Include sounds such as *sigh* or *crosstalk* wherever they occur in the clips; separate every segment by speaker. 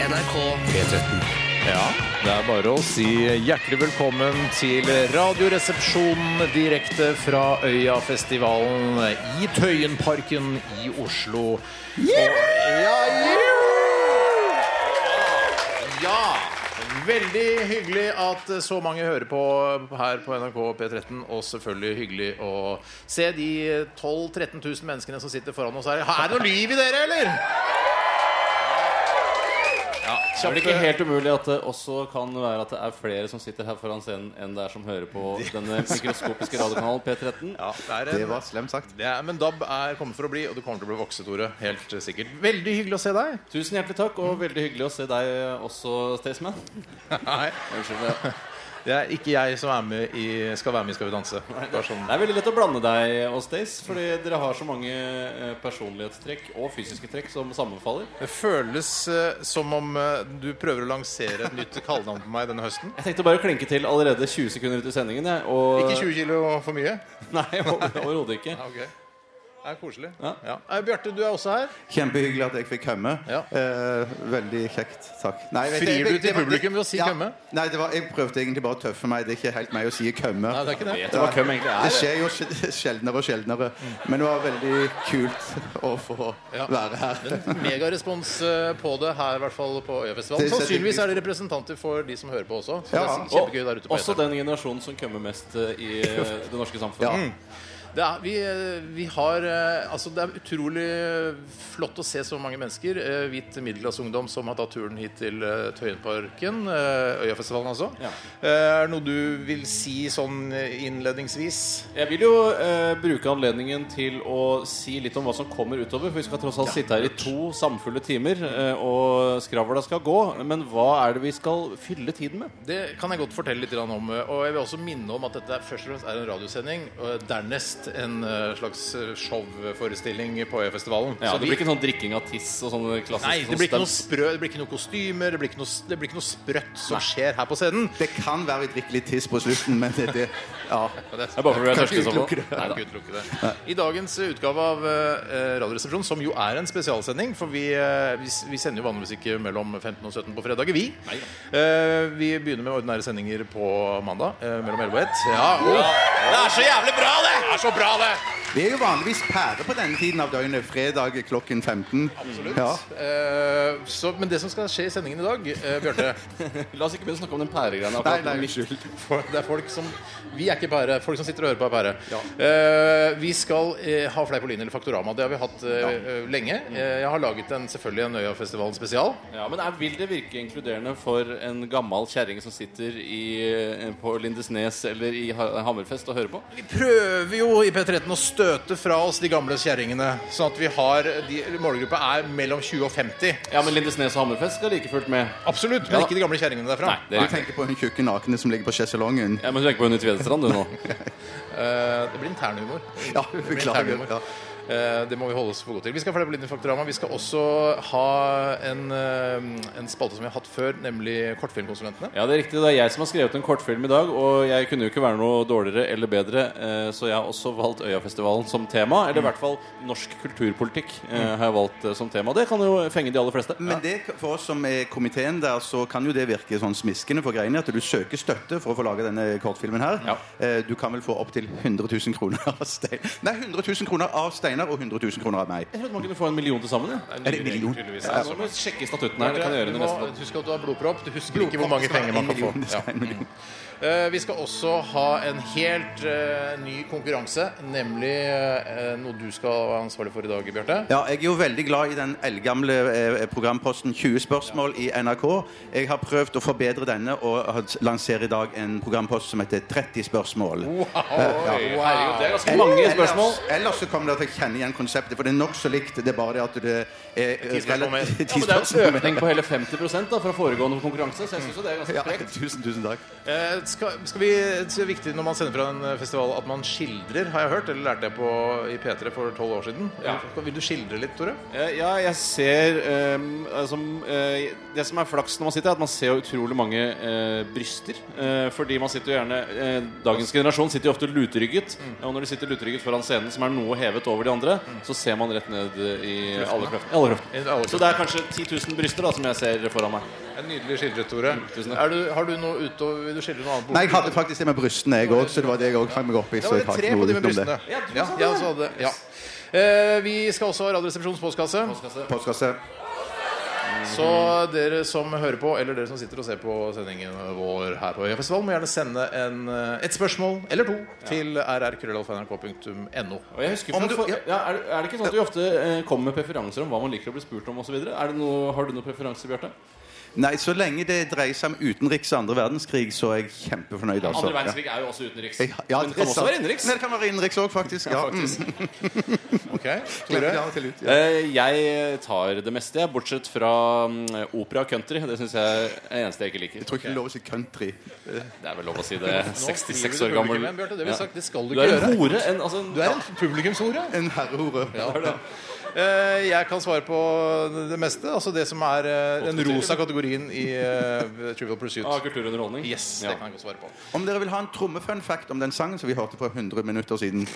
Speaker 1: NRK
Speaker 2: Ja, det er bare å si hjertelig velkommen til Radioresepsjonen direkte fra Øyafestivalen i Tøyenparken i Oslo. Ja, jo! ja. Veldig hyggelig at så mange hører på her på NRK P13. Og selvfølgelig hyggelig å se de 12 000-13 000 menneskene som sitter foran oss her. Er det noe liv i dere, eller? Ja,
Speaker 3: Det er vel ikke helt umulig at det også kan være at det er flere som sitter her foran scenen enn det er som hører på denne mikroskopiske radiokanalen P13.
Speaker 2: Ja, det, er en,
Speaker 4: Det var slemt sagt.
Speaker 2: Det er, men DAB er kommet for å bli, og du kommer til å bli vokse, Tore. Helt eh, sikkert. Veldig hyggelig å se deg.
Speaker 3: Tusen hjertelig takk, og veldig hyggelig å se deg også, Staysman.
Speaker 2: *laughs* Nei,
Speaker 3: Unnskyld. Det
Speaker 2: det er ikke jeg som er med i Skal være med i Skal vi danse. Bare sånn.
Speaker 3: det er veldig lett å blande deg og Stays, fordi dere har så mange eh, personlighetstrekk og fysiske trekk som sammenfaller.
Speaker 2: Det føles eh, som om eh, du prøver å lansere et nytt kallenavn på meg denne høsten.
Speaker 3: Jeg tenkte bare å klinke til allerede 20 sekunder ut i sendingen. Jeg, og,
Speaker 2: Ikke 20 kilo for mye?
Speaker 3: *laughs* Nei, over- overhodet ikke.
Speaker 2: Ja, ok. Det er koselig. Ja.
Speaker 3: Ja.
Speaker 2: Eh, Bjarte, du er også her.
Speaker 4: Kjempehyggelig at jeg fikk komme.
Speaker 2: Ja.
Speaker 4: Eh, veldig kjekt. Takk. Nei, vet
Speaker 2: Frir
Speaker 4: jeg-
Speaker 2: du
Speaker 4: det-
Speaker 2: til
Speaker 4: det-
Speaker 2: publikum ved å si
Speaker 4: ja.
Speaker 2: komme?
Speaker 4: Nei, det var, jeg prøvde egentlig bare å tøffe meg. Det er ikke helt meg å si
Speaker 2: Nei,
Speaker 4: komme.
Speaker 2: det er ikke det. Mm.
Speaker 3: Vet du hva køm egentlig
Speaker 4: Det
Speaker 3: er?
Speaker 4: skjer jo sj- sjeldnere og sjeldnere. Men det var veldig kult å få
Speaker 2: Ja.
Speaker 4: være her.
Speaker 2: Megarespons eh, på det her, i hvert fall på Øyafestivalen.
Speaker 4: Det setter
Speaker 2: Sannsynligvis
Speaker 4: pris-
Speaker 2: er det representanter for de som hører på også. Så det
Speaker 4: Ja.
Speaker 2: er kjempegøy der ute på
Speaker 3: også
Speaker 2: eteren.
Speaker 3: den generasjonen som kømmer mest eh,
Speaker 2: *laughs*
Speaker 3: i eh, det norske samfunnet.
Speaker 4: Ja.
Speaker 2: Det er, vi, vi har eh, Altså, det er utrolig flott å se så mange mennesker. eh, Hvit middelklasseungdom som har tatt turen hit til eh, Tøyenparken. eh, Øyafestivalen, altså.
Speaker 3: Ja.
Speaker 2: Eh, Er det noe du vil si sånn innledningsvis?
Speaker 3: Jeg vil jo eh, bruke anledningen til å si litt om hva som kommer utover. For vi skal tross alt sitte her i to samfulle timer, eh, og skravla skal gå. Men hva er det vi skal fylle tiden med?
Speaker 2: Det kan jeg godt fortelle litt grann om. eh, Og jeg vil også minne om at dette er- først og fremst er en radiosending. Og dernest en eh, slags eh, showforestilling på Øyafestivalen.
Speaker 3: Ja,
Speaker 2: Så
Speaker 3: det
Speaker 2: vi-
Speaker 3: blir ikke sånn drikking av tiss og sånne klassiske
Speaker 2: Nei, det
Speaker 3: sånn
Speaker 2: blir ikke noe
Speaker 3: stunts.
Speaker 2: sprø, det blir ikke noe kostymer, det blir ikke noe, det blir ikke noe sprøtt som skjer her på scenen.
Speaker 4: Det kan være vi drikker litt tiss på slutten, men det, det ja.
Speaker 3: Det er bare fordi vi er
Speaker 4: Kan ikke
Speaker 3: tørste i så fall.
Speaker 4: utelukke det.
Speaker 3: Neida.
Speaker 2: Kan ikke utelukke det. I dagens utgave av eh, Radioresepsjonen, som jo er en spesialsending For vi, eh, vi, s- vi sender jo vanligvis ikke mellom 15 og 17 på fredager, vi.
Speaker 3: Nei
Speaker 2: Eh, vi begynner med ordinære sendinger på mandag eh, mellom 11 og 1. Ja, Det er så jævlig bra, det! Det er så bra, det!
Speaker 4: Vi er jo vanligvis pære på denne tiden av døgnet. Fredag klokken 15. Ja.
Speaker 2: Eh, så, men det som skal skje i sendingen i dag, eh, Bjarte
Speaker 3: La oss ikke begynne å snakke om den pæregreia.
Speaker 4: Nei, nei,
Speaker 3: akkurat.
Speaker 4: unnskyld.
Speaker 2: For det er folk som Vi er ikke pære. Folk som sitter og hører på, er pære. Eh, vi skal eh, ha Fleipolini eller Faktorama. Det har vi hatt eh, eh, lenge. Eh, jeg har laget en, selvfølgelig en Øyafestivalen spesial.
Speaker 3: Ja, men er, Vil det virke inkluderende for en gammel kjerring som sitter i, eh, på Lindesnes eller i Ha- Hammerfest og hører på?
Speaker 2: Vi prøver jo i P13 å støte fra oss de gamle kjerringene. Sånn at vi har de, Målgruppa er mellom 20 og 50.
Speaker 3: Ja, men Lindesnes og Hammerfest skal like fullt med.
Speaker 2: Absolutt, men
Speaker 3: Ja.
Speaker 2: ikke de gamle kjerringene derfra.
Speaker 3: Nei, det,
Speaker 4: Du tenker på hun tjukke nakne som ligger på sjeselongen?
Speaker 3: ja, men du tenker på Unni Tvedestrand, du nå?
Speaker 2: Eh, det blir internhumor.
Speaker 4: Ja,
Speaker 2: Det blir
Speaker 4: beklager.
Speaker 2: internhumor.
Speaker 4: Ja.
Speaker 2: Eh, det må vi holde oss for gode til. Vi skal fleipolini Faktorama. Vi skal også ha en, eh, en spalte som vi har hatt før, nemlig Kortfilmkonsulentene.
Speaker 3: Ja, det er riktig. Det er jeg som har skrevet en kortfilm i dag, og jeg kunne jo ikke være noe dårligere eller bedre, eh, så jeg har også valgt Øyafestivalen som tema. Eller i hvert fall norsk kulturpolitikk eh, har jeg valgt eh, som tema. Det kan jo fenge de aller fleste.
Speaker 4: Men det, for oss som er komiteen der, så kan jo det virke sånn smiskende for greiene at du søker støtte for å få lage denne kortfilmen her.
Speaker 3: Ja.
Speaker 4: Eh, Du kan vel få opptil 100 000 kroner av Steinar Nei, 100 000 kroner av Steinar og 100 000 kroner av meg.
Speaker 3: Jeg trodde man kunne få en million til sammen. Ja.
Speaker 4: Er det en million?
Speaker 2: Tydeligvis. altså.
Speaker 3: Ja, så må vi sjekke statutten her. Det kan jeg gjøre
Speaker 2: Du
Speaker 3: under neste
Speaker 2: må
Speaker 3: låt.
Speaker 2: huske at du har blodpropp. Du husker ikke hvor mange
Speaker 4: Blodpropp
Speaker 2: penger
Speaker 4: skal
Speaker 2: man kan
Speaker 4: være
Speaker 2: få.
Speaker 4: en million, det skal være en
Speaker 2: Ja.
Speaker 4: million.
Speaker 2: Eh, Vi skal også ha en helt eh, ny konkurranse, nemlig eh, noe du skal være ansvarlig for i dag, Bjarte.
Speaker 4: Ja, jeg er jo veldig glad i den eldgamle eh, programposten 20 spørsmål i NRK. Jeg har prøvd å forbedre denne og har- lanserer i dag en programpost som heter 30 spørsmål.
Speaker 2: Wow! Herregud, det er ganske
Speaker 3: Så mange spørsmål.
Speaker 4: Ellers, ellers så kommer det til å kjenne igjen konseptet, for det er nokså likt. Det er bare det at det er
Speaker 2: Ti spørsmål mer.
Speaker 4: relativt-
Speaker 3: Ja, men det er jo en økning på hele 50 da, fra foregående konkurranse, så jeg syns jo det er ganske
Speaker 4: Ja,
Speaker 3: sprekt.
Speaker 4: tusen, tusen takk.
Speaker 2: Eh, skal, skal vi, det er viktig når man sender fra en eh, festival at man skildrer, har jeg hørt. Eller lærte jeg på, i P3 for tolv år siden.
Speaker 3: Ja.
Speaker 2: Vil du skildre litt, Tore?
Speaker 3: Eh, Ja, jeg ser ehm, altså, eh, Det som er flaks når man sitter, er at man ser utrolig mange eh, bryster. Eh, fordi man sitter jo
Speaker 4: Mm.
Speaker 3: gjerne eh, Dagens generasjon sitter jo ofte lutrygget. Og når de sitter lutrygget foran scenen, som er noe hevet over de hverandre, så ser man rett ned i alle kløftene. Alle kløftene.
Speaker 2: I alle kløftene.
Speaker 3: Så det er kanskje 10 000 bryster da, som jeg ser foran meg.
Speaker 2: En nydelig skildret, Tore.
Speaker 3: tusen takk.
Speaker 2: Er du, har du noe utover Vil du skildre noe annet?
Speaker 4: Nei, jeg hadde faktisk det med brystene, jeg òg, så det var det jeg òg hang meg opp i.
Speaker 2: Det
Speaker 4: så
Speaker 2: var det
Speaker 4: jeg har
Speaker 2: tre
Speaker 4: ikke noe
Speaker 2: på de med
Speaker 4: utenom det.
Speaker 2: brystene. Ja, så hadde, ja. Eh, vi skal også ha Radioresepsjonens postkasse.
Speaker 4: Postkasse.
Speaker 2: Så dere som hører på, eller dere som sitter og ser på sendingen vår her på Øyafestivalen, må gjerne sende en, eh, et spørsmål eller to til rrkrøllalfa.nrk.no.
Speaker 3: Og jeg husker
Speaker 4: Om
Speaker 3: fra,
Speaker 4: du-
Speaker 3: for,
Speaker 4: ja.
Speaker 3: ja. er, er det ikke sånn at vi ofte eh, kommer med preferanser om hva man liker å bli spurt om osv.? Har du noen preferanser, Bjarte?
Speaker 4: Nei, så lenge det dreier seg om utenriks og andre verdenskrig, så er jeg kjempefornøyd, altså.
Speaker 3: Andre verdenskrig er jo også utenriks.
Speaker 4: Ja. Jeg- Ja,
Speaker 3: men det kan
Speaker 4: er
Speaker 3: også
Speaker 4: sant.
Speaker 3: være innenriks.
Speaker 4: Men det kan være innenriks òg, faktisk. Ja, faktisk. Mm.
Speaker 2: Ok,
Speaker 4: Glemmer det
Speaker 2: Tore?
Speaker 4: av og til ut, ja.
Speaker 3: Eh, Jeg tar det meste, jeg, bortsett fra mm, opera og country. Det syns jeg er det eneste jeg ikke liker.
Speaker 4: Jeg tror ikke det er lov å si country.
Speaker 3: Det er vel lov å si
Speaker 2: *laughs*
Speaker 3: det.
Speaker 2: Nå skriver
Speaker 3: 66
Speaker 2: du
Speaker 3: år gammel.
Speaker 2: publikum igjen, Bjarte. Det, vil
Speaker 3: Ja.
Speaker 2: jeg sagt, det skal du
Speaker 3: Du
Speaker 2: ikke
Speaker 3: er en
Speaker 2: gjøre.
Speaker 3: hore. En, altså, en-
Speaker 2: Du er en publikumshore.
Speaker 4: En herrehore.
Speaker 2: Ja. Eh, Jeg kan svare på det meste. Altså det som er eh, den rosa kategorien i eh, Trivial Pursuit.
Speaker 3: av kulturunderholdning.
Speaker 2: Yes,
Speaker 3: Ja.
Speaker 2: det kan jeg godt svare på.
Speaker 4: Om dere vil ha en trommefun fact om den sangen som vi hørte for 100 minutter siden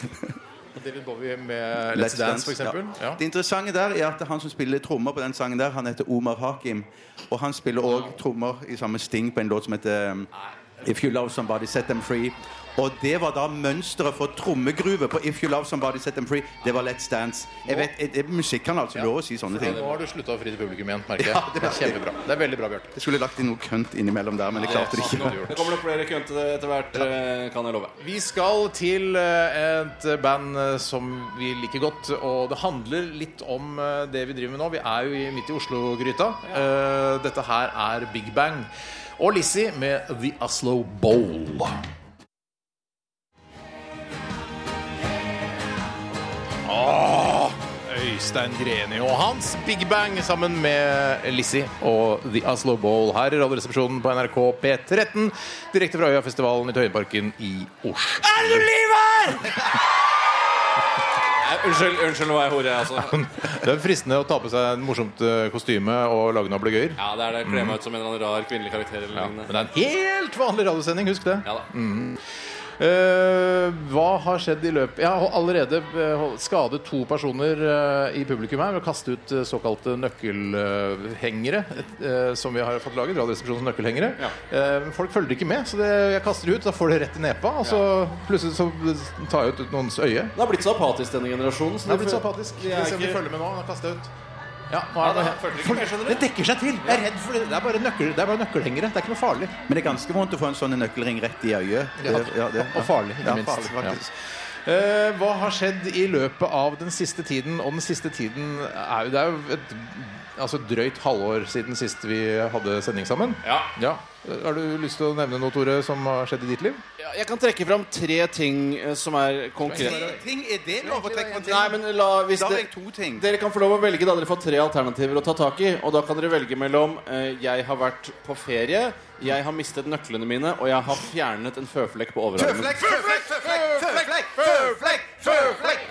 Speaker 2: David Bowie med Let's, Dance, for eksempel.
Speaker 4: Ja.
Speaker 2: Ja.
Speaker 4: Det interessante der er at han som spiller trommer på den sangen der, han heter Omar Hakim. Og han spiller òg trommer i samme sting på en låt som heter um, If You Love Somebody, Set Them Free. Og det var da mønsteret for trommegruve på If You Love Somebody, Set Them Free. Det var Let's Dance. Jeg vet, er, er musikk kan altså lov å si sånne ting.
Speaker 2: Nå har du slutta å fri til publikum igjen, merker jeg.
Speaker 4: Ja, det
Speaker 2: det
Speaker 4: er
Speaker 2: er Kjempebra. Det er veldig bra, Bjarte.
Speaker 4: Jeg skulle lagt inn noe kønt innimellom der, men jeg klarte det ikke.
Speaker 3: Det kommer nok flere kønte etter hvert, eh, kan jeg love.
Speaker 2: Vi skal til eh, et band eh, som vi liker godt, og det handler litt om eh, det vi driver med nå. Vi er jo i- midt i Oslo-gryta. Eh, Dette her er Big Bang og Lizzie med The Oslo Bowl. Åh, Øystein Greni og hans Big Bang sammen med Lizzie og The Oslo Bowl her i Radioresepsjonen på NRK P13. Direkte fra Øyafestivalen i Tøyenparken i Oslo. Er du lyver?!
Speaker 3: Nei, Unnskyld, unnskyld, nå var jeg hore, altså.
Speaker 2: Det er fristende å ta på seg en morsomt eh, kostyme og lage noen opplegøyer.
Speaker 3: Ja, det er det. Kle meg ut som en eller annen rar kvinnelig karakter eller
Speaker 2: Men
Speaker 3: lignende.
Speaker 2: det er en helt vanlig radiosending, husk det.
Speaker 3: Ja da.
Speaker 2: Eh, hva har skjedd i løpet Jeg har allerede eh, hold- skadet to personer eh, i publikum her ved å kaste ut eh, såkalte nøkkelhengere. et, eh, som vi har fått laget. Radioresepsjonens nøkkelhengere.
Speaker 3: Ja.
Speaker 2: Eh, men folk følger ikke med, så det, jeg kaster det ut. Da får det rett i nepa. Og så plutselig så tar jeg ut noens øye.
Speaker 3: Det har blitt så apatisk, denne generasjonen. så
Speaker 2: Det er
Speaker 3: de
Speaker 2: blitt så
Speaker 3: føler-
Speaker 2: apatisk.
Speaker 3: de
Speaker 2: Vi
Speaker 3: er
Speaker 2: ser om de
Speaker 3: ikke-
Speaker 2: følger med nå. Han har kastet ut. Ja, nå er det,
Speaker 3: da følger de ikke med, skjønner du.
Speaker 2: det dekker seg til! Jeg er redd for det. Det er bare, nøkkel, det er bare nøkkelhengere. Det er ikke noe farlig.
Speaker 4: Men det er ganske vondt å få en sånn nøkkelring rett i øyet. Det-
Speaker 2: Ja.
Speaker 4: ja, det-
Speaker 2: Og farlig, ikke
Speaker 4: ja,
Speaker 2: minst.
Speaker 4: Farlig, faktisk.
Speaker 2: Eh, hva har skjedd i løpet av den siste tiden? Og den siste tiden er jo Det er jo et altså drøyt halvår siden sist vi hadde sending sammen.
Speaker 3: Ja.
Speaker 2: Ja. Eh, Har du lyst til å nevne noe, Tore, som har skjedd i ditt liv?
Speaker 3: Ja, Jeg kan trekke fram tre ting eh, som er konkrete.
Speaker 4: Tre ting er det lov å trekke på en ting?
Speaker 3: Nei, men la, hvis
Speaker 4: Da har
Speaker 3: det,
Speaker 4: jeg to ting.
Speaker 3: Dere kan få lov å velge, da. Dere får tre alternativer å ta tak i. Og da kan dere velge mellom eh, 'jeg har vært på ferie', 'jeg har mistet nøklene mine', og 'jeg har fjernet en føflekk på overarmen'.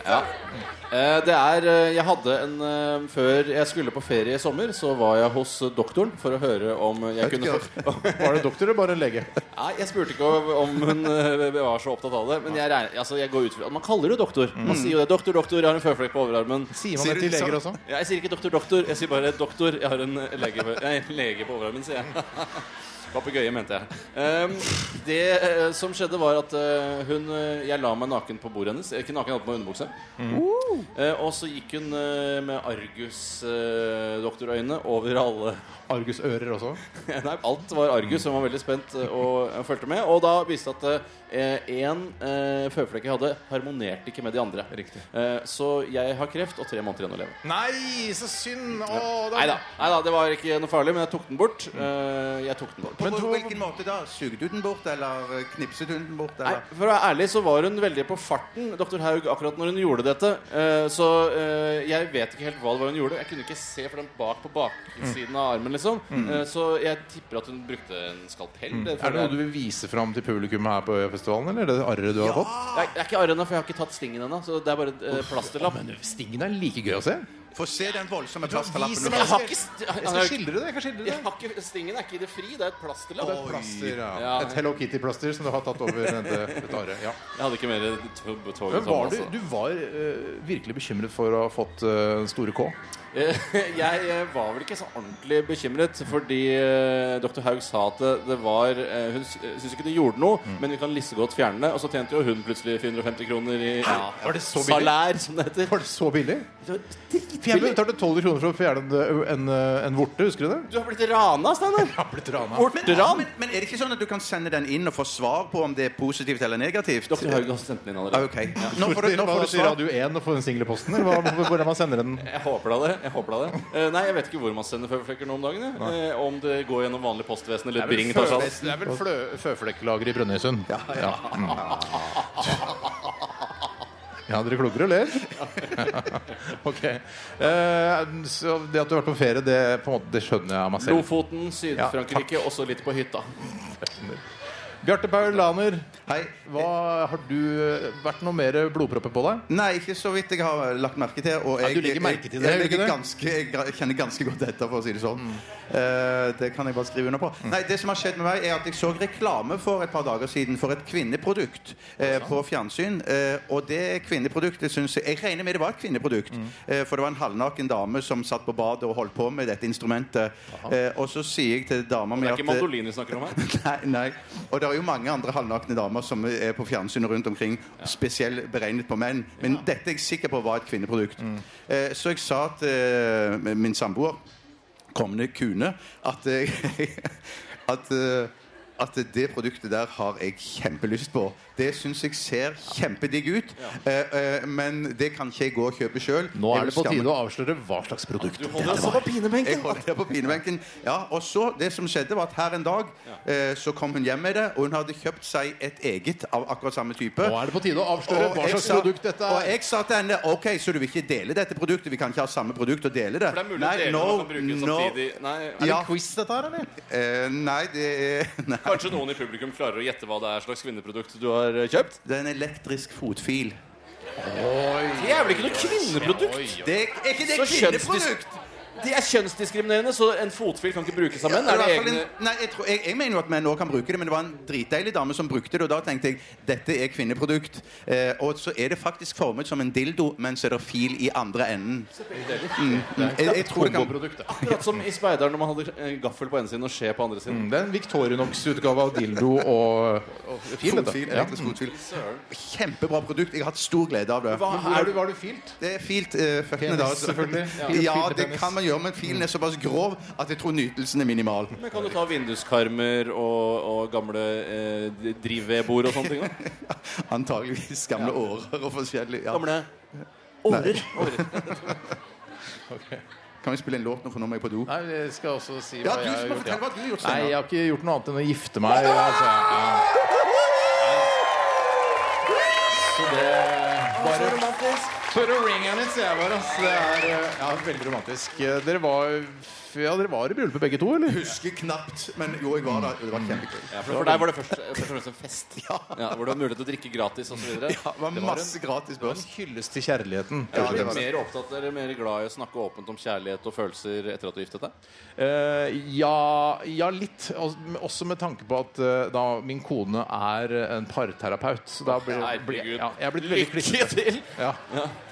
Speaker 3: Ja. Eh, Det er, eh, jeg hadde en eh, Før jeg skulle på ferie i sommer, så var jeg hos eh, doktoren for å høre om jeg kunne få *laughs*
Speaker 2: Var det doktor eller bare en *laughs* lege?
Speaker 3: Nei, jeg spurte ikke om- om hun eh, var så opptatt av det. Men jeg, regner, altså, jeg går ut fra Man kaller det doktor. Man sier jo det. 'Doktor, doktor, jeg har en føflekk på overarmen'.
Speaker 2: Sier man
Speaker 4: Sier
Speaker 2: det
Speaker 4: du
Speaker 2: til
Speaker 4: det
Speaker 2: leger også?
Speaker 4: samme?
Speaker 3: Ja, jeg sier ikke doktor, doktor. Jeg sier bare doktor. Jeg har en lege, nei, en lege på overarmen, sier jeg. *laughs* Papegøye, mente jeg. Ehm, det eh, som skjedde, var at eh, hun eh, Jeg la meg naken på bordet hennes. Eh, Ikke naken, jeg hadde på meg underbukse. Eh, og så gikk hun eh, med Argus-doktorøyne over alle *laughs*
Speaker 2: Argusører også?
Speaker 3: Nei, alt var Argus. Hun var veldig spent eh, og eh, fulgte med. Og da viste det at én eh, føflekk jeg hadde, harmonerte ikke med de andre.
Speaker 2: Riktig.
Speaker 3: Eh, så jeg har kreft og tre måneder igjen å leve.
Speaker 2: Nei, så synd! Å, da-
Speaker 3: Nei da, det var ikke noe farlig, men jeg tok den bort.
Speaker 2: Mm.
Speaker 3: Eh, jeg tok den bort.
Speaker 4: Men
Speaker 2: Men
Speaker 4: på
Speaker 2: to-
Speaker 4: hvilken måte da? Sugde du den bort, eller knipset du den bort?
Speaker 3: Nei,
Speaker 4: Eller?
Speaker 3: for å være ærlig så var hun veldig på farten, Dr. Haug, akkurat når hun gjorde dette. Eh, så eh, jeg vet ikke helt hva det var hun gjorde. Jeg kunne ikke se for den bak på baksiden av armen, liksom. Eh, så jeg tipper at hun brukte en skalpell. Det,
Speaker 2: Mm. Er det noe du vil vise fram til publikum her på Øyafestivalen, eller er det det arret du har fått?
Speaker 3: jeg, jeg er ikke arr ennå, for jeg har ikke tatt stingen ennå. Så det er bare eh, plasterlapp.
Speaker 2: Stingen er like gøy å se.
Speaker 4: Få se den voldsomme
Speaker 2: Vis
Speaker 4: plasterlappen.
Speaker 2: meg-
Speaker 4: du
Speaker 3: Jeg
Speaker 4: får.
Speaker 3: har ikke st-
Speaker 2: Jeg skal skildre det. jeg kan skildre det
Speaker 3: Jeg har ikke, stingen er ikke i det fri, det er et
Speaker 2: Det
Speaker 3: plasterlapp.
Speaker 2: er et plaster, ja.
Speaker 3: Ja.
Speaker 2: Et Hello Kitty-plaster som du har tatt over dette dette året. Ja. altså.
Speaker 3: Jeg hadde ikke mer tog, tog
Speaker 2: Men var du, du var eh, virkelig bekymret for å ha fått eh, den store K?
Speaker 3: Eh, Jeg eh, var vel ikke så ordentlig bekymret, fordi eh, dr. Haug sa at det, det var eh, Hun sy- syntes ikke det gjorde noe, men vi kan lissegodt fjerne det. Og så tjente jo hun plutselig 450 kroner i
Speaker 2: Var det så billig?
Speaker 3: salær, som det heter.
Speaker 2: Var det så billig?
Speaker 3: Det var
Speaker 2: For jeg
Speaker 3: dritbillig.
Speaker 2: betalte 12 kroner for å fjerne en, eh, en, en vorte, husker du det?
Speaker 3: Du har blitt rana, Steinar.
Speaker 2: Jeg har blitt rana.
Speaker 3: Vorteran.
Speaker 4: Men, men er det ikke sånn at du kan sende den inn og få svar på om det er positivt eller negativt?
Speaker 3: Dr. Haug har sendt den inn
Speaker 4: Ah,
Speaker 3: allerede.
Speaker 4: Ok. Nå får du, nå får du
Speaker 2: til
Speaker 4: svar.
Speaker 2: Radio 1 og få den single posten, eller hva, hvor- hvordan man sender den?
Speaker 3: Jeg håper da det. jeg håper da det Eh, Nei, jeg vet ikke hvor man sender føflekker nå om dagen. Jeg. Eh, Om det går gjennom vanlig postvesen eller Bring. tar seg av.
Speaker 2: Det er vel flø- føflekklager i Brønnøysund. Ja, ja. Mm. *laughs* ja, dere klukker og ler. *laughs* ok. Eh, så det at du har vært på ferie, det, på en måte, det skjønner jeg av meg selv.
Speaker 3: Lofoten, Syd-Frankrike, også litt på hytta.
Speaker 2: Bjarte Paul Laner,
Speaker 4: Hei.
Speaker 2: hva, har du eh, vært noe mer blodpropper på deg?
Speaker 4: Nei, ikke så vidt jeg har lagt merke til. Og jeg,
Speaker 2: du legger merke til det, gjør
Speaker 4: jeg,
Speaker 2: du
Speaker 4: jeg,
Speaker 2: ikke det? Mm.
Speaker 4: ganske, jeg gra- kjenner ganske godt etter, for å si det sånn. Eh, det kan jeg bare skrive under på. Nei, Det som har skjedd med meg, er at jeg så reklame for et par dager siden for et kvinneprodukt eh, på fjernsyn. eh, og det kvinneproduktet syns jeg Jeg regner med det var et kvinneprodukt.
Speaker 2: Mm.
Speaker 4: eh, for det var en halvnaken dame som satt på badet og holdt på med dette instrumentet. Eh, og så sier jeg til dama mi
Speaker 3: Det er
Speaker 4: at
Speaker 3: ikke mandolin vi snakker om her.
Speaker 4: *laughs* Nei, nei. Og det er jo mange andre halvnakne damer som er på fjernsynet rundt omkring, spesielt beregnet på menn. Men dette er jeg sikker på var et kvinneprodukt.
Speaker 2: Mm.
Speaker 4: Eh, så jeg sa til eh, min samboer, kommende kune, at eh, *laughs* at, eh, at det produktet der har jeg kjempelyst på. Det syns jeg ser kjempedigg ut, eh, eh, men det kan ikke jeg gå og kjøpe sjøl.
Speaker 2: Nå er det på tide å avsløre hva slags produkt.
Speaker 3: Du holder oss på
Speaker 4: *laughs* Jeg
Speaker 3: pinebenken.
Speaker 4: holdt det på pinebenken. Ja, og så, det som skjedde, var at her en dag eh, så kom hun hjem med det, og hun hadde kjøpt seg et eget av akkurat samme type.
Speaker 2: Nå er det på tide å avsløre hva
Speaker 4: jeg
Speaker 2: slags
Speaker 4: sa-
Speaker 2: produkt dette
Speaker 4: og
Speaker 2: er.
Speaker 4: jeg sa til henne OK, så du vil ikke dele dette produktet? Vi kan ikke ha samme produkt og dele det?
Speaker 3: For det er mulig å dele
Speaker 4: no,
Speaker 3: man kan bruke
Speaker 4: no.
Speaker 3: samtidig. Nei,
Speaker 4: Ja.
Speaker 2: quiz, dette her, eller?
Speaker 4: Eh, nei, det er *laughs* nei.
Speaker 3: Kanskje noen i publikum klarer å gjette hva det er slags kvinneprodukt du har eh, kjøpt?
Speaker 4: Det er en elektrisk fotfil.
Speaker 3: Det er vel ikke noe kvinneprodukt?
Speaker 4: Det er, er ikke det
Speaker 3: Så kjønnsdis-
Speaker 4: kvinneprodukt?
Speaker 3: Det er kjønnsdiskriminerende, så en fotfil kan ikke brukes av menn.
Speaker 4: Ja,
Speaker 3: Er det
Speaker 4: det var i hvert fall
Speaker 3: egne
Speaker 4: en, nei, jeg, tror, jeg, jeg mener jo at menn òg kan bruke det, men det var en dritdeilig dame som brukte det. Og da tenkte jeg dette er kvinneprodukt. Eh, og så er det faktisk formet som en dildo, men så er det fil i andre enden. Mm, mm. Jeg, jeg tror det kan
Speaker 2: Komboprodukt. det.
Speaker 3: Akkurat som i speideren når man hadde eh, gaffel på ene siden og skje på andre siden.
Speaker 2: Mm, Det er en Victorinox-utgave av dildo og, og fil. dette.
Speaker 4: Fotfil,
Speaker 2: Ja.
Speaker 4: elektrisk fotfil. Kjempebra produkt. Jeg har hatt stor glede av det.
Speaker 3: Hva
Speaker 2: Men hvor er du, var du filt?
Speaker 4: Det er filt eh, føttene
Speaker 2: Penis,
Speaker 4: da. altså.
Speaker 2: selvfølgelig. Ja.
Speaker 4: Ja,
Speaker 2: Filt med
Speaker 4: det
Speaker 2: penis.
Speaker 4: kan man gjøre, men filen er såpass grov at jeg tror nytelsen er minimal.
Speaker 3: Men kan du ta vinduskarmer og, og gamle eh, drivvedbord og sånne
Speaker 4: *laughs*
Speaker 3: ting? da?
Speaker 4: Antageligvis gamle årer og forskjellig. Ja.
Speaker 3: Gamle årer. Årer.
Speaker 4: Kan vi spille en låt nå, for nå må jeg på do?
Speaker 2: Nei, jeg skal også si
Speaker 4: Ja,
Speaker 2: hva
Speaker 4: du
Speaker 2: jeg
Speaker 4: som
Speaker 2: har
Speaker 4: må
Speaker 2: gjort. Ja.
Speaker 4: fortelle hva du har gjort.
Speaker 2: Nei,
Speaker 4: Steinar.
Speaker 2: jeg har ikke gjort noe annet enn å gifte meg. Altså. Ja. Så det bare For å ringe henne, sier jeg bare. ass. Det er eh, ja, veldig romantisk. Eh, Dere var, ja, dere var i bryllupet begge to, eller?
Speaker 4: Husker knapt, men jo, jeg var der. Det var kjempegøy.
Speaker 3: Ja, for, for deg var det først, først og fremst en fest. Ja, hvor du har mulighet til å drikke gratis osv.
Speaker 4: Ja, det var masse gratis børs.
Speaker 2: Hyllest til kjærligheten.
Speaker 3: Ja,
Speaker 4: det
Speaker 3: er
Speaker 4: var det.
Speaker 3: mer opptatt Dere er mer glad i å snakke åpent om kjærlighet og følelser etter at du giftet deg?
Speaker 2: Eh, ja, ja, litt. Al- Også med tanke på at eh, da min kone er en parterapeut. Så da blir, blir,
Speaker 3: Herregud.
Speaker 2: ja, jeg er blitt veldig klisjé.
Speaker 3: Lykke til!
Speaker 2: Ja.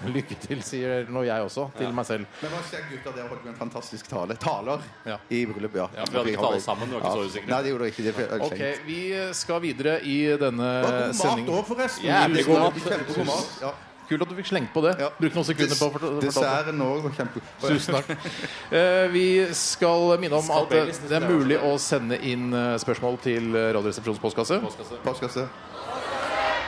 Speaker 2: Lykke til, sier nå jeg også til meg selv.
Speaker 4: Men hva skjer, gutter? Dere holdt jo en fantastisk tale. Taler
Speaker 2: Ja.
Speaker 4: i bryllupet, ja.
Speaker 3: for vi hadde ikke tale sammen, vi var ikke så usikre.
Speaker 4: Nei, det gjorde ikke det. for jeg er
Speaker 2: Ok,
Speaker 4: skjenkt.
Speaker 2: Vi eh, skal videre i denne
Speaker 4: Det var god mat
Speaker 2: sendingen.
Speaker 4: òg, forresten.
Speaker 2: Jævlig
Speaker 4: Tusen
Speaker 2: god
Speaker 4: takk.
Speaker 2: mat.
Speaker 4: Kjempegod mat. Ja.
Speaker 2: Kult at du fikk slengt på det.
Speaker 4: Ja.
Speaker 2: Bruk noen sekunder på å fort-
Speaker 4: Des-
Speaker 2: fortelle det.
Speaker 4: Desserten òg var kjempe...
Speaker 2: Tusen
Speaker 4: *laughs*
Speaker 2: takk. Eh, vi skal minne om at eh, det er mulig å sende inn eh, spørsmål til eh, Radioresepsjonens postkasse.
Speaker 4: Postkasse.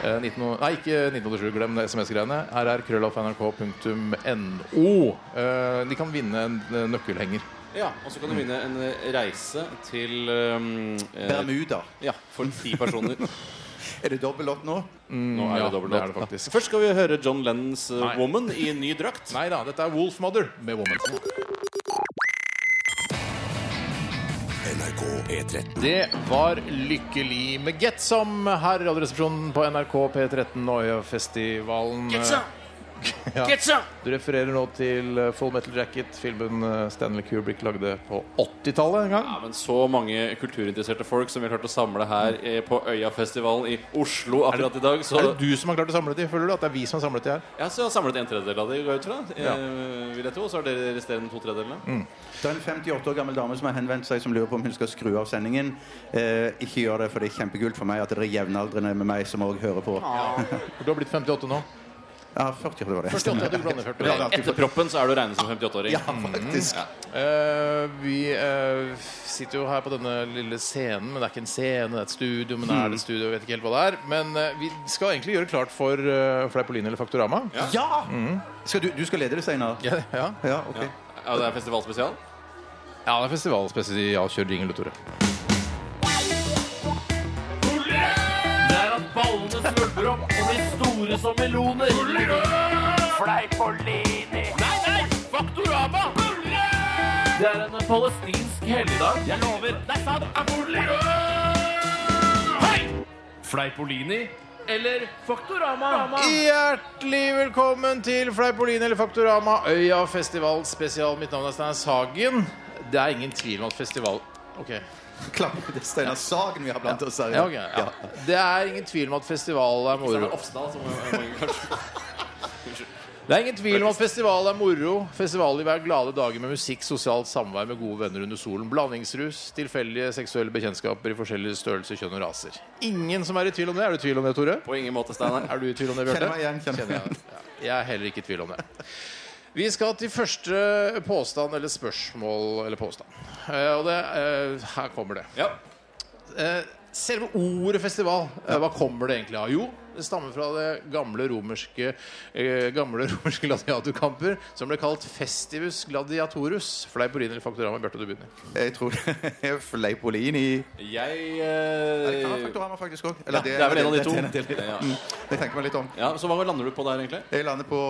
Speaker 2: Eh, 19, og- nei, ikke 1987, glem det SMS-greiene. Her er krøllalfa.nrk.no. Eh, De kan vinne en eh, nøkkelhenger.
Speaker 3: Ja, Og så kan du vinne en eh, reise til um, eh,
Speaker 4: Bermuda.
Speaker 3: Ja, for ti
Speaker 2: *laughs*
Speaker 3: personer.
Speaker 4: Er det dobbellott nå?
Speaker 3: Nå er
Speaker 2: ja,
Speaker 3: det dobbelt
Speaker 2: det er det
Speaker 3: opp.
Speaker 2: faktisk.
Speaker 3: Først skal vi høre John Lennons eh,
Speaker 2: Nei.
Speaker 3: 'Woman' i ny drakt.
Speaker 2: Nei da, dette er Wolfmother med Woman.
Speaker 1: NRK P13.
Speaker 2: Det var lykkelig med Get Some her i Radioresepsjonen på NRK P13 og Øyafestivalen. Get Some! *laughs* Ja. Du refererer nå til eh, Full Metal Jacket, filmen eh, Stanley Kubrick lagde på 80-tallet en gang.
Speaker 3: Ja, men så mange kulturinteresserte folk som vi har klart å samle her eh, på Øyafestivalen i Oslo akkurat i dag. Så
Speaker 2: Er det du som har klart å samle de? Føler du at det er vi som har samlet de her?
Speaker 3: Ja, så jeg har samlet en tredjedel av det, går jeg ut fra.
Speaker 2: Ja. Mm.
Speaker 3: Eh, vil jeg tro. Og så har dere resterende to tredjedelene.
Speaker 4: Det er en 58 år gammel dame som har henvendt seg som lurer på om hun skal skru av sendingen. Eh, ikke gjør det, for det er kjempekult for meg at dere er jevnaldrende med meg som òg hører på.
Speaker 2: For du har blitt 58 nå.
Speaker 4: Ja, 40 år, det var det.
Speaker 2: 48, ja, du blander 40.
Speaker 4: Ja, det er alltid
Speaker 3: Etter proppen så er du å regne som 58-åring.
Speaker 4: Ja, faktisk.
Speaker 2: Eh, vi eh, sitter jo her på denne lille scenen, men det er ikke en scene, det er et studio. Men er det et studio, jeg vet ikke helt hva det er. Men eh, vi skal egentlig gjøre klart for uh, Fleipolini eller Faktorama.
Speaker 4: Ja! Skal du, du skal lede det, Steinar?
Speaker 2: Ja, ja.
Speaker 4: Ja, ok.
Speaker 3: Ja, det er festivalspesial.
Speaker 2: ja det er festivalspesialkjør jingle, Tore.
Speaker 5: Det er at ballene svulmer opp og blir store som meloner. Fleipolini. Nei, nei! Faktorama! Det er en palestinsk helligdag. Jeg lover. Det er sant. Hei! Fleipolini eller Faktorama?
Speaker 2: Hjertelig velkommen til Fleipolini eller Faktorama, Øya festival spesial. Mitt navn er Steinar Sagen. Det er ingen tvil om at festival... Ok.
Speaker 4: Klapp. Det er Steinar Sagen vi har blant oss her.
Speaker 2: Ja, ok, ja. Det er ingen tvil om at festival er
Speaker 3: Så er
Speaker 2: moro.
Speaker 3: det Ofstad som er- er kanskje
Speaker 2: Det er ingen tvil om at festival er moro. Festivalliv er glade dager med musikk, sosialt samvær med gode venner under solen, blandingsrus, tilfeldige seksuelle bekjentskaper i forskjellige størrelser, kjønn og raser. Ingen som er i tvil om det. Er du i tvil om det, Tore?
Speaker 3: På ingen måte, Steinar.
Speaker 2: Er du i tvil om det,
Speaker 4: Kjenner
Speaker 2: Bjarte?
Speaker 4: meg igjen. Kjenner meg
Speaker 2: Kjenner
Speaker 4: igjen.
Speaker 2: jeg. Ja. Jeg er heller ikke i tvil om det. Vi skal til første påstand eller spørsmål eller påstand. Eh, Og det eh, Her kommer det.
Speaker 3: Ja.
Speaker 2: Eh, Selve ordet festival, eh, hva kommer det egentlig av? Jo, det stammer fra det gamle romerske, eh, gamle *laughs* romerske gladiatorkamper som ble kalt festivus gladiatorus. Fleipolini eller Faktorama? Bjarte, du begynner.
Speaker 4: Jeg tror *laughs* det er Fleipolini.
Speaker 3: Jeg
Speaker 4: Det kan være
Speaker 3: eh,
Speaker 4: Faktorama faktisk òg.
Speaker 3: ja, Det er vel en av de to. Ja.
Speaker 4: Jeg tenker meg litt om.
Speaker 3: Ja, så hva lander du på der, egentlig?
Speaker 4: Jeg lander på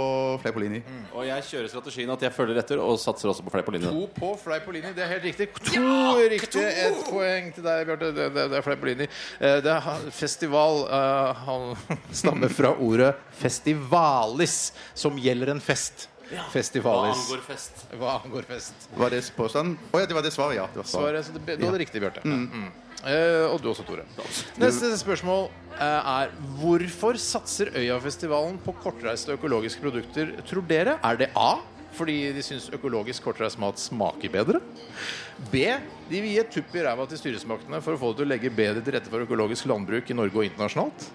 Speaker 4: Fleipolini.
Speaker 3: Og jeg kjører strategien at jeg følger etter og satser også på Fleipolini.
Speaker 2: To på Fleipolini, det er helt riktig. To riktig. Ett poeng til deg, Bjarte. Det, det, det er Fleipolini. Eh, Det er ha- festival eh, Han *laughs* stammer fra ordet festivalis, som gjelder en fest.
Speaker 3: Hva
Speaker 2: Festivalis.
Speaker 3: angår fest.
Speaker 2: Hva angår fest?
Speaker 4: Var det påstanden? Å ja, det var det svaret, ja. Det var svaret.
Speaker 2: Svaret, så det, du hadde riktig, Bjarte. Mm. Eh, og du også, Tore. Neste spørsmål eh, er hvorfor satser Øyafestivalen på kortreiste økologiske produkter, tror dere? Er det A fordi de syns økologisk kortreist mat smaker bedre? B. De vil gi et tupp i ræva til styresmaktene for å få det til å legge bedre til rette for økologisk landbruk i Norge og internasjonalt?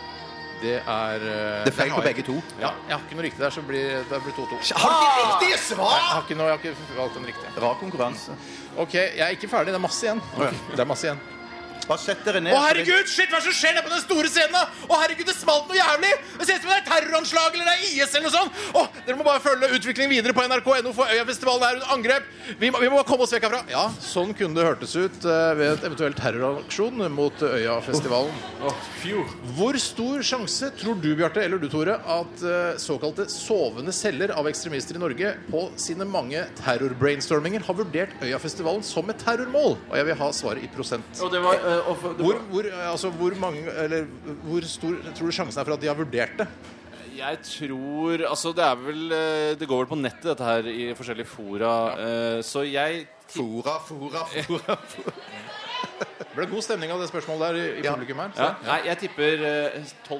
Speaker 2: Det er eh,
Speaker 4: Det er
Speaker 2: den
Speaker 4: feil på
Speaker 2: har jeg
Speaker 4: begge
Speaker 2: ikke.
Speaker 4: to.
Speaker 2: Ja, jeg har ikke noe riktig der, så blir det blir 2-2. Jeg,
Speaker 4: Har ikke riktige svar!
Speaker 2: har ikke noe- jeg har ikke valgt den riktige.
Speaker 4: Rar konkurranse.
Speaker 2: Ok, jeg er ikke ferdig. Det er masse igjen. Det er masse igjen.
Speaker 4: Bare sett dere ned.
Speaker 2: Å, herregud! Shit, hva er det som skjer der på den store scenen? da? Å, herregud, det smalt noe jævlig! Det ser ut som det er terroranslag eller det er IS eller noe sånt! Å, dere må bare følge utviklingen videre på nrk.no, for Øyafestivalen er under angrep. Vi må, vi må bare komme oss vekk herfra. Ja, sånn kunne det hørtes ut eh, ved et eventuelt terroraksjon mot Øyafestivalen.
Speaker 3: Åh, phew.
Speaker 2: Hvor stor sjanse tror du, Bjarte, eller du, Tore, at eh, såkalte sovende celler av ekstremister i Norge på sine mange terrorbrainstorminger har vurdert Øyafestivalen som et terrormål? Og jeg vil ha svaret i prosent.
Speaker 3: Og det var, eh, og for- det
Speaker 2: Hvor,
Speaker 3: var
Speaker 2: hvor, eh, altså, hvor, mange, eller, hvor stor tror du sjansen er for at de har vurdert det?
Speaker 3: Jeg tror Altså, det er vel eh, Det går vel på nettet, dette her, i forskjellige fora. eh, Så jeg
Speaker 4: Fora, fora, fora.
Speaker 2: Det ble god stemning av det spørsmålet der i, i
Speaker 4: Ja.
Speaker 2: publikum her.
Speaker 3: ja, Nei, jeg tipper eh, 12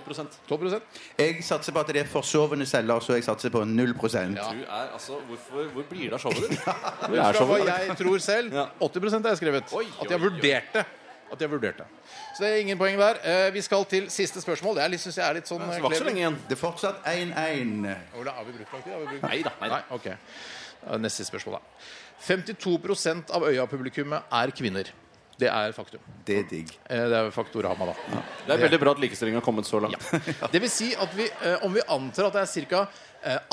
Speaker 2: 12 prosent.
Speaker 4: Jeg satser på at det er forsovende celler, så jeg satser på 0
Speaker 3: Du er altså Hvorfor, Hvor blir det av showet *laughs* ditt? Det
Speaker 2: Ut
Speaker 3: er
Speaker 2: fra hva
Speaker 3: showet.
Speaker 2: jeg tror selv.
Speaker 3: Ja.
Speaker 2: 80 har jeg skrevet.
Speaker 3: Oi,
Speaker 2: At de har
Speaker 3: oi, oi.
Speaker 2: vurdert det. At de har vurdert det. Så det er ingen poeng der. Eh, Vi skal til siste spørsmål. Det er litt, synes jeg er litt sånn
Speaker 3: Det var ikke så
Speaker 2: clever.
Speaker 3: lenge igjen.
Speaker 4: Det er fortsatt 1-1.
Speaker 2: Ola, har vi brukt lang tid? Har vi brukt...
Speaker 3: Nei da. Nei, da.
Speaker 2: Nei, ok. Da er Neste spørsmål, da. 52 av Øya-publikummet er kvinner. Det er faktum.
Speaker 4: Det er digg.
Speaker 2: Eh, Det er faktorama, da.
Speaker 3: Det er veldig bra at likestillinga har kommet så langt.
Speaker 2: Det vil si at vi, eh, om vi antar at det er ca.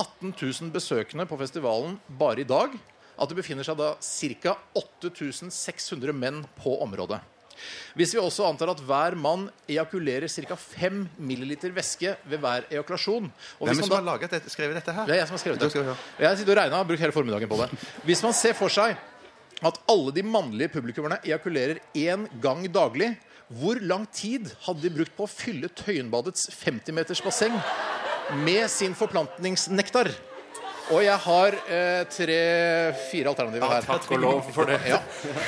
Speaker 2: 18 000 besøkende på festivalen bare i dag, at det befinner seg da ca. 8600 menn på området. Hvis vi også antar at hver mann ejakulerer ca. 5 milliliter væske ved hver ejakulasjon og hvis
Speaker 4: Hvem er
Speaker 2: man
Speaker 4: det som
Speaker 2: da
Speaker 4: har laget dette, skrevet dette her?
Speaker 2: Det er jeg som har skrevet
Speaker 4: Da skal vi
Speaker 2: det.
Speaker 4: høre.
Speaker 2: Jeg sitter og regner og har brukt hele formiddagen på det. Hvis man ser for seg at alle de mannlige publikummerne ejakulerer én gang daglig, hvor lang tid hadde de brukt på å fylle Tøyenbadets 50-meters basseng med sin forplantningsnektar? Og jeg har eh, tre-fire alternativer her.
Speaker 3: Takk og lov for det.
Speaker 2: Ja.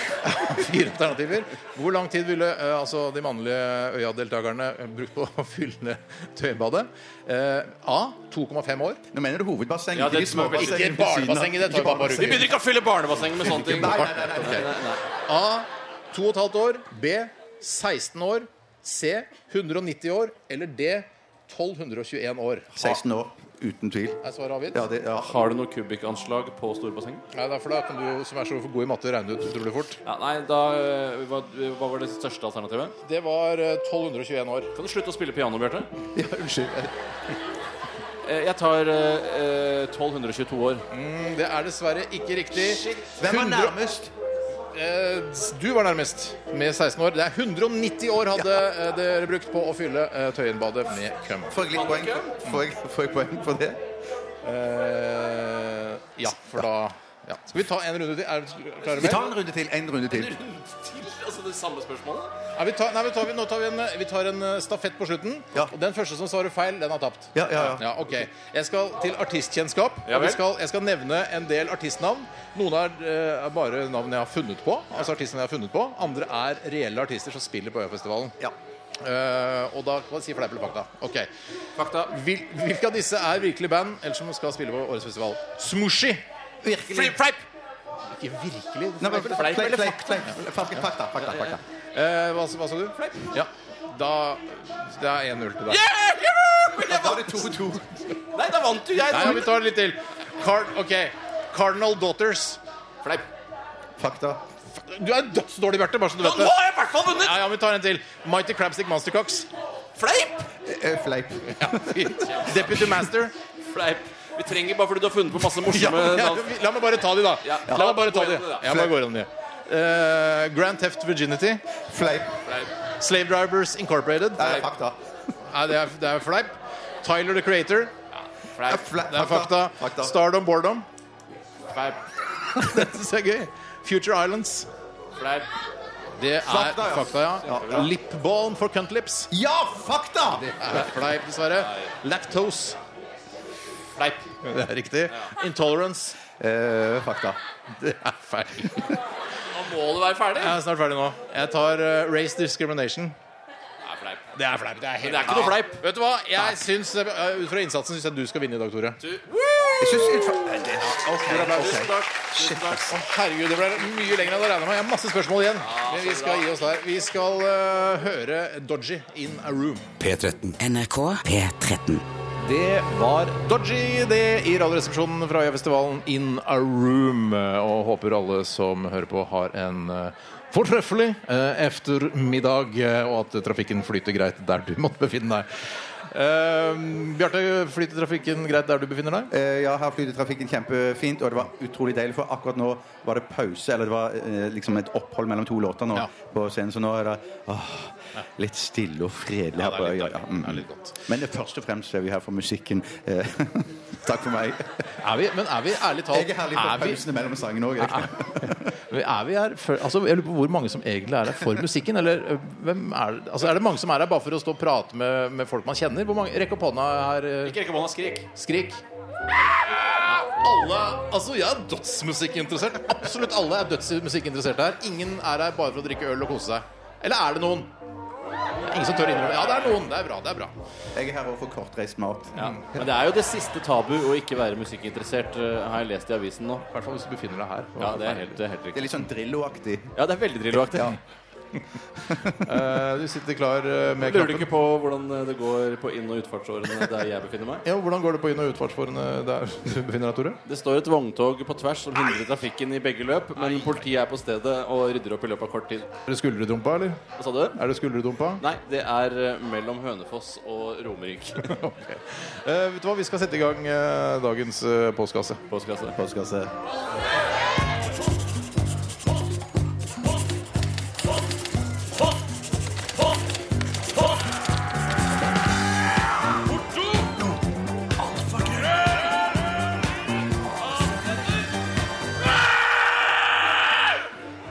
Speaker 2: *laughs* Fire alternativer. Hvor lang tid ville eh, altså de mannlige Øya-deltakerne eh, brukt på å fylle Tøyenbadet? Eh, A. 2,5 år.
Speaker 4: Nå mener du hovedbasseng,
Speaker 3: Ja,
Speaker 4: ikke
Speaker 3: det
Speaker 4: de små
Speaker 3: tror jeg
Speaker 4: bassengene
Speaker 2: Ikke
Speaker 4: Altså, ved siden av.
Speaker 2: barnebassenget, det tar
Speaker 4: Ikke
Speaker 2: jo bare
Speaker 4: barnebassenget.
Speaker 3: Vi begynner ikke å fylle barnebassenget med sånne ting.
Speaker 4: Nei, nei, nei, nei.
Speaker 3: Nei, nei, nei.
Speaker 2: A. 2,5 år. B. 16 år. C. 190 år. Eller D. 1221 år.
Speaker 4: 16 år, uten tvil.
Speaker 2: Er svaret avgitt?
Speaker 4: Ja, det, ja.
Speaker 3: Har du noe kubikkanslag på storbasseng?
Speaker 2: Nei, det er for da kan du jo, som er så god i matte, regne ut utrolig fort.
Speaker 3: Ja, nei, da eh, hva, hva var det største alternativet?
Speaker 2: Det var eh, 1221 år.
Speaker 3: Kan du slutte å spille piano, Bjarte?
Speaker 2: Ja, unnskyld.
Speaker 3: Eh, Jeg tar eh, eh, 1222 år.
Speaker 2: Det er dessverre ikke riktig.
Speaker 4: Hvem var
Speaker 2: 100
Speaker 4: nærmest?
Speaker 2: Eh, Du var nærmest med 16 år. Det er 190 år hadde eh, dere brukt på å fylle eh, Tøyenbadet med køm.
Speaker 4: Får jeg litt poeng? Får jeg, får jeg poeng for det?
Speaker 2: Eh, ja, for da ja. Skal vi ta en runde til? Er vi klare
Speaker 4: Vi
Speaker 2: med?
Speaker 4: tar en runde til. En runde til.
Speaker 3: *laughs* Altså det samme spørsmålet?
Speaker 2: Ja, vi tar, nei, vi tar, nå tar vi en, vi tar en eh, stafett på slutten.
Speaker 4: Ja.
Speaker 2: Og den første som svarer feil, den har tapt.
Speaker 4: Ja, ja, ja.
Speaker 2: Ja, ok. Jeg skal til artistkjennskap.
Speaker 3: Ja
Speaker 2: og vi
Speaker 3: vel.
Speaker 2: skal, jeg skal nevne en del artistnavn. Noen er, eh, er bare navn jeg har funnet på. Altså artistene jeg har funnet på Andre er reelle artister som spiller på Øyafestivalen.
Speaker 4: Ja.
Speaker 2: Eh, og da kan man si fleip eller fakta. Ok
Speaker 3: Fakta.
Speaker 2: Hvil, Hvilke av disse er virkelig band, eller som skal spille på årets festival? Smooshy!
Speaker 4: Virkelig.
Speaker 3: Fleip!
Speaker 2: Ikke virkelig?
Speaker 4: Nei, men-
Speaker 3: Fleip eller
Speaker 4: fleip, fleip, fleip. Fakta, fakta, fakta.
Speaker 2: Eh, hva, hva sa du? Ja. Da Det er 1-0 til deg.
Speaker 4: Da var det 2-2.
Speaker 3: Nei, da vant jo jeg!
Speaker 2: Nei, ja, vi tar litt til. Car ok, Cardinal Daughters. Fleip.
Speaker 4: Fakta.
Speaker 2: Du er dødsdårlig, Bjarte. Bare så du vet det.
Speaker 3: jeg i hvert fall vunnet!
Speaker 2: Ja, ja, vi tar en til. Mighty Crabstick Monstercocks.
Speaker 3: Fleip!
Speaker 4: Eh, Fleip.
Speaker 2: Fint. Deputy Master.
Speaker 3: Fleip. Vi trenger bare fordi du har funnet på masse *laughs* morsomme
Speaker 2: Ja,
Speaker 3: navn.
Speaker 2: vi- la meg bare ta de, da.
Speaker 3: Ja.
Speaker 2: La meg bare ta
Speaker 3: Gå
Speaker 2: de.
Speaker 3: gjennom det, da.
Speaker 2: Jeg bare går gjennom de. Eh, Grand Theft Virginity.
Speaker 4: Fleip.
Speaker 2: Slave Drivers Incorporated.
Speaker 4: Nei, fakta.
Speaker 2: Nei, det er, det er fleip. Tyler the Creator.
Speaker 4: Eh,
Speaker 3: Fleip.
Speaker 4: fle-
Speaker 2: Det er fakta.
Speaker 4: Fakta.
Speaker 2: Stardom Boredom. *laughs*
Speaker 3: Fleip.
Speaker 2: Det syns jeg er gøy. Future Islands.
Speaker 3: Fleip.
Speaker 2: Det er
Speaker 4: Fakta, ja.
Speaker 2: fakta, ja.
Speaker 4: Ja.
Speaker 2: Lip balm for cunt lips.
Speaker 4: Ja, fakta!
Speaker 2: Er Fleip, dessverre. Lactose.
Speaker 3: Fleip.
Speaker 2: Det er riktig. Intolerance.
Speaker 4: Eh, fakta.
Speaker 2: Det er feil.
Speaker 3: Nå må du være ferdig.
Speaker 2: Jeg er snart ferdig nå. Jeg tar eh, race discrimination.
Speaker 3: Nei, fleip.
Speaker 2: Det er fleip. Det er, helt...
Speaker 3: Men det er ikke noe fleip.
Speaker 2: Vet du hva? Jeg syns, eh, Ut fra innsatsen syns jeg du skal vinne i dag, Tore.
Speaker 3: Du,
Speaker 4: Jeg synes ut fra... Eh, det- Ok,
Speaker 3: tusen
Speaker 4: ok.
Speaker 3: takk. Tusen takk.
Speaker 2: Å, herregud, det ble mye lenger enn jeg regna med. Jeg har masse spørsmål igjen. Men vi skal gi oss der. Vi skal eh, høre Dodgy in a room.
Speaker 1: P13.
Speaker 6: NRK P13.
Speaker 2: Det var Dodgy, det, i Radioresepsjonen fra Øyafestivalen In a Room. Og håper alle som hører på, har en eh, fortreffelig eh, eftermiddag, eh, og at trafikken flyter greit der du måtte befinne deg. Eh, Bjarte, flyter trafikken greit der du befinner deg?
Speaker 4: Eh, ja, her flyter trafikken kjempefint, og det var utrolig deilig, for akkurat nå var det pause, eller det var eh, liksom et opphold mellom to låter nå
Speaker 2: Ja.
Speaker 4: på scenen, så nå er det åh, litt stille og fredelig her på øya. Ja, mm. Men det, først og fremst er vi her for musikken. Eh, *laughs* Takk for meg.
Speaker 2: Er vi, men er vi ærlig talt
Speaker 4: Jeg er herlig for
Speaker 2: er vi,
Speaker 4: pausene mellom sangene òg.
Speaker 2: er vi her for, altså, Jeg lurer på hvor mange som egentlig er her for musikken? Eller eh, hvem er det? Altså, er det mange som er her bare for å stå og prate med, med folk man kjenner? Hvor mange, rekk opp hånda her. eh,
Speaker 3: Ikke rekke bånda, skrik.
Speaker 2: Skrik. Alle, altså Jeg er dødsmusikkinteressert. Absolutt alle er dødsmusikkinteressert her. Ingen er her bare for å drikke øl og kose seg. Eller er det noen? Det er Ingen som tør innrømme Ja, det er noen. Det er bra. det er bra
Speaker 4: Jeg er her også for kortreist mat.
Speaker 3: Ja. Men det er jo det siste tabu å ikke være musikkinteressert, eh, har jeg lest i avisen nå.
Speaker 2: I hvert fall hvis du befinner deg her.
Speaker 3: Ja, det er helt, det er helt
Speaker 4: Det
Speaker 3: riktig.
Speaker 4: er litt sånn Drillo-aktig.
Speaker 3: Ja, det er veldig drilloaktig.
Speaker 2: Eh, du sitter klar eh, med
Speaker 3: Lurer
Speaker 2: knappen.
Speaker 3: du ikke på hvordan eh, det går på inn- og utfartsårene der jeg befinner meg?
Speaker 2: Ja, hvordan går det på inn- og utfartsforene der *laughs* du befinner deg, Tore?
Speaker 3: Det står et vogntog på tvers som hindrer trafikken i begge løp, men politiet er på stedet og rydder opp i løpet av kort tid.
Speaker 2: Er det skuldredumpa, eller?
Speaker 3: Hva sa du?
Speaker 2: Er det skuldredumpa?
Speaker 3: Nei, det er eh, mellom Hønefoss og Romerike.
Speaker 2: Ok. Eh, vet du hva, vi skal sette i gang eh, dagens eh, postkasse.
Speaker 3: Postkasse.
Speaker 4: Postkasse.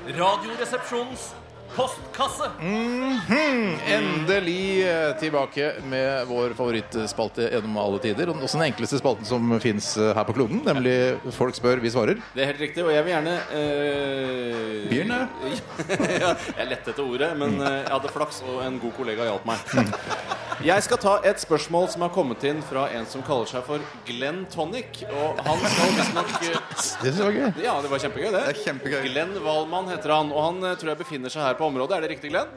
Speaker 5: Radioresepsjonens postkasse.
Speaker 2: Endelig eh, tilbake med vår favorittspalte gjennom alle tider. Og også den enkleste spalten som fins her på kloden, nemlig Folk spør, vi svarer.
Speaker 3: Det er helt riktig, og jeg vil gjerne eh,
Speaker 2: Begynne.
Speaker 3: ja, jeg lette etter ordet, men eh, jeg hadde flaks, og en god kollega hjalp meg. Jeg skal ta et spørsmål som har kommet inn fra en som kaller seg for Glenn Tonic. Og han skal visstnok eh,
Speaker 2: Det synes jeg var gøy.
Speaker 3: Ja, det var kjempegøy, det.
Speaker 4: Det er kjempegøy.
Speaker 3: Glenn Valmann heter han, og han eh, tror jeg befinner seg her på området. Er det riktig, Glenn?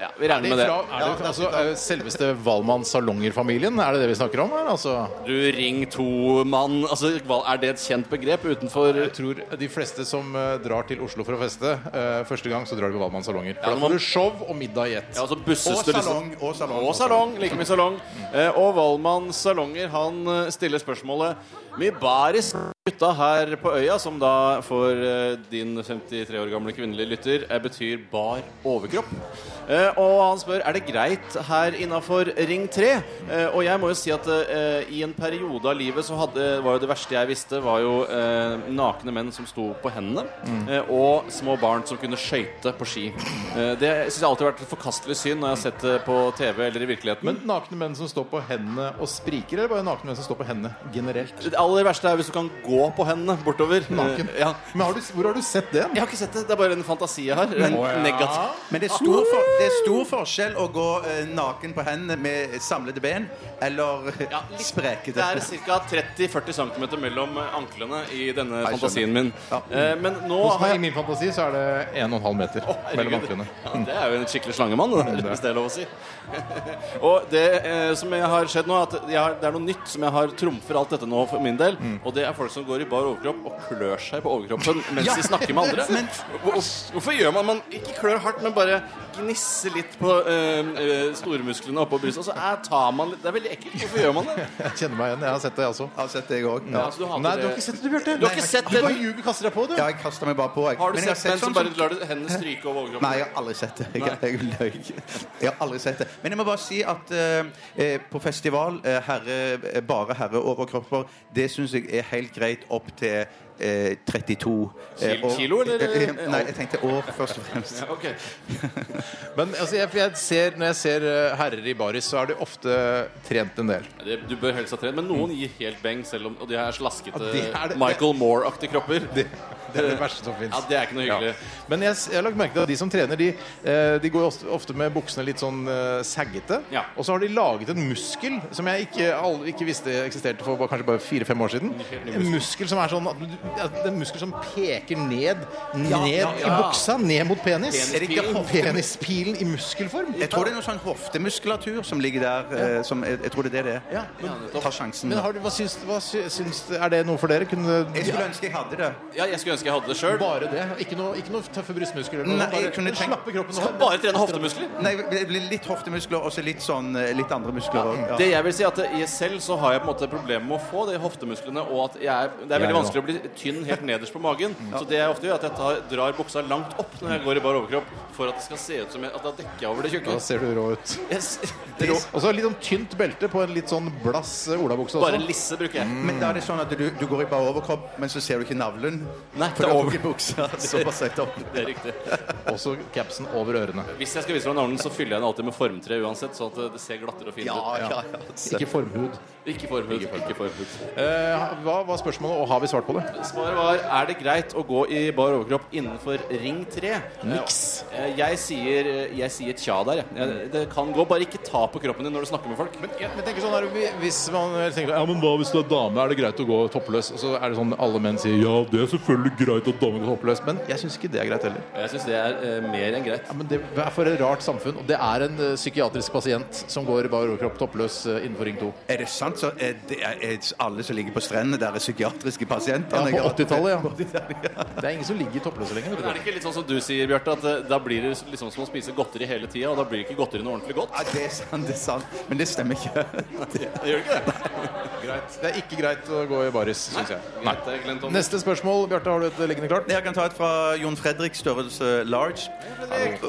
Speaker 3: Ja, vi regner med det.
Speaker 2: Fra, er det, altså, eh, selveste Valmann Salongerfamilien, er det det vi snakker om? Her? Altså,
Speaker 3: Du ring to-mann Altså, hva- er det et kjent begrep utenfor
Speaker 2: jeg tror de fleste som eh, drar til Oslo for å feste eh, første gang, så drar de på Valmann Salonger.
Speaker 3: Ja,
Speaker 2: For da
Speaker 3: man-
Speaker 2: får du show og middag i ett.
Speaker 3: Ja, altså busses
Speaker 4: Og
Speaker 3: du liksom-
Speaker 4: salong. sånn- Og salong.
Speaker 3: Og salong. Like mye salong. Eh, og Valmann Salonger han eh, stiller spørsmålet Mye baris gutta her på øya, som da for eh, din 53 år gamle kvinnelige lytter eh, betyr bar overkropp. Eh, og han spør er det greit her innafor Ring 3. Eh, og jeg må jo si at eh, i en periode av livet så hadde, var jo det verste jeg visste, var jo eh, nakne menn som sto på hendene,
Speaker 2: Mm.
Speaker 3: eh, og små barn som kunne skøyte på ski. Eh, det syns jeg alltid har vært et forkastelig syn når jeg har sett det på TV eller i virkeligheten.
Speaker 2: Men nakne menn som står på hendene og spriker, eller bare nakne menn som står på hendene generelt?
Speaker 3: Det aller verste er hvis du kan gå gå på hendene bortover.
Speaker 2: Naken.
Speaker 3: Eh, Ja.
Speaker 2: Men har du, hvor har du sett det?
Speaker 3: Jeg har ikke sett det. Det er bare en fantasi jeg har. En negativ.
Speaker 4: Men det er stor, for, det er stor forskjell å gå eh, naken på hendene med samlede ben eller
Speaker 3: Ja, litt- Det
Speaker 4: sprekete.
Speaker 3: er ca. 30-40 cm mellom eh, anklene i denne fantasien min. Eh, Men nå
Speaker 2: Hos
Speaker 3: har
Speaker 2: meg, I
Speaker 3: jeg
Speaker 2: min fantasi så er det 1,5 meter
Speaker 3: Herregud.
Speaker 2: mellom anklene.
Speaker 3: Ja, det er jo en skikkelig slangemann, det der, *laughs* hvis det er lov å si. og det eh, som jeg har skjedd nå, er at jeg har, det er noe nytt som jeg har trumfer alt dette nå for min del. Og det er folk som går i bar overkropp og klør seg på overkroppen mens de snakker med andre. Hvor- Hvorfor gjør man man ikke klør hardt, men bare gnisser litt på eh, eh, stormusklene oppå brystet? Og så eh, tar man litt Det er veldig ekkelt. Hvorfor gjør man det?
Speaker 2: Jeg kjenner meg igjen. Jeg har sett det, jeg også.
Speaker 4: Jeg har sett det, jeg òg. Ja.
Speaker 3: Ja, så du hater
Speaker 2: Nei, du har
Speaker 3: det.
Speaker 2: ikke sett det, du, Bjarte.
Speaker 3: Du har ikke sett
Speaker 2: Du
Speaker 3: det?
Speaker 2: bare ljuger kaster deg på, du.
Speaker 4: ja, jeg kasta meg bare på. Jeg.
Speaker 3: Har du
Speaker 4: Men jeg
Speaker 3: sett menn som
Speaker 4: sånn
Speaker 3: bare lar hendene stryke over overkroppen?
Speaker 4: Nei, jeg har aldri sett det. Jeg, jeg løy. Jeg har aldri sett det. Men jeg må bare si at eh, eh, på festival, eh, herre, eh, bare herreoverkropper, det syns jeg er helt greit opp til eh, 32 eh,
Speaker 3: Kil- kilo, eller?
Speaker 4: Eh, eh, Nei, jeg tenkte år, først og fremst.
Speaker 3: Ja, ok.
Speaker 2: Men altså, jeg, jeg ser, når jeg ser eh, herrer i baris, så er de ofte trent en del.
Speaker 3: Det, du bør helst ha trent, men noen gir helt beng, selv om, og de er slaskete
Speaker 2: Ja, det er det-
Speaker 3: Michael Moore-aktige kropper.
Speaker 2: Det er det verste som fins.
Speaker 3: ja, det er ikke noe hyggelig.
Speaker 2: Men jeg, s- jeg har lagt merke til at de som trener, de, eh, de går ofte, ofte med buksene litt sånn eh, saggete.
Speaker 3: Ja.
Speaker 2: Og så har de laget en muskel som jeg ikke, all, ikke visste eksisterte for bare, kanskje bare fire-fem år siden. En muskel som er sånn at, du- at det er en muskel som peker ned, ned
Speaker 4: ja,
Speaker 2: i
Speaker 4: ja.
Speaker 2: buksa, ned mot penis.
Speaker 4: Er det ikke hofte-
Speaker 2: Penispilen i muskelform.
Speaker 4: Jeg tror det er noe sånn hoftemuskulatur som ligger der. eh, Som, jeg, jeg tror det er det det er.
Speaker 3: nettopp.
Speaker 4: Ta sjansen.
Speaker 2: Men har du, hva syns, hva sy- syns Er det noe for dere? Kunne,
Speaker 4: Jeg skulle ønske jeg hadde det.
Speaker 3: Ja, jeg skulle ønske jeg hadde det sjøl.
Speaker 2: bare det? Ikke noe, ikke noe tøffe brystmuskler?
Speaker 4: Nei,
Speaker 2: Nei,
Speaker 4: jeg kunne
Speaker 2: bare
Speaker 4: tenkt-
Speaker 2: slappe kroppen av.
Speaker 3: Bare trene hoftemuskler.
Speaker 4: Nei, det blir litt hoftemuskler og så litt sånn eh, litt andre muskler òg. Ja.
Speaker 3: Det jeg vil si at jeg selv så har jeg på en måte problemer med å få de hoftemusklene. Og at jeg er, Det er veldig
Speaker 2: Jeg
Speaker 3: vanskelig å bli tynn helt nederst på magen. Så det jeg ofte gjør, er at jeg tar, drar buksa langt opp når jeg går i bar overkropp, for at det skal se ut som jeg, at da dekker jeg over det
Speaker 2: Da
Speaker 3: tjukke.
Speaker 2: ser du rå ut.
Speaker 3: Jeg s- det rå-
Speaker 2: Og så litt sånn tynt belte på en litt sånn blass eh, olabukse også. Mm.
Speaker 3: Bare lisse bruker jeg.
Speaker 4: Men da er det sånn at du, du går i bare overkropp, men så ser du ikke navlen.
Speaker 3: Nei, det
Speaker 4: For du
Speaker 3: er
Speaker 4: har
Speaker 3: over.
Speaker 2: *laughs*
Speaker 4: ikke buksa såpass høyt opp.
Speaker 3: Det er riktig.
Speaker 2: Også capsen over ørene.
Speaker 3: Hvis jeg skal vise hvordan navlen, så fyller jeg den alltid med formtre uansett, sånn at det ser glattere og finere
Speaker 4: Ja,
Speaker 3: ut.
Speaker 4: ja, ja.
Speaker 2: Ikke formhud.
Speaker 3: Ikke formhud. Ikke formhud.
Speaker 2: Eh, hva var spørsmålet, og har vi svart på det?
Speaker 3: Svaret var er det greit å gå i bar overkropp innenfor ring 3.
Speaker 2: Niks.
Speaker 3: Eh, Jeg sier, jeg sier tja der, jeg. jeg. Det kan gå. Bare ikke ta på kroppen din når du snakker med folk.
Speaker 2: Men jeg, jeg tenker sånn her, vi- Hvis man tenker ja, men hva hvis du er dame, er det greit å gå toppløs? Og så er det sånn alle menn sier ja, det er selvfølgelig greit at damer går toppløs. Men jeg syns ikke det er greit heller.
Speaker 3: Jeg syns det er eh, mer enn greit.
Speaker 2: Ja, men Det er for et rart samfunn. Og det er en eh, psykiatrisk pasient som går i bar overkropp toppløs eh, innenfor Ring 2.
Speaker 4: Er det sant? Så er det, er alle som ligger på strendene, der er psykiatriske pasienter?
Speaker 2: Ja, på 80-tallet, *laughs* ja.
Speaker 4: 80-tallet, ja.
Speaker 2: Det er ingen som ligger toppløse lenger.
Speaker 3: Men er
Speaker 2: Vet
Speaker 3: det ikke litt sånn som du sier, Bjarte, at eh, da blir det liksom som å spise godteri hele tida, og da blir ikke godteri noe ordentlig godt?
Speaker 4: ja, det er sant, det er sant. Men det stemmer ikke.
Speaker 3: Det gjør ikke det?
Speaker 2: du. Greit. Det er ikke greit å gå i baris, syns jeg. Nei.
Speaker 3: Dette er Glenn Tom.
Speaker 2: Neste spørsmål, Bjarte, har du et liggende klart?
Speaker 4: Jeg kan ta et fra Jon Fredrik, størrelse large.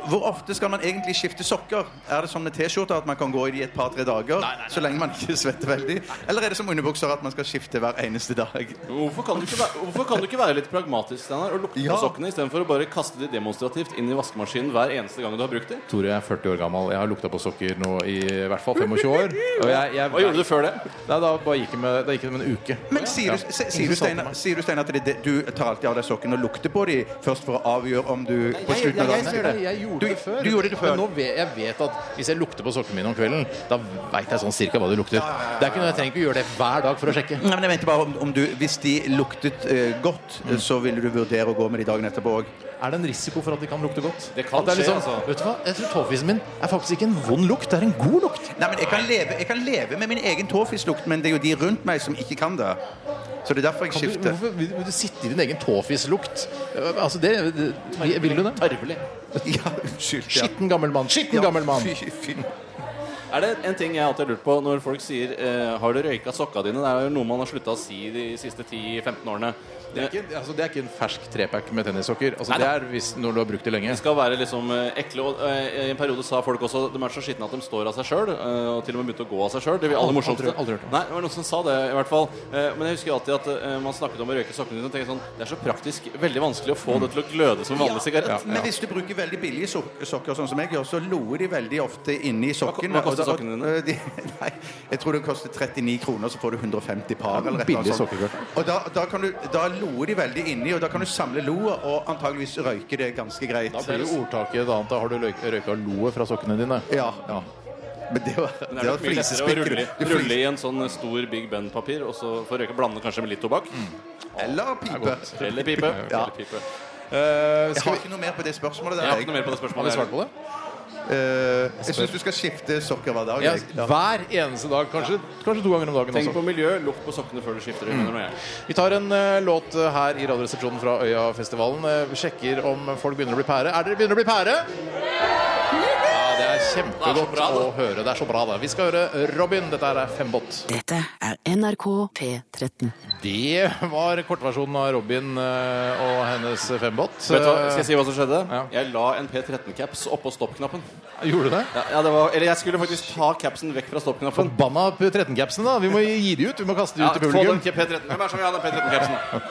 Speaker 4: Hvor ofte skal man egentlig skifte sokker? Er det som med T-skjorter at man kan gå i de et par-tre dager? Så lenge man ikke svetter veldig? Eller er det som underbukser at man skal skifte hver eneste dag?
Speaker 3: Hvorfor kan, du ikke være, hvorfor kan du ikke være litt pragmatisk Steinar, og lukte
Speaker 4: Ja.
Speaker 3: på sokkene istedenfor å bare kaste de demonstrativt inn i vaskemaskinen hver eneste gang du har brukt dem?
Speaker 2: Tore, jeg er 40 år gammel. Jeg har lukta på sokker nå i, i hvert fall 25 år. Og jeg, jeg,
Speaker 3: Hva gjorde du før det?
Speaker 2: Nei, da bare gikk det med, da gikk det med en uke.
Speaker 4: Men sier du, se- sier du, Steinar- sier du Steinar, at det, det- du tar alltid av deg sokkene og lukter på dem først for å avgjøre om du på
Speaker 2: jeg,
Speaker 4: slutten av dagen
Speaker 2: jeg, jeg gjorde
Speaker 4: Du-
Speaker 2: det før.
Speaker 4: du gjorde det før.
Speaker 2: Men nå vet, jeg vet at hvis jeg lukter på sokkene mine om kvelden, da veit jeg sånn cirka hva det lukter. Det er ikke noe jeg trenger ikke å gjøre det hver dag for å sjekke.
Speaker 4: Nei, men jeg mente bare om, om du, Hvis de luktet eh, godt, eh, så ville du vurdere å gå med de dagen etterpå òg.
Speaker 2: Er det en risiko for at de kan lukte godt?
Speaker 3: Det kan
Speaker 2: At er
Speaker 3: skje,
Speaker 2: liksom-
Speaker 3: altså.
Speaker 2: Vet du hva? Jeg tror tåfisen min er faktisk ikke en vond lukt, det er en god lukt.
Speaker 4: Nei, men jeg kan leve, jeg kan leve med min egen tåfislukt, men det er jo de rundt meg som ikke kan det. Så det er derfor jeg
Speaker 2: Kan du,
Speaker 4: skifter.
Speaker 2: hvorfor vil, vil du sitte i din egen tåfislukt? Altså, det, det, vil du det?
Speaker 3: Tarvelig.
Speaker 4: *laughs* Ja, unnskyld. Ja.
Speaker 2: Skitten gammel mann. Skitten
Speaker 4: Ja,
Speaker 2: gammel mann.
Speaker 4: Fy, fy.
Speaker 3: Er det en ting jeg alltid har lurt på når folk sier eh, 'Har du røyka sokka dine?' Det er jo noe man har slutta å si de siste 10-15 årene.
Speaker 2: Det er, ikke, altså det er ikke en fersk trepack med tennissokker. Altså det er hvis, når du har brukt det lenge.
Speaker 3: skal være liksom eh, ekle. Og eh, I en periode sa folk også de er så skitne at de står av seg sjøl. Og til og med begynte å gå av seg sjøl. Det blir aller
Speaker 2: Aldri-
Speaker 3: morsomste.
Speaker 2: aldri- aldri hørt om.
Speaker 3: Nei, det var noen som sa det, i hvert fall. Eh, Men jeg husker alltid at eh, man snakket om å røyke sokkene sine. og tenkte Sånn, det er så praktisk. Veldig vanskelig å få det til å gløde som en vanlig sigarett.
Speaker 4: Men hvis du bruker veldig billige sok sokker, sånn som jeg gjør, så loer de veldig ofte inni sokken.
Speaker 3: hva koster koster sokkene dine?
Speaker 4: Eh, *laughs* de- Nei, jeg tror det koster 39 kroner, så får du 150 par. eller et eller annet
Speaker 3: billig
Speaker 4: sånt.
Speaker 3: sokkekort.
Speaker 4: Og da, da, kan du, da loer de veldig inni, og da kan du samle loa, og antageligvis røyke det ganske greit.
Speaker 2: Da blir jo ordtaket et annet. Da har du løk- røyka loet fra sokkene dine.
Speaker 4: Ja. Men det var,
Speaker 3: Men Det er nok mye lettere å
Speaker 4: flisespikker.
Speaker 3: rulle, i-
Speaker 4: Du flis-
Speaker 3: rulle i en sånn stor Big Ben-papir og så få røyke blande kanskje med litt tobakk.
Speaker 4: Eller pipe.
Speaker 3: Eller pipe.
Speaker 4: Ja.
Speaker 3: Eller pipe.
Speaker 2: Eh,
Speaker 4: Jeg
Speaker 2: skal
Speaker 4: har
Speaker 2: vi
Speaker 4: ikke noe mer på det spørsmålet.
Speaker 3: Jeg
Speaker 4: Der,
Speaker 3: har ikke noe mer på det
Speaker 2: har vi
Speaker 3: spørsmålet.
Speaker 2: svart på det?
Speaker 4: Eh, jeg syns du skal skifte sokker hver dag.
Speaker 2: Ja,
Speaker 4: jeg. Ja.
Speaker 2: hver eneste dag. Kanskje, kanskje to ganger om dagen
Speaker 3: Tenk
Speaker 2: også.
Speaker 3: på miljø, lukt på sokkene før du skifter. Mm.
Speaker 2: Vi tar en eh, låt eh, her i Radioresepsjonen fra Øyafestivalen. Eh, vi sjekker om folk begynner å bli pære. Er dere begynner å bli pære? Ja, det er
Speaker 3: Det er
Speaker 2: kjempegodt
Speaker 3: så bra, da.
Speaker 2: å høre. Det er så bra, det. Vi skal høre Robin. Dette her er Fembot.
Speaker 6: Dette er NRK P13.
Speaker 2: Det var kortversjonen av Robin eh, og hennes Fembot. Eh,
Speaker 3: Vet du hva, skal jeg si hva som skjedde?
Speaker 2: Ja.
Speaker 3: Jeg la en P13-caps oppå stopp-knappen.
Speaker 2: Gjorde du det?
Speaker 3: Ja, ja, det var, eller jeg skulle faktisk ta capsen vekk fra stopp-knappen.
Speaker 2: Forbanna på 13-capsene, da. Vi må gi de ut. Vi må kaste de
Speaker 3: Ja,
Speaker 2: ut til
Speaker 3: få
Speaker 2: publikum.
Speaker 3: den til P13. Hvem er det som vil ha den P13-capsen?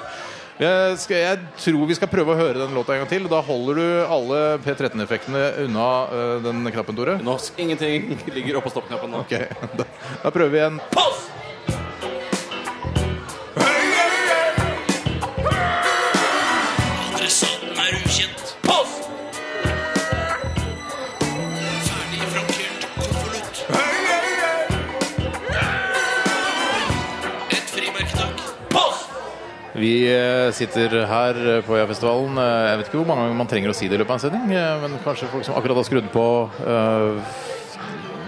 Speaker 2: Jeg, skal, jeg tror vi skal prøve å høre den låta en gang til. og Da holder du alle P13-effektene unna øh, den knappen, Tore.
Speaker 3: Nå, ingenting *laughs* ligger oppå stopp-knappen nå.
Speaker 2: Ok, da, da prøver vi igjen.
Speaker 5: Adressaten er ukjent. Post! Ferdig frankert konvolutt. Et frimerketak. Post!
Speaker 2: Vi eh, sitter her eh, på Øyafestivalen. Eh, Jeg vet ikke hvor mange ganger man trenger å si det i løpet av en sending, eh, men kanskje folk som akkurat har skrudd på øh,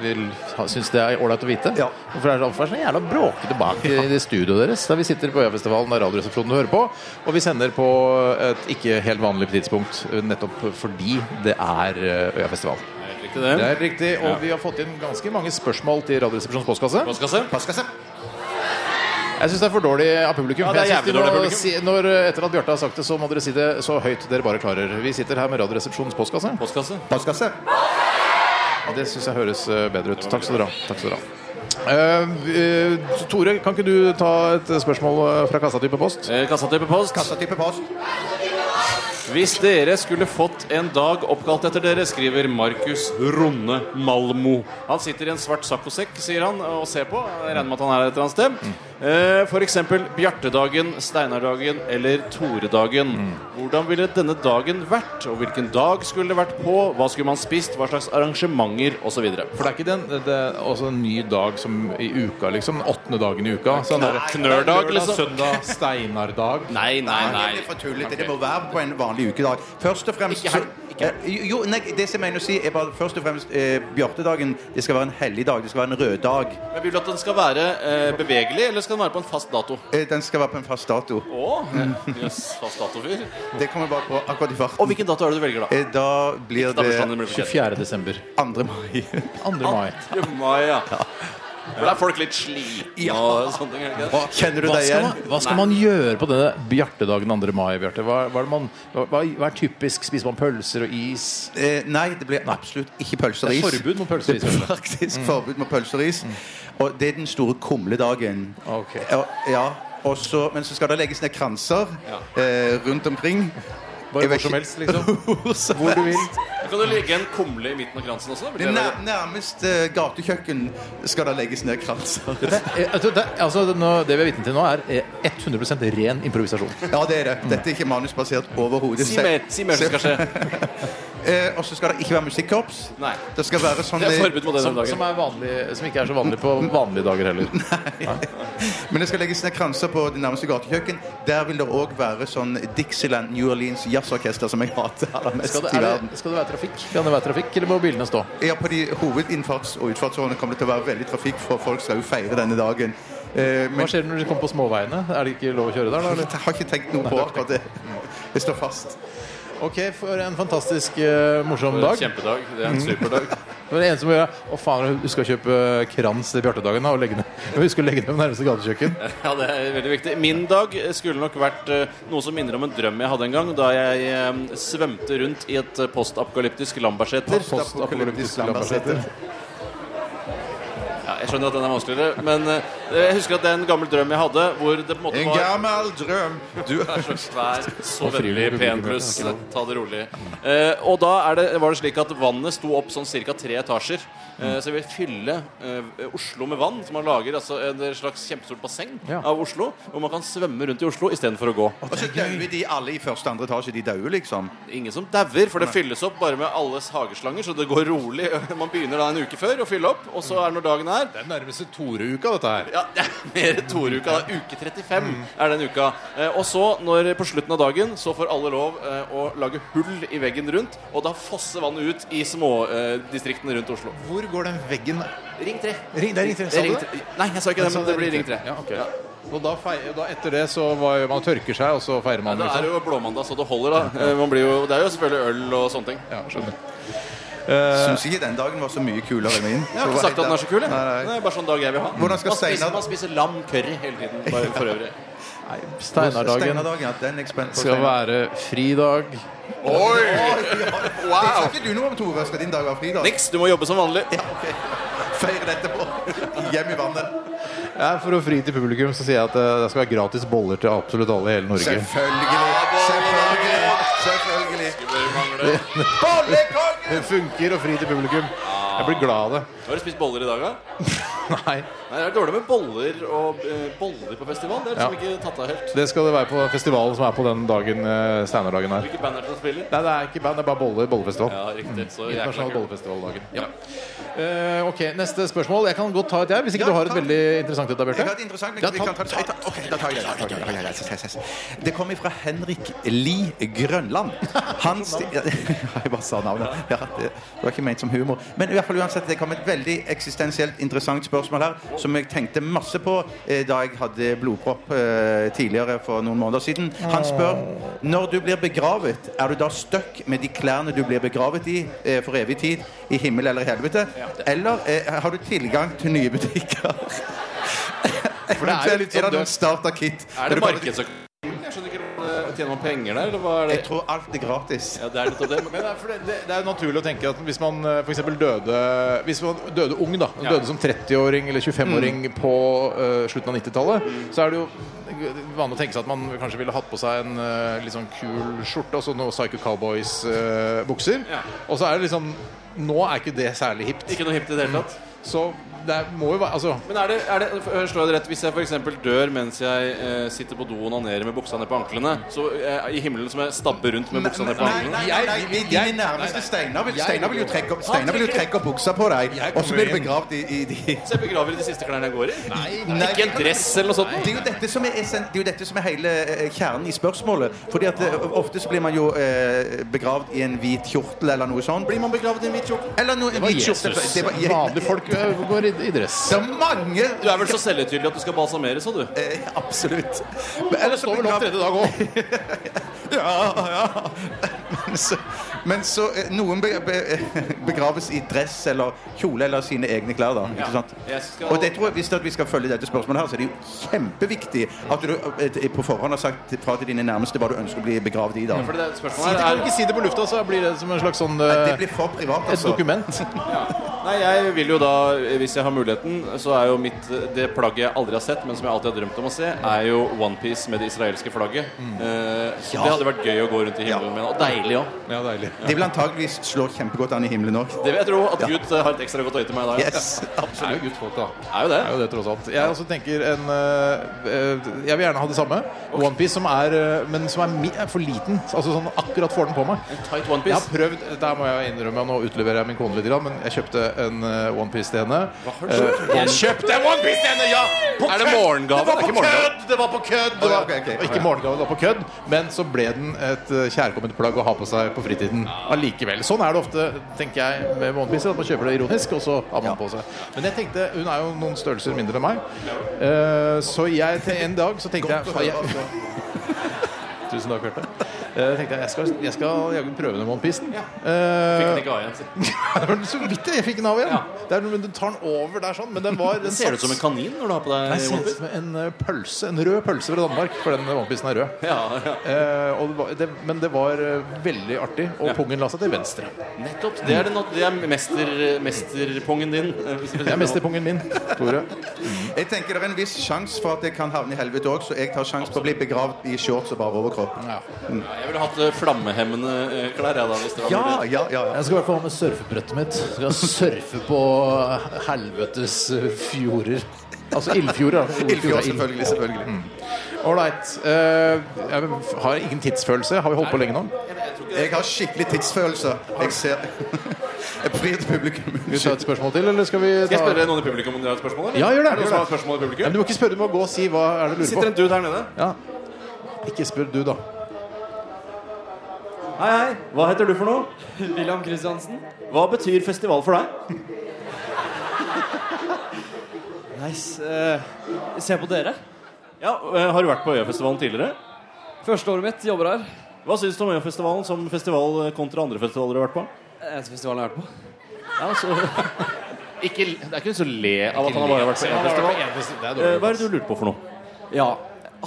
Speaker 2: vil ha- synes det er ålreit å vite.
Speaker 4: Ja.
Speaker 2: Hvorfor er det hvorfor er det så jævla bråkete bak i det studioet deres? Der vi sitter på Øyafestivalen, der Radioresepsjonen hører på. Og vi sender på et ikke helt vanlig tidspunkt, eh, nettopp fordi det er eh, Øyafestival.
Speaker 3: Riktig det.
Speaker 2: Det er riktig, og vi har fått inn ganske mange spørsmål til Radioresepsjonens postkasse.
Speaker 3: Postkasse?
Speaker 2: Jeg syns det er for dårlig av publikum.
Speaker 3: Ja, det er
Speaker 2: Jeg synes de
Speaker 3: jævlig dårlig
Speaker 2: må
Speaker 3: publikum.
Speaker 2: Si, når, eh, etter at Bjarte har sagt det, så må dere si det så høyt dere bare klarer. Vi sitter her med Radioresepsjonens postkasse.
Speaker 3: Postkasse.
Speaker 4: Postkasse.
Speaker 2: Det syns jeg høres eh, bedre ut. Takk skal dere ha. Takk skal dere ha. Eh, eh, Tore, kan ikke du ta et spørsmål eh, fra kassa type post?
Speaker 3: Eh, Kassatype post.
Speaker 4: Kassa type post.
Speaker 2: Eh,
Speaker 3: Hvis dere skulle fått en dag oppkalt etter dere, skriver Markus Ronne Malmo. Han sitter i en svart saccosekk, sier han, og ser på. Jeg regner med at han er et eller annet sted. Eh, For eksempel Bjartedagen, Steinardagen eller Toredagen. Hvordan ville denne dagen vært? Og hvilken dag skulle det vært på? Hva skulle man spist? Hva slags arrangementer? Osv.
Speaker 2: For det er ikke den, det er også en ny dag som i uka, liksom. Den åttende dagen i uka. Sånn der-
Speaker 3: knørdag,
Speaker 2: Lørdag,
Speaker 3: liksom.
Speaker 2: Søndag, *laughs* steinardag.
Speaker 3: Nei, nei,
Speaker 4: Nei,
Speaker 3: nei.
Speaker 4: det er for tullete. Det må være på en vanlig ukedag. Først og fremst så- Eh, Jo, nei, det som jeg mener å si, er bare først og fremst eh, Bjartedagen. Det skal være en hellig dag. Det skal være en rød dag.
Speaker 3: Men Vil du at den skal være eh, bevegelig, eller skal den være på en fast dato?
Speaker 4: Eh, Den skal være på en fast dato.
Speaker 3: Å, *laughs* yes, fast dato-fyr.
Speaker 4: Det kommer bare på akkurat i farten.
Speaker 3: Og hvilken dato er det du velger, da?
Speaker 4: Eh, Da blir
Speaker 3: Da
Speaker 4: det
Speaker 3: forstår du det blir for
Speaker 2: 24. desember.
Speaker 4: 2. mai.
Speaker 2: 2. mai.
Speaker 3: 2. mai, ja. For da er folk litt slitne og sånne ting. er det ikke det?
Speaker 4: Kjenner du
Speaker 2: Hva
Speaker 4: deg
Speaker 2: skal,
Speaker 4: igjen?
Speaker 2: man, hva skal man gjøre på denne bjartedagen 2. mai, Bjarte? Hva, hva, er det man- hva, hva er typisk? Spiser man pølser og is?
Speaker 4: Eh, Nei, det blir absolutt ikke pølser og
Speaker 2: Det
Speaker 4: is.
Speaker 2: er forbud mot pølser og is,
Speaker 4: Det er
Speaker 2: vel?
Speaker 4: faktisk forbud mot pølser og is. Og det er den store kumledagen.
Speaker 2: Mm. Ok.
Speaker 4: Ja, Ja. Og så, men så skal det legges ned kranser eh, rundt omkring.
Speaker 2: Bare
Speaker 4: Jeg
Speaker 2: hvor
Speaker 4: vet
Speaker 2: som
Speaker 4: ikke.
Speaker 2: helst, liksom?
Speaker 4: *laughs* Hvor som
Speaker 2: Hvor du vil. *laughs*
Speaker 3: Kan du legge en kumle i midten av kransen også? Blir det
Speaker 4: Det nær, nærmest eh, gatekjøkken skal det legges ned
Speaker 2: *laughs*
Speaker 4: kranser.
Speaker 2: Det, er- jeg tror det, er- altså, det, nå, det vi er vitne til nå, er eh, 100 ren improvisasjon.
Speaker 4: Ja, det er det. Dette er ikke manusbasert overhodet.
Speaker 3: Si mer, si mer som skal skje.
Speaker 4: Eh, og så skal det ikke være musikkorps.
Speaker 3: Nei.
Speaker 4: Det skal være sånn
Speaker 3: Det er forbud mot det
Speaker 2: Som,
Speaker 3: denne
Speaker 2: som,
Speaker 3: dagen.
Speaker 2: er vanlig, som ikke er så vanlig på vanlige dager *laughs* heller.
Speaker 4: Men det skal legges ned kranser på det nærmeste gatekjøkken. Der vil det òg være sånn Dixieland New Orleans jazzorkester, som jeg hater aller mest
Speaker 2: Skal det,
Speaker 4: i
Speaker 2: er
Speaker 4: verden.
Speaker 2: det, skal det være trafikk? Kan det være trafikk, eller må bilene stå?
Speaker 4: Ja, på de hovedinnfarts- og utfartsårene kommer det til å være veldig trafikk, for folk skal jo feire denne dagen. Eh,
Speaker 2: Hva
Speaker 4: men
Speaker 2: skjer når de kommer på småveiene? Er det ikke lov å kjøre der, da? Eller?
Speaker 4: jeg har ikke tenkt noe på akkurat det. Jeg står fast.
Speaker 2: Ok, for en fantastisk eh, morsom dag.
Speaker 3: Kjempedag. Det er en superdag.
Speaker 2: Det var det eneste som gjør Å faen, hun skal kjøpe eh, krans til Bjartedagen da, og legge ned. *laughs* Hun skal legge ned på nærmeste gatekjøkken.
Speaker 3: *laughs* Ja, det er veldig viktig. Min dag skulle nok vært eh, noe som minner om en drøm jeg hadde en gang, da jeg eh, svømte rundt i et eh, postapokalyptisk Lambertseter.
Speaker 4: Postapokalyptisk
Speaker 2: Lambertseter.
Speaker 3: Ja, jeg skjønner at den er vanskeligere, men eh, Jeg husker at det er en gammel drøm jeg hadde, hvor det på en måte
Speaker 7: En
Speaker 3: var
Speaker 7: gammel drøm Du er så
Speaker 3: Vær så vennlig, pen pluss. Ta det rolig. Eh, og da er det, var det slik at vannet sto opp sånn ca. tre etasjer. Eh, så jeg vil fylle eh, Oslo med vann. Så man lager altså et slags kjempestort basseng
Speaker 2: Ja.
Speaker 3: av Oslo. Hvor man kan svømme rundt i Oslo istedenfor å gå.
Speaker 4: Og så dauer de alle i første og andre etasje. De dauer, liksom.
Speaker 3: Ingen som dauer, for det fylles opp bare med alles hageslanger. Så det går rolig. *laughs* Man begynner da en uke før å fylle opp, og så er det når dagen er.
Speaker 2: Det er nærmeste Tore-uka, dette her.
Speaker 3: Ja, det er mer Tore-uka. da. Uke 35 er den uka. Eh, og så, når, på slutten av dagen, så får alle lov eh, å lage hull i veggen rundt. Og da fosser vannet ut i smådistriktene eh, distriktene rundt Oslo.
Speaker 2: Hvor går den veggen
Speaker 3: Ring 3.
Speaker 2: Ring- det er Ring tre, sa du det?
Speaker 3: Nei, jeg sa ikke det, men det blir Ring 3.
Speaker 2: Ja, ok. Og da, fei- og da etter det så var, man tørker seg, og så feirer man,
Speaker 3: Da er
Speaker 2: liksom?
Speaker 3: det jo blåmandag så det holder, da. Eh, Man blir jo, det er jo selvfølgelig øl og sånne ting.
Speaker 2: Ja, skjønner.
Speaker 4: Eh, Syns ikke den dagen var så mye kulere enn min.
Speaker 3: Jeg har ikke sagt at den er så kul. jeg. Det
Speaker 4: Nei, nei.
Speaker 3: er bare sånn dag jeg vil ha.
Speaker 4: Hvordan skal
Speaker 3: man, spiser,
Speaker 4: Steinar-
Speaker 3: man spiser lam curry hele tiden, bare for øvrig.
Speaker 2: Nei, Steinardagen
Speaker 4: Steinerdagen, ja, den er jeg spent på.
Speaker 2: skal
Speaker 4: Steinar.
Speaker 2: være fridag.
Speaker 7: Oi!
Speaker 4: Wow. Det sa ikke du noe om, Tore. Skal din dag være fridag?
Speaker 3: Niks, du må jobbe som vanlig.
Speaker 4: Feir dette på. Hjem i vannet.
Speaker 2: Ja, for å fri til publikum så sier jeg at eh, det skal være gratis boller til absolutt alle i hele Norge.
Speaker 4: Selvfølgelig. Selvfølgelig. Selvfølgelig.
Speaker 2: Det funker å fri til publikum. Jeg blir glad av det.
Speaker 3: Har du spist boller i dag, da?
Speaker 2: Nei,
Speaker 3: Nei, Det er dårlig med boller og eh, boller på festival. Det er liksom
Speaker 2: Ja.
Speaker 3: ikke tatt av helt.
Speaker 2: det skal det være på festivalen som er på den dagen eh, Steinardagen er.
Speaker 3: Hvilke band er det som spiller?
Speaker 2: Nei, det er ikke band, det er bare boller. Bollefestival.
Speaker 3: Ja, riktig. Så jækla
Speaker 2: Internasjonal
Speaker 3: kult.
Speaker 2: bollefestivaldagen. Eh, ok, neste spørsmål. Jeg kan godt ta et jeg, hvis ikke
Speaker 4: Ja,
Speaker 2: du har et
Speaker 4: ta det.
Speaker 2: veldig interessant et, da,
Speaker 4: Jeg har
Speaker 2: Bjarte.
Speaker 4: et interessant men
Speaker 2: Ja,
Speaker 4: vi
Speaker 2: ta-
Speaker 4: kan ta det. Jeg tar- ok, da tar jeg det. Da tar jeg det. Da tar jeg det. Yes, yes, yes. Det kommer fra Henrik Li Grønland. Han sti- *laughs* Ja, Jeg bare sa navnet. Ja, det var ikke ment som humor. Men i hvert fall uansett, det kom et veldig eksistensielt interessant spørsmål her som jeg tenkte masse på eh, da jeg hadde blodpropp eh, tidligere for noen måneder siden. Han spør når du blir begravet, er du da stuck med de klærne du blir begravet i eh, for evig tid? I himmel eller helvete? Eller eh, har du tilgang til nye butikker? *laughs* For
Speaker 2: det er jo litt sånn
Speaker 4: det
Speaker 2: død.
Speaker 4: noen starter-kit?
Speaker 3: Er det markedsøkonomi? Jeg skjønner ikke hvordan det- Tjener man penger der, eller hva er det?
Speaker 4: Jeg tror alt er gratis.
Speaker 3: Ja, det er litt av det. Men
Speaker 2: Men det, er, for det, det, det er jo naturlig å tenke at hvis man eh, for eksempel døde Hvis man døde ung, da.
Speaker 3: Ja. Mm.
Speaker 2: Døde som 30-åring eller 25-åring på eh, slutten av 90-tallet, så er det jo vanlig å tenke seg at man kanskje ville hatt på seg en eh, litt sånn kul skjorte og så noen Psycho Cowboys-bukser.
Speaker 3: Ja.
Speaker 2: Og så er det liksom Nå er ikke det særlig hipt.
Speaker 3: ikke noe hipt i det hele tatt.
Speaker 2: Så det er- må jo være Altså
Speaker 3: Men er det, er det, øh, slår jeg det rett Hvis jeg for eksempel dør mens jeg eh, sitter på do og onanerer med buksa ned på anklene, så eh, i himmelen som jeg stabber rundt med buksa ned på
Speaker 4: Nei,
Speaker 3: anklene
Speaker 4: nei, nei, nei, de- de er nærmeste Steinar vil, Steinar vil jo trekke opp Steinar vil jo trekke opp buksa på deg, og så blir du begravd i, i de
Speaker 3: Så jeg begraver i de siste klærne jeg går i?
Speaker 4: Nei,
Speaker 3: Ikke en dress eller noe sånt?
Speaker 4: Det er, jo dette som er, essen- det er jo dette som er hele eh, kjernen i spørsmålet. Fordi at eh, Ofte så blir man jo eh, begravd i en hvit kjortel eller noe sånt.
Speaker 3: Blir man begravet i en hvit kjorte?
Speaker 4: Eller noe, en hvit kjortel Det var-
Speaker 2: Vanlige folk eh, går i, i dress.
Speaker 4: Det er mange
Speaker 3: Du er vel så selvhøytidelig at du skal balsameres òg, du.
Speaker 4: Eh, *laughs* Absolutt. Men ellers så
Speaker 2: Står vel opp
Speaker 4: begrav-
Speaker 2: tredje dag òg.
Speaker 4: *laughs* Ja, ja. Men så, men så eh, noen be, be, *laughs* begraves i dress eller kjole eller sine egne klær, da. Ikke sant?
Speaker 3: Jeg skal-
Speaker 4: Og det tror jeg, hvis det at vi skal følge dette spørsmålet her, så er det jo kjempeviktig at du eh, på forhånd har sagt fra til dine nærmeste hva du ønsker å bli begravd i, da.
Speaker 3: For det
Speaker 2: Du
Speaker 3: spørsmålet her
Speaker 2: kan
Speaker 3: er
Speaker 2: ikke si det på lufta, så blir det som en slags sånn
Speaker 4: Det
Speaker 2: eh,
Speaker 4: blir for privat,
Speaker 2: et
Speaker 4: altså.
Speaker 2: dokument.
Speaker 3: Nei, jeg vil jo da, hvis jeg har muligheten, så er jo mitt Det plagget jeg aldri har sett, men som jeg alltid har drømt om å se, er jo OnePiece med det israelske flagget.
Speaker 2: Mm.
Speaker 3: Eh, så Det hadde vært gøy å gå rundt i himmelen med. Og deilig òg.
Speaker 2: Ja, deilig.
Speaker 4: Det vil antageligvis slå kjempegodt an i himmelen òg.
Speaker 3: Det vil jeg tro. At Gud eh, har et ekstra godt øye til meg i dag.
Speaker 4: Yes.
Speaker 2: Det er jo guttfolk, da.
Speaker 3: Det Er jo
Speaker 2: Det
Speaker 3: det.
Speaker 2: er jo det, tross alt. Jeg også tenker en eh, eh, Jeg vil gjerne ha det samme. Onepiece som er eh, Men som er, mi er for liten. Altså sånn akkurat får den på meg.
Speaker 3: Tight
Speaker 2: Jeg har
Speaker 3: OnePiece.
Speaker 2: prøvd Dette her må jeg innrømme, nå utleverer jeg min kone litt, grann, men jeg kjøpte en eh, Onepiece til henne. Eh,
Speaker 3: Jeg kjøpte en OnePiece til henne, ja! er det morgengave? Det er ikke morgengave.
Speaker 2: Det var på kødd! Det
Speaker 4: Å, ja,
Speaker 2: var,
Speaker 4: ok, ok.
Speaker 2: og Ikke morgengave, det var på kødd, men så ble den et eh, kjærkomment plagg å ha på seg på fritiden allikevel. Sånn er det ofte, tenker jeg, med månepisser. At man kjøper det ironisk, og så har man
Speaker 4: Ja.
Speaker 2: på seg. Men jeg tenkte, hun er jo noen størrelser mindre enn meg, Eh, så jeg *laughs* til en dag så tenkte jeg, jeg Tusen takk, Bjarte. Eh, tenkte jeg, jeg skal, jeg skal jaggu prøve den Eh, onepiecen. Ja.
Speaker 3: Fikk den ikke av
Speaker 2: *laughs*
Speaker 3: igjen, si.
Speaker 2: så vidt jeg fikk den av igjen. Det er, men du tar den over der sånn. Men den var den
Speaker 3: Ser du ut som en
Speaker 2: satt-
Speaker 3: kanin når du har på
Speaker 2: Nei,
Speaker 3: deg
Speaker 2: ser ut
Speaker 3: onepiece?
Speaker 2: som en eh, pølse. En rød pølse fra Danmark, for den onepiecen er rød.
Speaker 3: Ja, ja.
Speaker 2: Eh, og det var, det, men det var eh, veldig artig, og
Speaker 3: Ja.
Speaker 2: pungen la seg til venstre.
Speaker 3: Nettopp. Det er, den, det er mester, mesterpongen din. eh, hvis du-
Speaker 2: Det er mesterpungen min, Tore.
Speaker 4: Jeg tenker det er en viss sjanse for at jeg kan havne i helvete òg, så jeg tar sjanse på å bli begravd i shorts og bare overkropp.
Speaker 3: Ja, Jeg ville hatt eh, flammehemmende eh, klær, jeg, da. Hvis det var
Speaker 4: Ja,
Speaker 3: mulig.
Speaker 4: Ah, ja, ja. ja.
Speaker 2: Jeg skal i hvert fall ha med surfebrettet mitt. Jeg skal surfe på helvetes eh, fjorder. Altså ildfjorder. da.
Speaker 4: Ildfjord, selvfølgelig. selvfølgelig.
Speaker 2: Ålreit. Eh, jeg har ingen tidsfølelse. Har vi holdt på lenge nå?
Speaker 4: Jeg har skikkelig tidsfølelse. Jeg ser *laughs* Jeg bryr til publikum.
Speaker 2: Skal vi ta et spørsmål til, eller skal vi ta
Speaker 3: Skal jeg spørre noen i publikum om dere har et spørsmål? Eller?
Speaker 2: Ja, gjør det,
Speaker 3: Er noen
Speaker 2: gjør
Speaker 3: som
Speaker 2: det.
Speaker 3: har spørsmål i
Speaker 2: Ja, men
Speaker 3: publikum?
Speaker 2: du må ikke spørre, du må gå og si hva er det du
Speaker 3: Sitter
Speaker 2: lurer på.
Speaker 3: en dude her nede.
Speaker 2: Ja. Ikke spør du, da.
Speaker 3: Hei, hei. Hva heter du for noe?
Speaker 8: William Kristiansen?
Speaker 3: Hva betyr festival for deg?
Speaker 8: Nice. Eh, se på dere.
Speaker 3: Ja, eh, Har du vært på Øyafestivalen tidligere?
Speaker 8: Første året mitt jobber her.
Speaker 3: Hva syns du om Øyafestivalen som festival eh, kontra andre festivaler du har vært på?
Speaker 8: Eneste festivalen jeg har vært på.
Speaker 3: Ja, så... ikke, det er ikke noe så le av at han har bare vært på én festival. Eh, Hva
Speaker 2: festival.
Speaker 3: er det du lurte på for noe?
Speaker 8: Ja.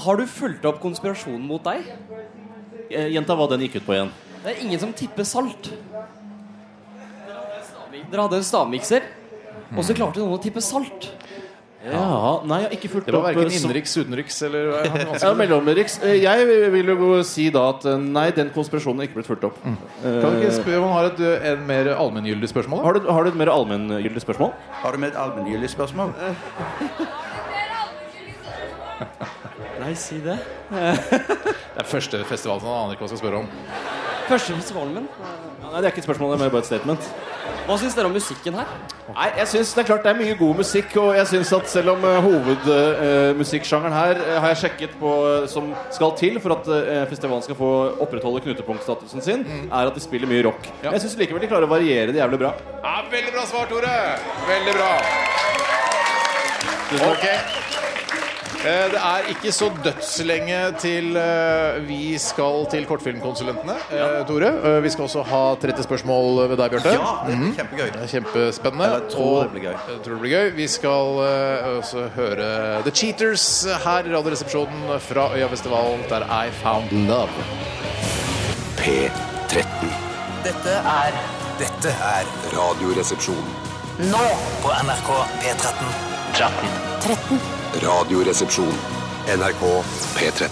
Speaker 8: Har du fulgt opp konspirasjonen mot deg?
Speaker 3: Eh, Gjenta hva den gikk ut på igjen.
Speaker 8: Det er ingen som tipper salt. Dere hadde en stavmikser, og så klarte noen å tippe salt.
Speaker 3: Ja, nei, jeg har ikke fulgt
Speaker 2: Det var
Speaker 3: opp
Speaker 2: verken
Speaker 3: eh, så-
Speaker 2: innenriks, utenriks eller hva er det vanskelig?
Speaker 3: Ja, mellomriks. Eh, Jeg vil jo si da at eh, nei, den konspirasjonen er ikke blitt fulgt opp.
Speaker 2: Kan du ikke
Speaker 3: Eh,
Speaker 2: spørre om han har et, eh, en mer allmenngyldig spørsmål? da?
Speaker 3: Har du, har du et mer allmenngyldig spørsmål?
Speaker 4: Har du med et allmenngyldig spørsmål?
Speaker 8: Nei, si det.
Speaker 2: Det er første festival som han aner ikke hva han skal spørre om.
Speaker 8: Første festivalen min.
Speaker 3: Nei, det er ikke et spørsmål, det er mer bare et statement.
Speaker 8: Hva syns dere om musikken her?
Speaker 3: Nei, jeg synes Det er klart det er mye god musikk, og jeg synes at selv om eh, hovedmusikksjangeren her eh, har jeg sjekket på eh, som skal til for at eh, festivalen skal få opprettholde knutepunktstatusen sin, er at de spiller mye rock. Men Jeg synes likevel de klarer å variere det jævlig bra.
Speaker 2: Ja, veldig bra svar, Tore. Veldig bra. Ok. Eh, Det er ikke så dødslenge til eh, vi skal til kortfilmkonsulentene. eh, Tore, Eh, vi skal også ha 30 spørsmål ved deg, Bjarte.
Speaker 4: Ja, det er kjempegøy.
Speaker 2: Det er Kjempespennende.
Speaker 4: Eller jeg tror
Speaker 2: Og
Speaker 4: det blir gøy.
Speaker 2: jeg tror det blir gøy. Vi skal eh, også høre The Cheaters her i Radioresepsjonen fra Øyafestivalen, der I Found Love.
Speaker 1: P13.
Speaker 9: Dette er
Speaker 1: Dette er Radioresepsjon.
Speaker 9: nå på NRK P13.
Speaker 1: Radioresepsjon. NRK P13.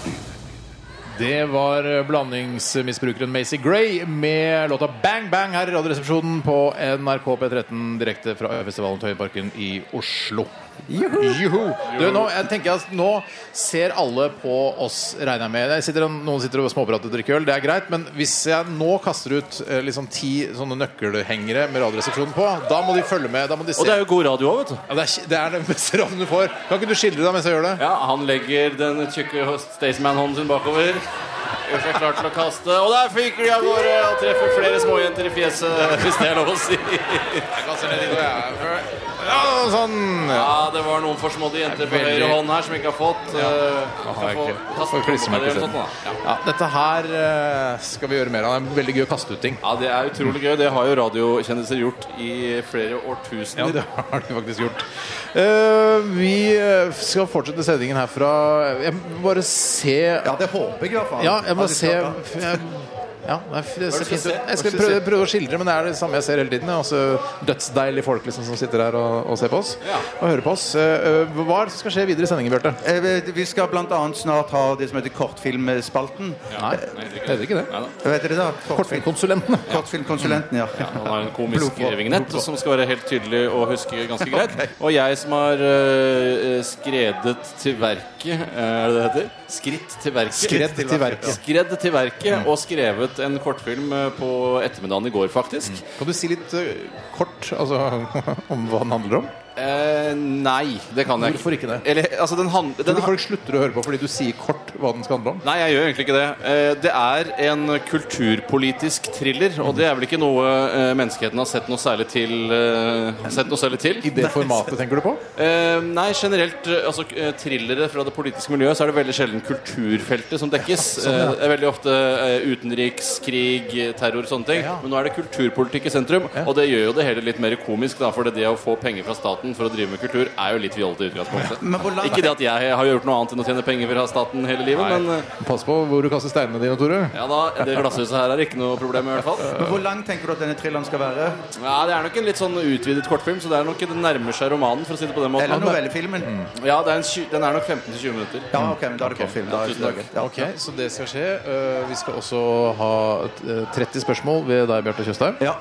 Speaker 2: Det var eh, blandingsmisbrukeren Macy Gray med låta 'Bang Bang' her i Radioresepsjonen på NRK P13 direkte fra Øyafestivalen Tøyenparken i Oslo. Juhu! Du, nå, jeg tenker at nå ser alle på oss, regner jeg med. Jeg sitter, noen sitter og småprater og drikker øl, det er greit, men hvis jeg nå kaster ut eh, liksom ti sånne nøkkelhengere med Radioresepsjonen på, da må de følge med. Da må de se.
Speaker 3: Og det er jo god radio òg, vet du.
Speaker 2: ja, det, er, det er den beste rammen du får. Kan ikke du skildre deg mens jeg gjør det?
Speaker 3: Ja, han legger den tjukke Staysman-hånden sin bakover. Gjør seg klar til å kaste, og der fyker de av gårde og treffer flere småjenter i
Speaker 2: *laughs*
Speaker 3: fjeset, hvis det er lov å si.
Speaker 2: Ja, sånn. Ja.
Speaker 3: Ja, det var noen forsmådde jenter på
Speaker 2: Veldig.
Speaker 3: høyre hånd her som ikke har fått. eh,
Speaker 2: Nå har
Speaker 3: skal
Speaker 2: jeg
Speaker 3: få-
Speaker 2: ikke-
Speaker 3: kaste
Speaker 2: får
Speaker 3: på
Speaker 2: klisse meg
Speaker 3: eller
Speaker 2: ikke
Speaker 3: noe sånt, da. Ja.
Speaker 2: Ja, dette her eh, skal vi gjøre mer av. Det er veldig gøy å kaste ut ting.
Speaker 3: Ja, det er utrolig gøy. Det har jo radiokjendiser gjort i flere
Speaker 2: Ja,
Speaker 3: årtusener.
Speaker 2: *laughs* det har de faktisk gjort. Eh, vi eh, skal fortsette sendingen herfra. Jeg må bare se
Speaker 4: Ja, det håper jeg i hvert fall.
Speaker 2: Ja, jeg må
Speaker 4: At de
Speaker 2: se
Speaker 4: skal-
Speaker 2: jeg, ja, nei, det ser fint ut.
Speaker 3: se?
Speaker 2: Jeg skal prøve, prøve å skildre, men det er det samme jeg ser hele tiden. ja. Altså, dødsdeilige folk liksom, som sitter her og, og ser på oss
Speaker 3: Ja.
Speaker 2: og hører på oss. Eh, hva er det som skal skje videre i sendingen, Bjarte?
Speaker 4: Eh, vi- Vi skal bl.a. snart ha det som heter Kortfilmspalten.
Speaker 2: Nei, heter ikke det.
Speaker 4: Vet dere det? Kortfilm,
Speaker 2: Kortfilmkonsulentene.
Speaker 4: Kortfilmkonsulenten, ja.
Speaker 3: Han har en komisk
Speaker 4: Blodpropp.
Speaker 3: vignett som skal være helt tydelig å huske
Speaker 2: *laughs*
Speaker 3: ganske greit. Og jeg som har eh, skredet til verket eh, Er det det heter? Skritt til verket.
Speaker 2: Skridd til verket. Mm.
Speaker 3: Skredd til verket og skrevet en kortfilm eh, på
Speaker 2: Mm.
Speaker 3: ettermiddagen i går, faktisk.
Speaker 2: Kan du si litt eh, kort altså, *laughs* om hva den handler om?
Speaker 3: Eh, nei, det kan jeg
Speaker 2: Hvorfor ikke det?
Speaker 3: Eller, altså, den hand, den
Speaker 2: Tror du
Speaker 3: har-
Speaker 2: folk slutter å høre på fordi du sier kort hva den skal handle om?
Speaker 3: Nei, jeg gjør egentlig ikke det. Eh, Det er en kulturpolitisk thriller, og det er vel ikke noe eh, menneskeheten har sett noe særlig til. eh, Sett noe særlig til.
Speaker 2: I det formatet, tenker du på?
Speaker 3: Eh, Nei, generelt, eh, altså eh, thrillere fra det politiske miljøet, så er det veldig sjelden kulturfeltet som
Speaker 4: *laughs*
Speaker 3: dekkes.
Speaker 4: Sånn,
Speaker 3: Eh, Det er veldig ofte eh, utenriks, krig, eh, terror, sånne ting.
Speaker 2: Ja.
Speaker 3: Men nå er det kulturpolitikk i sentrum, og det gjør jo det hele litt mer komisk, da, for det det å få penger fra staten for å drive med kultur er jo litt fjollete i utgangspunktet.
Speaker 4: *laughs* Men hvor lang-
Speaker 3: Ikke det at jeg har gjort noe annet enn å tjene penger fra staten hele livet, men eh,
Speaker 2: Pass på hvor du kaster steinene dine, Tore.
Speaker 3: ja da, det glasshuset her er ikke noe problem i hvert fall.
Speaker 4: Men hvor lang tenker du at denne thrilleren skal være?
Speaker 3: Ja, det er nok en litt sånn utvidet kortfilm, så det er nok det nærmer seg romanen, for å si det på den
Speaker 4: Eller
Speaker 3: måten.
Speaker 4: novellefilmen?
Speaker 3: Ja, det er en, tju- den er nok 15-20 minutter.
Speaker 4: Ja, ok, men da er det kortfilm. Da er det
Speaker 3: tusen takk.
Speaker 4: Ja.
Speaker 2: Ok, så det skal skje. Eh, Vi skal også ha eh, 30 spørsmål ved deg, Bjarte Tjøstheim.
Speaker 4: Ja.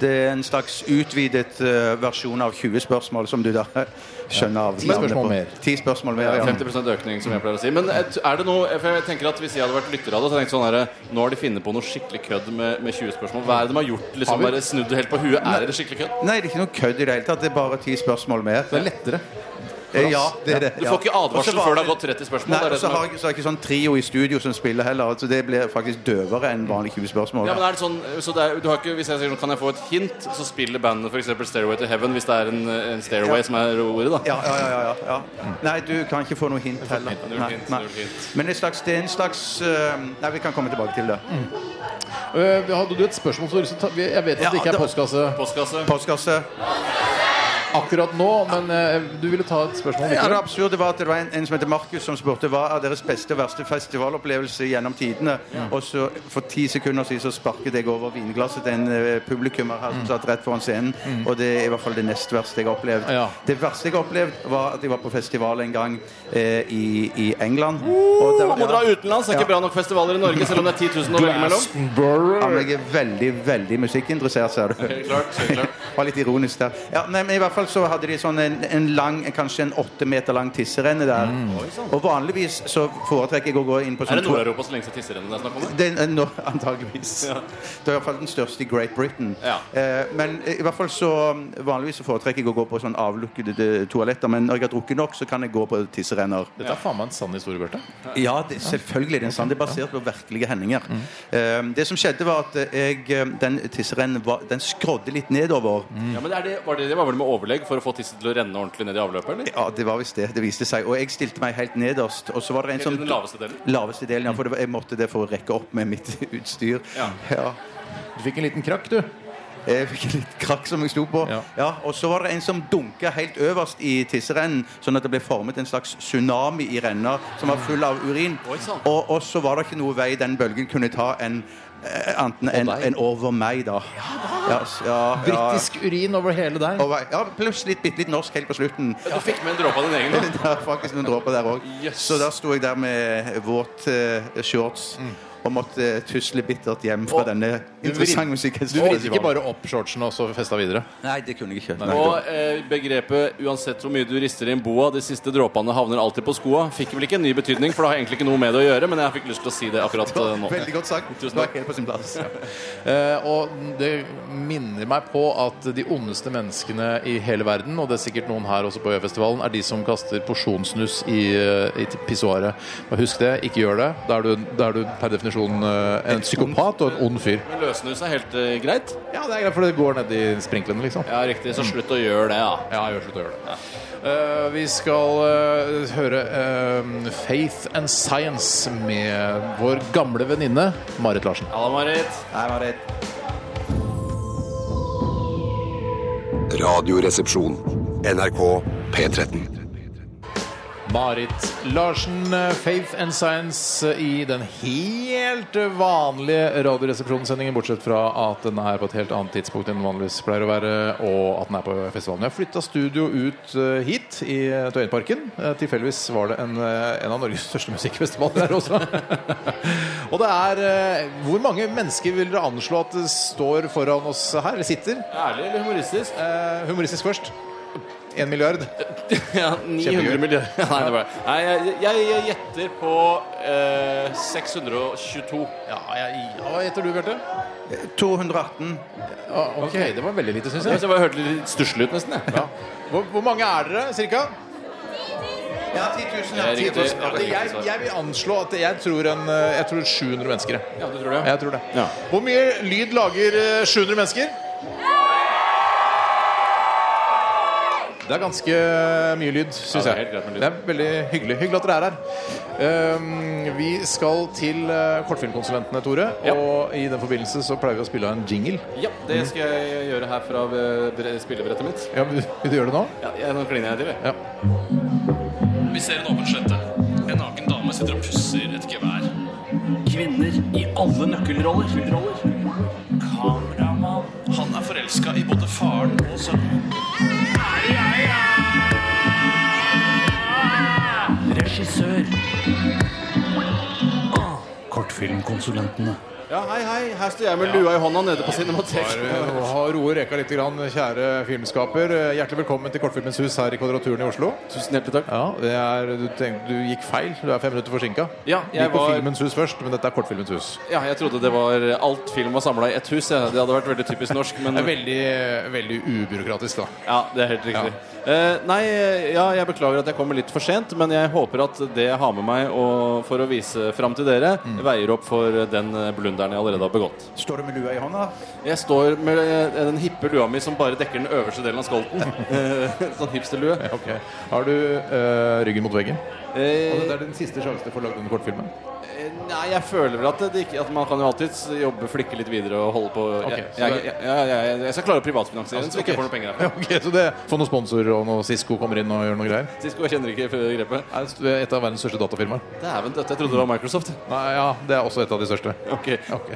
Speaker 4: Det er en slags utvidet eh, versjon av 20 spørsmål, som du da *laughs* skjønner av.
Speaker 2: Ti spørsmål
Speaker 4: navnet på.
Speaker 2: mer.
Speaker 4: Ti spørsmål mer, ja.
Speaker 3: 50 økning, som jeg pleier å si. Men et- er det noe For jeg tenker at Hvis jeg hadde vært lytter av det, så hadde jeg tenkt sånn her Nå har de funnet på noe skikkelig kødd med, med 20 spørsmål. Hva er det de har gjort? liksom
Speaker 2: Har vi-
Speaker 3: Bare snudd det helt på huet. Er det skikkelig kødd?
Speaker 4: Nei, det er ikke noe kødd i det hele tatt. Det er bare ti spørsmål mer.
Speaker 2: Det er lettere.
Speaker 4: Eh, Ja, det er det.
Speaker 3: Du
Speaker 4: ja.
Speaker 3: får ikke
Speaker 4: Og så
Speaker 3: advarsel
Speaker 4: var
Speaker 3: før det
Speaker 4: det-
Speaker 3: har gått 30 spørsmål.
Speaker 4: Nei,
Speaker 3: det er
Speaker 4: og
Speaker 3: det
Speaker 4: så
Speaker 3: som
Speaker 4: har
Speaker 3: er.
Speaker 4: jeg så er det ikke sånn trio i studio som spiller heller. Altså, det blir faktisk døvere enn vanlige 20 spørsmål.
Speaker 3: Ja, men er det sånn så det er, du har ikke, Hvis jeg sier sånn, kan jeg få et hint, så spiller bandet for eksempel Stairway to Heaven, hvis det er en, en stairway
Speaker 4: Ja.
Speaker 3: som er ordet, da.
Speaker 4: Ja, ja, ja, ja, ja, ja. Nei, du kan ikke få noe hint heller.
Speaker 3: hint, null
Speaker 4: Nei,
Speaker 3: hint,
Speaker 4: nei.
Speaker 3: null hint.
Speaker 4: Men det er, slags, det er en slags eh, Nei, vi kan komme tilbake til det.
Speaker 2: Mm. Eh, Hadde du et spørsmål som du har lyst til å ta? Jeg vet at
Speaker 4: Ja,
Speaker 2: det ikke
Speaker 4: det
Speaker 2: er
Speaker 4: var-
Speaker 2: postkasse
Speaker 3: Postkasse.
Speaker 4: Postkasse.
Speaker 2: akkurat nå, men eh, du ville ta et spørsmål
Speaker 4: Ja, det
Speaker 2: likevel?
Speaker 4: absurde var at det var en, en som heter Markus som spurte hva er deres beste og verste festivalopplevelse gjennom tidene. Og så for ti sekunder siden så sparket jeg over vinglasset til en eh, publikummer her som satt rett foran scenen. Og det er i hvert fall det nest verste jeg har opplevd.
Speaker 2: Ja.
Speaker 4: Det verste jeg har opplevd, var at jeg var på festival en gang eh, i, i England. Og det var-
Speaker 3: Man må dra
Speaker 4: ja.
Speaker 3: utenlands. Det er ikke bra nok festivaler i Norge, selv om det er 10 000 å velge mellom.
Speaker 4: Ja, men jeg er veldig, veldig musikkinteressert, ser du.
Speaker 3: Helt klart, helt klart.
Speaker 4: Var litt ironisk der. Ja, nei, men I hvert fall så hadde de sånn en, en lang, kanskje en åtte meter lang tisserenne der. Og vanligvis så foretrekker jeg å gå inn på
Speaker 3: Mm. sånn. Er
Speaker 4: sånn
Speaker 3: det Nord-Europa som lengst er tisserennet det er snakk om?
Speaker 4: Det er nå, antageligvis. Det er i hvert fall den største i Great Britain.
Speaker 3: Ja.
Speaker 4: Eh, men i hvert fall så um, vanligvis så foretrekker jeg å gå på sånn avlukkede eh, toaletter, men når jeg har drukket nok, så kan jeg gå på tisserenner.
Speaker 2: Dette er faen meg en sann historie, Bjarte.
Speaker 4: Ja, det, selvfølgelig. Det er sant. Det er basert på virkelige hendinger.
Speaker 3: Mm.
Speaker 4: Eh, det som skjedde, var at jeg, eh, den tisserennen var- den skrådde litt nedover.
Speaker 3: Ja, men er det, var det, det var vel med overlegg for å få tisset til å renne ordentlig ned i avløpet? eller?
Speaker 4: Ja, det var visst det. Det viste seg. Og jeg stilte meg helt nederst. Og så var det en
Speaker 3: Helt i
Speaker 4: som
Speaker 3: den laveste delen?
Speaker 4: Laveste delen, ja. For det var, jeg måtte det for å rekke opp med mitt *laughs* utstyr.
Speaker 3: Ja.
Speaker 2: Du fikk en liten krakk, du.
Speaker 4: Jeg fikk litt krakk som jeg sto på.
Speaker 2: Ja.
Speaker 4: Og så var det en som dunka helt øverst i tisserennen, sånn at det ble formet en slags tsunami i renna som var full av urin.
Speaker 3: Oi, sann.
Speaker 4: Og, og så var det ikke noe vei den bølgen kunne ta enn eh, Enten en,
Speaker 2: deg.
Speaker 4: en over meg, da. Ja, s- ja, ja.
Speaker 2: Britisk urin over hele deg.
Speaker 4: Over- Ja, pluss litt, bitte litt norsk helt på slutten.
Speaker 3: Du fikk med en dråpe av din egen, da.
Speaker 4: *laughs* Det er faktisk noen dråper der òg.
Speaker 3: Yes.
Speaker 4: Så der sto jeg der med våt eh, shorts og måtte eh, tusle bittert hjem fra
Speaker 3: Og-
Speaker 4: denne interessante musikken.
Speaker 2: Du vridde ikke bare opp shortsene og så festa videre?
Speaker 4: Nei, det kunne jeg ikke. Nei.
Speaker 3: Og eh, begrepet 'uansett hvor mye du rister i en boa, de siste dråpene havner alltid på skoa' fikk vel ikke en ny betydning, for det har egentlig ikke noe med det å gjøre, men jeg fikk lyst til å si det akkurat eh, nå.
Speaker 4: Veldig godt sagt. Det
Speaker 3: Tusen
Speaker 4: var
Speaker 3: takk.
Speaker 4: helt på sin plass.
Speaker 2: Eh, og det minner meg på at de ondeste menneskene i hele verden, og det er sikkert noen her også på Øyafestivalen, er de som kaster porsjonssnus i, eh, i pissoaret. Men Husk det, ikke gjør det. Da er du, da er du per definisjon eh, en psykopat og en ond fyr.
Speaker 3: Men løsnus er helt eh, greit?
Speaker 2: Ja, det er greit, for det går ned i sprinklene, liksom.
Speaker 3: Ja, riktig. Så slutt å gjøre det, da.
Speaker 2: Ja, gjør slutt å gjøre det. Eh, vi skal eh, høre eh, Faith and Science med vår gamle venninne Marit Larsen.
Speaker 3: Halla, Marit.
Speaker 4: Nei, var det
Speaker 1: Radioresepsjon. NRK P13.
Speaker 2: Marit Larsen, eh, Faith and Science eh, i den helt vanlige Radioresepsjonssendingen, bortsett fra at den er på et helt annet tidspunkt enn den vanligvis pleier å være, og at den er på festivalen. Jeg har flytta studio ut eh, hit, i eh, Tøyenparken. Eh, Tilfeldigvis var det en, eh, en av Norges *laughs* største musikkfestivaler der også. *laughs* og det er eh, Hvor mange mennesker vil dere anslå at det står foran oss her, eller sitter?
Speaker 3: Ærlig eller humoristisk?
Speaker 2: Eh, Humoristisk først. En milliard?
Speaker 3: Ja, 900
Speaker 2: Kjempegøy.
Speaker 3: *laughs* milliarder Nei, det var Nei, jeg, jeg, jeg gjetter på eh, 622.
Speaker 2: Ja, jeg, ja, hva heter du, Bjarte?
Speaker 4: 218.
Speaker 2: Ja, ok, det var veldig lite, syns
Speaker 3: Jeg
Speaker 2: jeg.
Speaker 3: synes jeg bare hørte litt stusslig ut, nesten. Jeg.
Speaker 2: Ja. Hvor, hvor mange er dere, cirka?
Speaker 4: Ja, 10 000.
Speaker 3: Det er riktig. Ja, det er
Speaker 2: Jeg,
Speaker 3: riktig svar.
Speaker 2: jeg vil anslå at jeg tror, en, eh, jeg tror 700 mennesker. jeg.
Speaker 3: Ja, du tror det?
Speaker 2: Jeg tror det.
Speaker 3: Ja.
Speaker 2: Hvor mye lyd lager eh, 700 mennesker? Det er ganske mye lyd, syns
Speaker 3: Ja, det er
Speaker 2: jeg.
Speaker 3: helt greit med lyd.
Speaker 2: Det er veldig hyggelig. Hyggelig at dere er her. Um, vi skal til eh, kortfilmkonsulentene, Tore.
Speaker 3: Ja.
Speaker 2: Og i den forbindelse så pleier vi å spille av en jingle.
Speaker 3: Ja, det skal jeg gjøre her fra eh, bre- spillebrettet mitt.
Speaker 2: Ja, vil vil du gjøre det nå?
Speaker 3: Ja, jeg, nå kliner jeg til, jeg.
Speaker 5: Vi ser en åpen slette. En naken dame sitter og pusser et gevær. Kvinner i alle nøkkelroller. Kameramann. Han er forelska i både faren og sønnen. Regissør. Kortfilmkonsulentene.
Speaker 3: Ja, hei, hei. Her står jeg med lua i hånda nede på Cinematek.
Speaker 2: Har Eh, roet reka litt, grann, kjære filmskaper. Eh, Hjertelig velkommen til Kortfilmens hus her i Kvadraturen i Oslo.
Speaker 3: Tusen hjertelig takk.
Speaker 2: Ja, det er, du, tenkte, du gikk feil. Du er fem minutter forsinka.
Speaker 3: Ja,
Speaker 2: Du
Speaker 3: jeg
Speaker 2: gikk på
Speaker 3: var-
Speaker 2: Filmens hus først, men dette er Kortfilmens hus.
Speaker 3: Ja, jeg trodde det var eh, alt film var samla i ett hus. Ja. Det hadde vært veldig typisk norsk. Men
Speaker 2: Det er veldig, veldig ubyråkratisk, da.
Speaker 3: ja, det er helt riktig. Eh, nei, ja, jeg beklager at jeg kommer litt for sent, men jeg håper at det jeg har med meg og, for å vise fram til dere, veier opp for den eh, blunderen jeg allerede har begått.
Speaker 4: Står du med lua i hånda?
Speaker 3: Jeg står med eh, den hippe lua mi som bare dekker den øverste delen av *laughs* skolten. Eh, sånn hipsterlue.
Speaker 2: Ok. Har du eh, ryggen mot veggen?
Speaker 3: Eh,
Speaker 2: Det er din siste sjanse til å få lagd denne kortfilmen.
Speaker 3: Eh, Nei, jeg føler vel at, det ikke, at man kan jo alltids jobbe, flikke litt videre og holde på
Speaker 2: Ok,
Speaker 3: jeg,
Speaker 2: så Altså,
Speaker 3: jeg,
Speaker 2: det-
Speaker 3: jeg, jeg, jeg, jeg skal klare å privatfinansiere den, så ikke jeg får noe
Speaker 2: *laughs*
Speaker 3: penger
Speaker 2: Ja,
Speaker 3: derfra.
Speaker 2: ok, så det Få noen sponsorer, og noe Cisco kommer inn og gjør noe greier?
Speaker 3: Cisco jeg kjenner ikke grepet.
Speaker 2: Er det et av verdens største datafirmaer?
Speaker 3: Dæven døtte, jeg trodde det var Microsoft.
Speaker 2: Nei, ja, det er også et av de største.
Speaker 3: Ok
Speaker 2: Ok.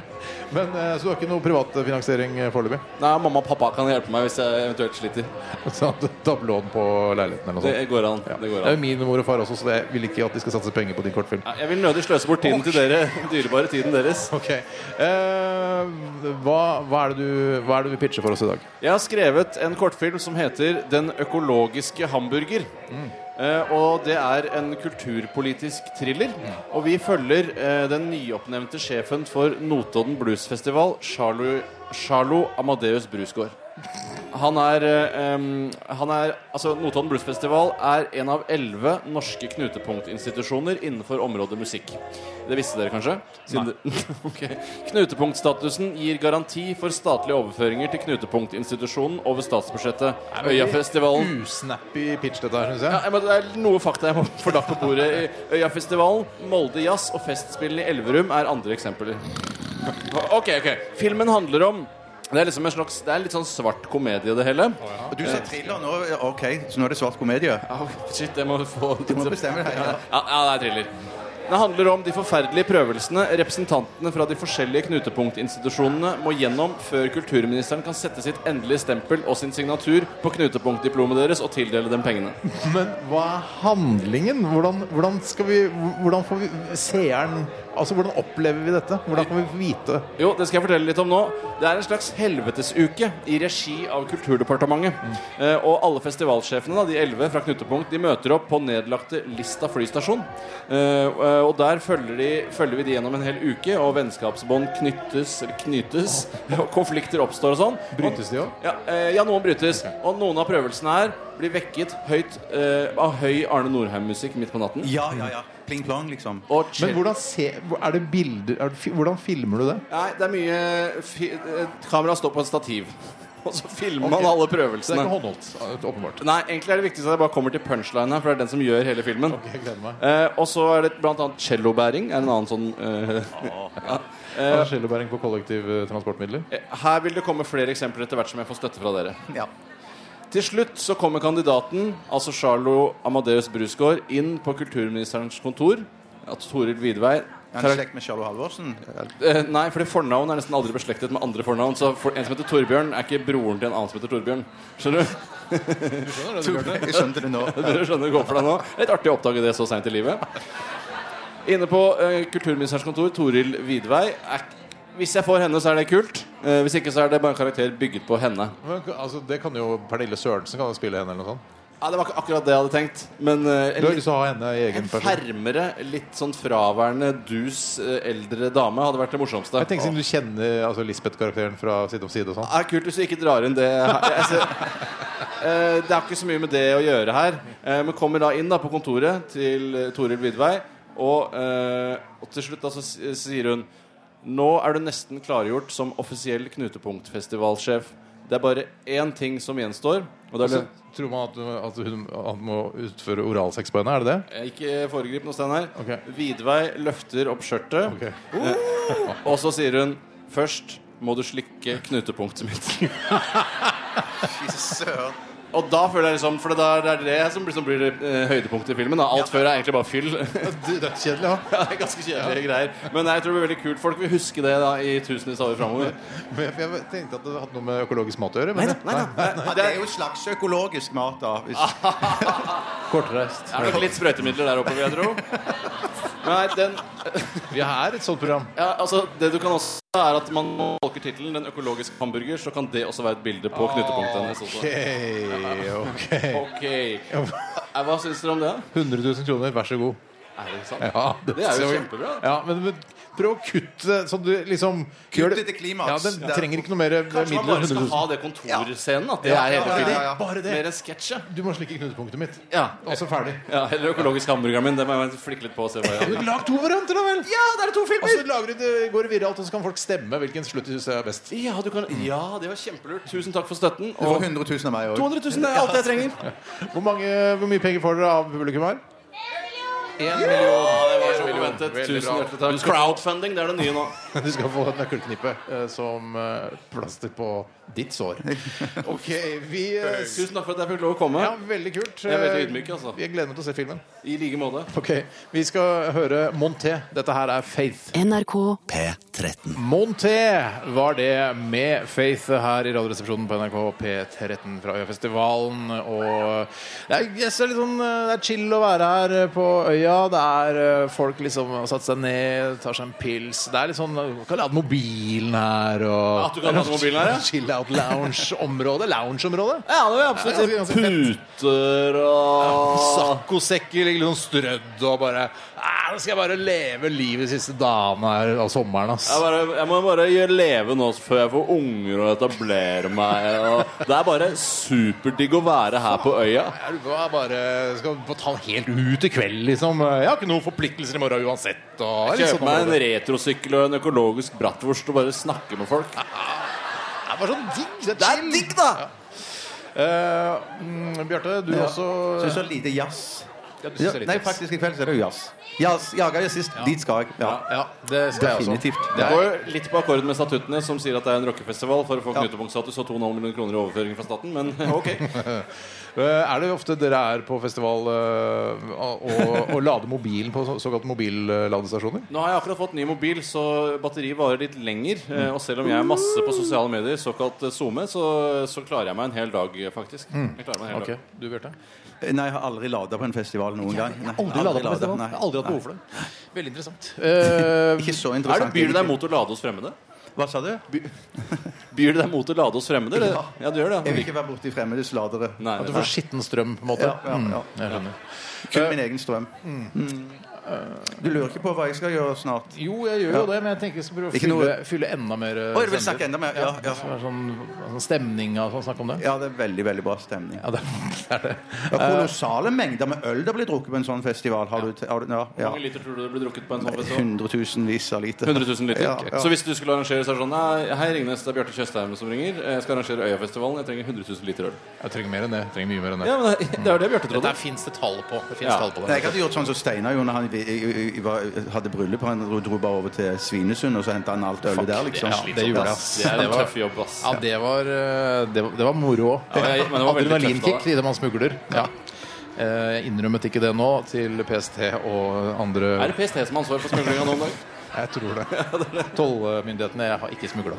Speaker 2: Men eh, Så du har ikke noe privatfinansiering eh, foreløpig?
Speaker 3: Nei, mamma og pappa kan hjelpe meg hvis jeg eventuelt sliter.
Speaker 2: *laughs* Sånn at du tar opp lån på leiligheten eller noe
Speaker 3: Det
Speaker 2: sånt?
Speaker 3: går an. Det
Speaker 2: Det
Speaker 3: går
Speaker 2: er jo
Speaker 3: an.
Speaker 2: min mor og far også, så jeg vil ikke at de skal satse penger på din kortfilm.
Speaker 3: Nei, Jeg vil nødig sløse bort tiden til dere. *laughs* Dyrebare tiden deres.
Speaker 2: Ok. Eh, hva, hva, er det du, hva er det du pitcher for oss i dag?
Speaker 3: Jeg har skrevet en kortfilm som heter 'Den økologiske hamburger'. Eh, og det er en kulturpolitisk thriller. Og vi følger eh, den nyoppnevnte sjefen for Notodden Bluesfestival, Charlo, Charlo Amadeus Brusgaard. Han er, eh, em, han er Altså, Notodden Bluesfestival er en av elleve norske knutepunktinstitusjoner innenfor området musikk. Det visste dere kanskje? Siden det- *laughs* Ok. Knutepunktstatusen gir garanti for statlige overføringer til knutepunktinstitusjonen over statsbudsjettet. Øyafestivalen
Speaker 2: Usnappy pitch, dette her, syns jeg.
Speaker 3: ja, jeg må- det er noe fakta jeg må få lagt på bordet. Øyafestivalen, Molde Jazz og Festspillene i Elverum er andre eksempler. Ok, ok. Filmen handler om det er, liksom en slags, det er litt sånn svart komedie, det hele.
Speaker 4: Du ser thriller nå? OK, så nå er det svart komedie?
Speaker 3: Ah, shit, jeg må få
Speaker 4: Du må bestemme deg. Ja.
Speaker 3: Ja, ja, det er thriller. Det handler om de forferdelige prøvelsene representantene fra de forskjellige knutepunktinstitusjonene må gjennom før kulturministeren kan sette sitt endelige stempel og sin signatur på knutepunktdiplomet deres og tildele dem pengene.
Speaker 2: Men hva er handlingen? Hvordan, hvordan skal vi Hvordan får vi seeren Altså, hvordan opplever vi dette? Hvordan kan vi få vite
Speaker 3: Jo, det skal jeg fortelle litt om nå. Det er en slags helvetesuke i regi av Kulturdepartementet. Eh, og alle festivalsjefene, da, de elleve fra Knutepunkt, de møter opp på nedlagte Lista flystasjon. Eh, og- og der følger, de, følger vi de gjennom en hel uke, og vennskapsbånd knyttes eller knytes, *laughs* og konflikter oppstår og sånn.
Speaker 2: Brytes de òg?
Speaker 3: Ja, eh, ja, noen brytes. Og noen av prøvelsene her blir vekket høyt eh, av høy Arne Norheim-musikk midt på natten.
Speaker 4: ja, ja, ja. Pling plong, liksom.
Speaker 3: Og
Speaker 2: Men hvordan se, er det bilder er det, fi- Hvordan filmer du det?
Speaker 3: Nei, det er mye fi eh, Kamera står på et stativ. *laughs* Og så filmer man alle
Speaker 2: Så det er ikke
Speaker 3: prøvelsene.
Speaker 2: håndholdt, åpenbart.
Speaker 3: Nei, egentlig er det viktigste at jeg bare kommer til punchline her, for det er den som gjør hele filmen.
Speaker 2: Jeg gleder meg.
Speaker 3: Eh, og så er det blant annet cellobæring. Er en annen sånn eh, ja.
Speaker 2: Er det Skjellebæring på kollektivtransportmidler?
Speaker 3: Eh, Her vil det komme flere eksempler etter hvert som jeg får støtte fra dere.
Speaker 4: Ja.
Speaker 3: Til slutt så kommer kandidaten, altså Charlo Amadeus Brusgaard, inn på kulturministerens kontor. Ja, Toril Vidvei.
Speaker 4: Er han i slekt med Charlo Halvorsen?
Speaker 3: Eh, nei, fordi fornavn er nesten aldri beslektet med andre fornavn. Så for, en som heter Torbjørn, er ikke broren til en annen som heter Torbjørn. Skjønner du?
Speaker 4: Jeg skjønte det nå.
Speaker 3: Dere skjønner hvorfor det nå Litt artig å oppdage det så seint i livet. Inne på eh, kulturministerens kontor, Toril Vidvei. Er, hvis jeg får henne, så er det kult. Eh, hvis ikke, så er det bare en karakter bygget på henne.
Speaker 2: Men, altså, det kan jo Pernille Sørensen kan jo spille henne eller noe sånt.
Speaker 3: Ja, det var ikke akkurat det jeg hadde tenkt. Men eh,
Speaker 2: Du
Speaker 3: en
Speaker 2: har lyst til å ha henne i egen
Speaker 3: litt
Speaker 2: person.
Speaker 3: fermere, litt sånn fraværende, dus eh, eldre dame hadde vært det morsomste.
Speaker 2: Jeg tenker Siden du kjenner altså, Lisbeth-karakteren fra Side om side og sånn.
Speaker 3: er Ah, kult hvis du ikke drar inn det her. Jeg ser- Eh, det er ikke så mye med det å gjøre her. Eh, men kommer da inn da på kontoret til eh, Toril Vidvei, og, eh, og til slutt da så si- sier hun Nå er du nesten klargjort som offisiell knutepunktfestivalsjef. Det er bare én ting som gjenstår. Og det er
Speaker 2: Så tror man at, at hun at må utføre oralsex på henne? Er det det?
Speaker 3: Eh, Ikke foregrip noe sted her.
Speaker 2: Ok.
Speaker 3: Vidvei løfter opp skjørtet,
Speaker 2: Ok.
Speaker 3: og så sier hun Først må du slikke knutepunktet mitt. og da føler jeg liksom For det er det, er det som liksom blir eh, høydepunktet i filmen. Da. Alt før er egentlig bare *laughs* fyll. ja,
Speaker 2: Dødskjedelig, ja.
Speaker 3: det er ganske kjedelige greier. Men jeg tror det blir veldig kult. Folk vil huske det da i tusenvis av år framover.
Speaker 2: Men jeg, jeg tenkte at det hadde noe med økologisk mat å gjøre. Men
Speaker 3: Nei, nei,
Speaker 4: Ja, det er jo slags økologisk mat, da. Hvis,
Speaker 2: kortreist.
Speaker 3: Det er nok litt sprøytemidler der oppe, vil jeg tro. Nei, den,
Speaker 2: Vi er et sånt program.
Speaker 3: Ja, altså Det du kan også er at man tolker tittelen 'Den økologiske hamburger', så kan det også være et bilde på knutepunktet hennes. også.
Speaker 2: Hey, ok.
Speaker 3: Ok Eh, Hva syns dere om det?
Speaker 2: 100 000 kroner, vær så god.
Speaker 3: Er det sant?
Speaker 2: Ja,
Speaker 3: Det er jo
Speaker 2: så-
Speaker 3: kjempebra.
Speaker 2: Ja, men, men prøv å kutte så du liksom gjør det-
Speaker 4: til klimaks.
Speaker 2: Ja, den
Speaker 4: Ja.
Speaker 2: trenger ikke noe mer
Speaker 3: Kanskje man
Speaker 2: midler.
Speaker 3: bare skal
Speaker 2: 100 000.
Speaker 3: ha det kontorscenen? At det
Speaker 2: Ja,
Speaker 3: er hele
Speaker 2: ja, ja,
Speaker 3: filmen?
Speaker 2: ja, ja. Bare det.
Speaker 3: Mer enn sketsj, ja.
Speaker 2: Du må slikke knutepunktet mitt.
Speaker 3: ja.
Speaker 2: Og så ferdig.
Speaker 3: Ja, Eller økologisk hamburgeren min. Det må jeg flikke litt på. Og se hva jeg
Speaker 2: Lag to varianter, da vel!
Speaker 3: ja, det er to
Speaker 2: Og så lager du det, går det viralt, og så kan folk stemme hvilken slutt de syns er best.
Speaker 3: Ja, du kan, ja, det var kjempelurt. Tusen takk for støtten.
Speaker 4: du får
Speaker 3: Og
Speaker 4: 100 000 av meg òg.
Speaker 3: 200 000 er alt jeg trenger.
Speaker 2: Hvor, mange, hvor mye penger får dere av publikum her?
Speaker 3: Én million. Ja, det var så mye ventet.
Speaker 2: Veldig
Speaker 3: Tusen
Speaker 2: bra.
Speaker 3: hjertelig takk. Crowdfunding, det er det nye nå.
Speaker 2: *laughs* Du skal få et nøkkelknippe eh, som eh, plaster på ditt sår. *laughs* Ok, vi eh,
Speaker 3: Tusen takk for at jeg fikk lov å komme.
Speaker 2: Ja, veldig kult.
Speaker 3: Jeg er veldig ydmyk, altså.
Speaker 2: Jeg gleder meg til å se filmen.
Speaker 3: I like måte.
Speaker 2: Ok, Vi skal høre Monté. Dette her er Faith.
Speaker 10: NRK
Speaker 6: P13.
Speaker 2: Monté var det med Faith her i Radioresepsjonen på NRK P13 fra Øyafestivalen. Og det er, jeg ser litt sånn, det er chill å være her på øya. Det er eh, folk liksom har satt seg ned, tar seg en pils. Det er litt sånn Du kan lade mobilen her og
Speaker 3: At du kan lade mobilen her, ja.
Speaker 2: *laughs* Chill out lounge-område. Lounge-område.
Speaker 3: Ja, det var
Speaker 2: absolutt det.
Speaker 3: Puter og
Speaker 2: Saccosekker ligger litt sånn strødd og bare «Ah, Nå skal jeg bare leve livet de siste dagene her av sommeren, ass.
Speaker 3: jeg, bare, jeg må bare gjøre leve nå før jeg får unger og etablere meg. Og det er bare superdigg å være her på øya.
Speaker 2: Er du bare, bare skal få ta den helt ut i kveld, liksom? Jeg har ikke noen forpliktelser i morgen uansett. Og, det er litt
Speaker 3: Kjøpe
Speaker 2: sånn
Speaker 3: meg en
Speaker 2: område.
Speaker 3: retrosykkel og en økologisk bratwurst og bare snakke med folk.
Speaker 2: Det er bare sånn digg. Det er,
Speaker 3: Det er
Speaker 2: chill.
Speaker 3: digg, da!
Speaker 2: Eh, mm, Bjarte, du også
Speaker 4: Syns så lite jazz.
Speaker 2: ja, du synes
Speaker 4: Ja,
Speaker 2: det er litt
Speaker 4: nei,
Speaker 2: tips.
Speaker 4: faktisk i kveld så er det jo jazz. Jazz jager jeg sist. Dit skal jeg. Ja.
Speaker 2: Ja, det skal jeg også.
Speaker 4: Definitivt.
Speaker 2: Det
Speaker 3: Det går
Speaker 2: er,
Speaker 3: jo litt på akkord med statuttene, som sier at det er en rockefestival for å få knutepunktstatus og 2,5 millioner kroner i overføring fra staten, men ok.
Speaker 2: Eh, er det ofte dere er på festival eh, og, og lader mobilen på så- såkalt mobilladestasjoner?
Speaker 3: *laughs* Nå har jeg akkurat fått ny mobil, så batteriet varer litt lenger. eh, Og selv om jeg er masse på sosiale medier, såkalt eh, SoMe, så, så klarer jeg meg en hel dag, eh, faktisk. Jeg klarer meg en hel
Speaker 2: Ok,
Speaker 3: dag.
Speaker 2: du Bjarte?
Speaker 4: Nei, jeg har aldri lada på en festival noen gang. Nei,
Speaker 2: Aldri ladet på
Speaker 4: ladet,
Speaker 2: festival.
Speaker 4: nei.
Speaker 2: Jeg har aldri hatt behov for det. Veldig interessant. Eh,
Speaker 4: *laughs* Ikke så
Speaker 3: Er det,
Speaker 4: interessant.
Speaker 3: byr det deg mot å lade hos fremmede?
Speaker 4: Hva sa du?
Speaker 3: Byr det deg mot å lade hos fremmede? eller?
Speaker 4: Ja.
Speaker 3: Ja, det gjør det.
Speaker 4: Jeg vil ikke være borti fremmedes ladere.
Speaker 3: Nei,
Speaker 2: at du
Speaker 3: nei.
Speaker 2: får skitten strøm, på en måte. Mm.
Speaker 4: Ja, ja, ja.
Speaker 2: Jeg skjønner.
Speaker 4: Kun min egen strøm. Mm. Du lurer ikke på hva jeg skal gjøre snart?
Speaker 2: Jo, jeg gjør jo det, men jeg tenker jeg skal prøve å
Speaker 4: Ikke
Speaker 2: fylle,
Speaker 4: noe-
Speaker 2: fylle enda mer. eh,
Speaker 4: Oi, du vil
Speaker 2: sender.
Speaker 4: snakke enda mer? Ja, ja.
Speaker 2: Så det er Sånn, sånn stemning og sånn snakk om det.
Speaker 4: Ja, det er veldig veldig bra stemning.
Speaker 2: Ja, det er *laughs* det.
Speaker 4: Det er kolossale mengder med øl det blir drukket på en sånn festival. Har du, har du, ja,
Speaker 3: Hvor
Speaker 4: ja.
Speaker 3: mange liter tror du det blir drukket på en sånn festival?
Speaker 4: Hundretusenvis av liter.
Speaker 3: 100 000 liter.
Speaker 4: Ja, ja.
Speaker 3: Så hvis du skulle arrangere så er det sånn Nei, Hei, Ringnes, det er Bjarte Tjøstheim som ringer. Jeg skal arrangere Øyafestivalen. Jeg trenger 100 000 liter øl.
Speaker 2: Jeg trenger mer enn det. Jeg trenger mye mer enn det.
Speaker 3: Ja, men det det er det Bjarte trodde.
Speaker 2: Der fins det tall på. Det finnes
Speaker 3: Ja.
Speaker 2: tall på
Speaker 4: Nei,
Speaker 2: det.
Speaker 4: jeg hadde gjort sånn som Steinar gjorde når han i- i- i- var- hadde bryllup. Han dro- dro bare over til Svinesund, og så henta han alt ølet der, liksom.
Speaker 2: Ja, det gjorde jeg, ass.
Speaker 3: Det er
Speaker 2: Det
Speaker 3: en
Speaker 2: var-
Speaker 3: tøff jobb, ass.
Speaker 2: Ja, det var, eh, det var, det var moro òg.
Speaker 3: Ja, jeg- men det var veldig
Speaker 2: Adrenalinkick
Speaker 3: tøft da.
Speaker 2: idet man smugler. Ja. Eh, Jeg innrømmet ikke det nå til PST og
Speaker 3: Er
Speaker 2: andre
Speaker 3: det PST som har ansvar for smuglinga nå om dagen?
Speaker 2: Jeg tror det. Tollmyndighetene jeg har ikke smugla.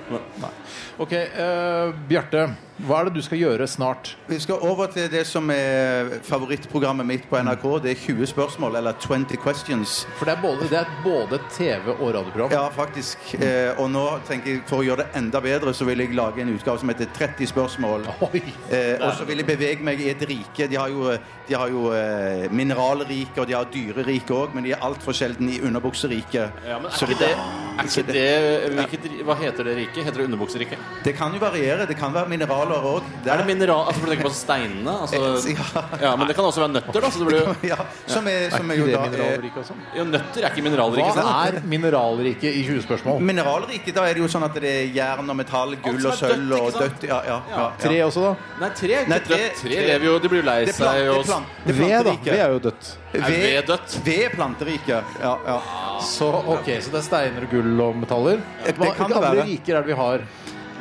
Speaker 2: Ok, eh, Bjarte. Hva er det du skal gjøre snart?
Speaker 4: Vi skal over til det som er favorittprogrammet mitt på NRK. Det er 20 spørsmål, eller 20 questions.
Speaker 2: For det er både, det er både et TV- og radioprogram.
Speaker 4: Ja, faktisk. Eh, og nå tenker jeg, for å gjøre det enda bedre, så vil jeg lage en utgave som heter 30 spørsmål.
Speaker 2: Oi.
Speaker 4: Eh, og så vil jeg bevege meg i et rike. De har jo, de har jo eh, mineralrike, og de har dyrerike òg, men de er altfor sjelden i underbukseriket.
Speaker 3: Ja, men
Speaker 4: Så
Speaker 3: er ikke det, er ikke det hvilket, ri- Hva heter det riket? Heter det underbukseriket?
Speaker 4: Det kan jo variere. Det kan være mineraler òg.
Speaker 3: Er det
Speaker 4: *laughs*
Speaker 3: mineral... Altså, for du tenker på steinene? Altså, ja, men det kan også være nøtter, da. Så det blir jo,
Speaker 4: Ja, som er, som er jo
Speaker 2: Det
Speaker 4: da er,
Speaker 2: mineralriket også.
Speaker 3: jo Nøtter er ikke mineraler, ikke
Speaker 2: Hva
Speaker 3: sant?
Speaker 2: er mineralriket i 20 spørsmål?
Speaker 4: Mineralriket, eh, da er det jo sånn at det er jern og metall, gull og
Speaker 3: som er
Speaker 4: sølv
Speaker 3: dødt,
Speaker 4: og
Speaker 3: ikke sant?
Speaker 4: dødt. Ja, ja, ja, ja.
Speaker 2: Tre også, da?
Speaker 3: Nei, tre er ikke
Speaker 4: Nei,
Speaker 3: dødt.
Speaker 4: tre-
Speaker 3: tre,
Speaker 4: tre-
Speaker 3: lever jo De blir jo lei
Speaker 4: Det er
Speaker 3: seg
Speaker 4: plan- det er
Speaker 3: og
Speaker 4: plan- det er
Speaker 2: Ved, da.
Speaker 4: planteriket.
Speaker 2: Ved er jo dødt.
Speaker 3: Er ved dødt?
Speaker 4: Ved er planteriket. Ja, ja.
Speaker 2: Så, ok, så det er steiner, gull og metaller.
Speaker 4: Det
Speaker 2: Hva,
Speaker 4: kan
Speaker 2: hvilke
Speaker 4: det
Speaker 2: andre
Speaker 4: være.
Speaker 2: riker er det vi har?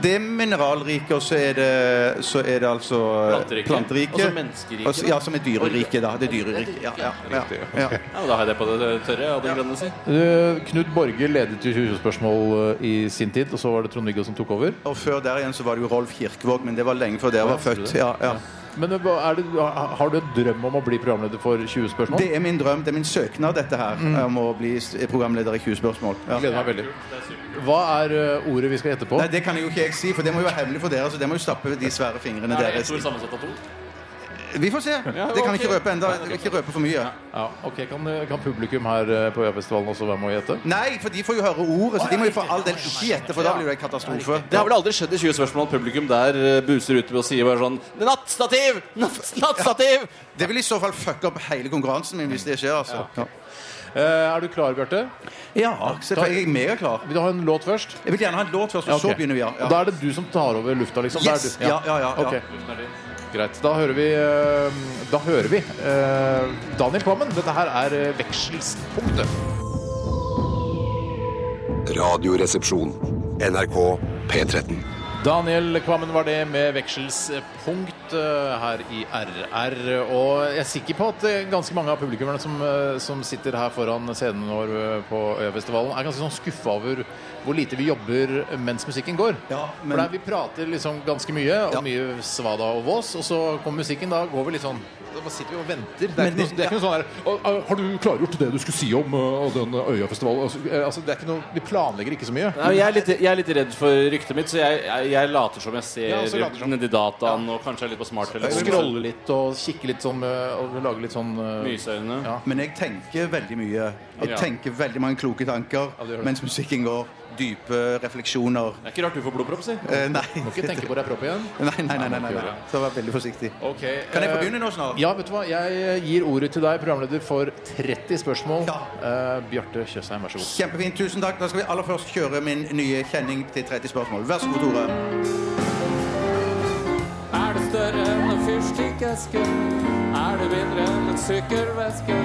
Speaker 4: Det er mineralriket, og så er det, så er det altså
Speaker 3: Planteriket. Og så menneskeriket,
Speaker 4: Og så- Ja, som er dyreriket, da. Det er dyreriket. Ja, ja, ja,
Speaker 3: Ja,
Speaker 4: ja.
Speaker 3: men Da har jeg det på det tørre. av det grønne å si.
Speaker 2: Eh, Knut Borge ledet jo 20 spørsmål eh, i sin tid, og så var det Trond-Viggo som tok over.
Speaker 4: Og før der igjen så var det jo Rolf Kirkevåg, men det var lenge før dere var født. Ja, ja.
Speaker 2: Men eh, hva er det, ha- har du en drøm om å bli programleder for 20 spørsmål?
Speaker 4: Det er min drøm, det er min søknad, dette her, eh, om å bli s- programleder i 20 spørsmål. Ja.
Speaker 2: Mm. gleder meg veldig. Hva er eh, ordet vi skal gjette på?
Speaker 4: Nei, det kan jo ikke jeg si, for det må jo være hemmelig for dere, så det må jo stappe de svære fingrene
Speaker 3: Er det
Speaker 4: deres. Eh,
Speaker 3: ett ord sammensatt av to?
Speaker 4: Vi får se. Det kan jeg ikke røpe enda. Jeg vil ikke røpe for mye.
Speaker 2: Ja, ok, kan, eh, kan publikum her eh, på Øyafestivalen også være med å gjette?
Speaker 4: Nei, for de får jo høre ordet, så de må jo for all del ikke gjette, for da blir det en katastrofe.
Speaker 3: Det har vel aldri skjedd i 20 spørsmål at publikum der eh, buser ut og sier bare sånn Nattstativ! Natt- Nattstativ!
Speaker 4: Det vil i så fall fucke opp hele konkurransen min hvis det skjer, altså.
Speaker 2: Eh, Er du klar, Bjarte?
Speaker 4: Ja, selvfølgelig. Jeg er megaklar.
Speaker 2: Vil du ha en låt først?
Speaker 4: Jeg vil gjerne ha en låt først, og så
Speaker 2: ok.
Speaker 4: begynner vi. Ja.
Speaker 2: Og da er det du som tar over lufta, liksom? Da er
Speaker 4: Yes!
Speaker 2: du-
Speaker 4: Ja, ja, ja. ja.
Speaker 2: Ok. Greit. Da hører vi eh, Da hører vi eh, Daniel Kvammen. Dette her er eh, Vekselspunktet.
Speaker 1: Radioresepsjon. NRK P13.
Speaker 2: Daniel Kvammen var det med vekselspunkt eh, her i RR. Og jeg er sikker på at eh, ganske mange av publikummerne som, eh, som sitter her foran scenen vår eh, på Øyafestivalen, er ganske sånn skuffa over hvor lite vi jobber mens musikken går.
Speaker 4: Ja, men-
Speaker 2: For der vi prater liksom ganske mye, og
Speaker 4: Ja.
Speaker 2: mye svada og vås, og så kommer musikken, da går vi litt sånn da bare sitter vi og venter. Det er,
Speaker 4: Men-
Speaker 2: ikke noe, det er ikke noe sånn her «Å, å, Har du klargjort det du skulle si om eh, den Øyafestivalen? Altså, eh, Altså, det er ikke noe, vi planlegger ikke så mye.
Speaker 3: Nei, men jeg, er litt, jeg er litt redd for ryktet mitt, så jeg, jeg, jeg later som jeg ser
Speaker 2: Ja, så later som.
Speaker 3: nedi dataen og kanskje er litt på smarttelefonen.
Speaker 2: Scrolle litt og kikke litt sånn eh, og lage litt sånn eh,
Speaker 3: Myseøyne.
Speaker 2: Ja.
Speaker 4: Men jeg tenker veldig mye. Jeg
Speaker 3: Ja.
Speaker 4: tenker veldig mange kloke tanker
Speaker 2: det gjør det.
Speaker 4: mens musikken går. Dype refleksjoner.
Speaker 3: Det er ikke rart du får blodpropp, si.
Speaker 4: Eh, nei.
Speaker 2: Må ikke tenke på deg propp igjen.
Speaker 4: *laughs* Nei, nei, nei, nei, nei, nei. Så vær veldig forsiktig. Kan jeg få begynne nå snart?
Speaker 2: Ja, vet du hva? Jeg eh, gir ordet til deg, programleder, for 30 spørsmål.
Speaker 4: Ja.
Speaker 2: Eh, Bjarte Tjøstheim, vær så god.
Speaker 4: Kjempefint. Tusen takk. Da skal vi aller først kjøre min nye kjenning til 30 spørsmål. Vær så god, Tore.
Speaker 5: Er det større enn en fyrstikkeske? Er det mindre enn en sykkelveske?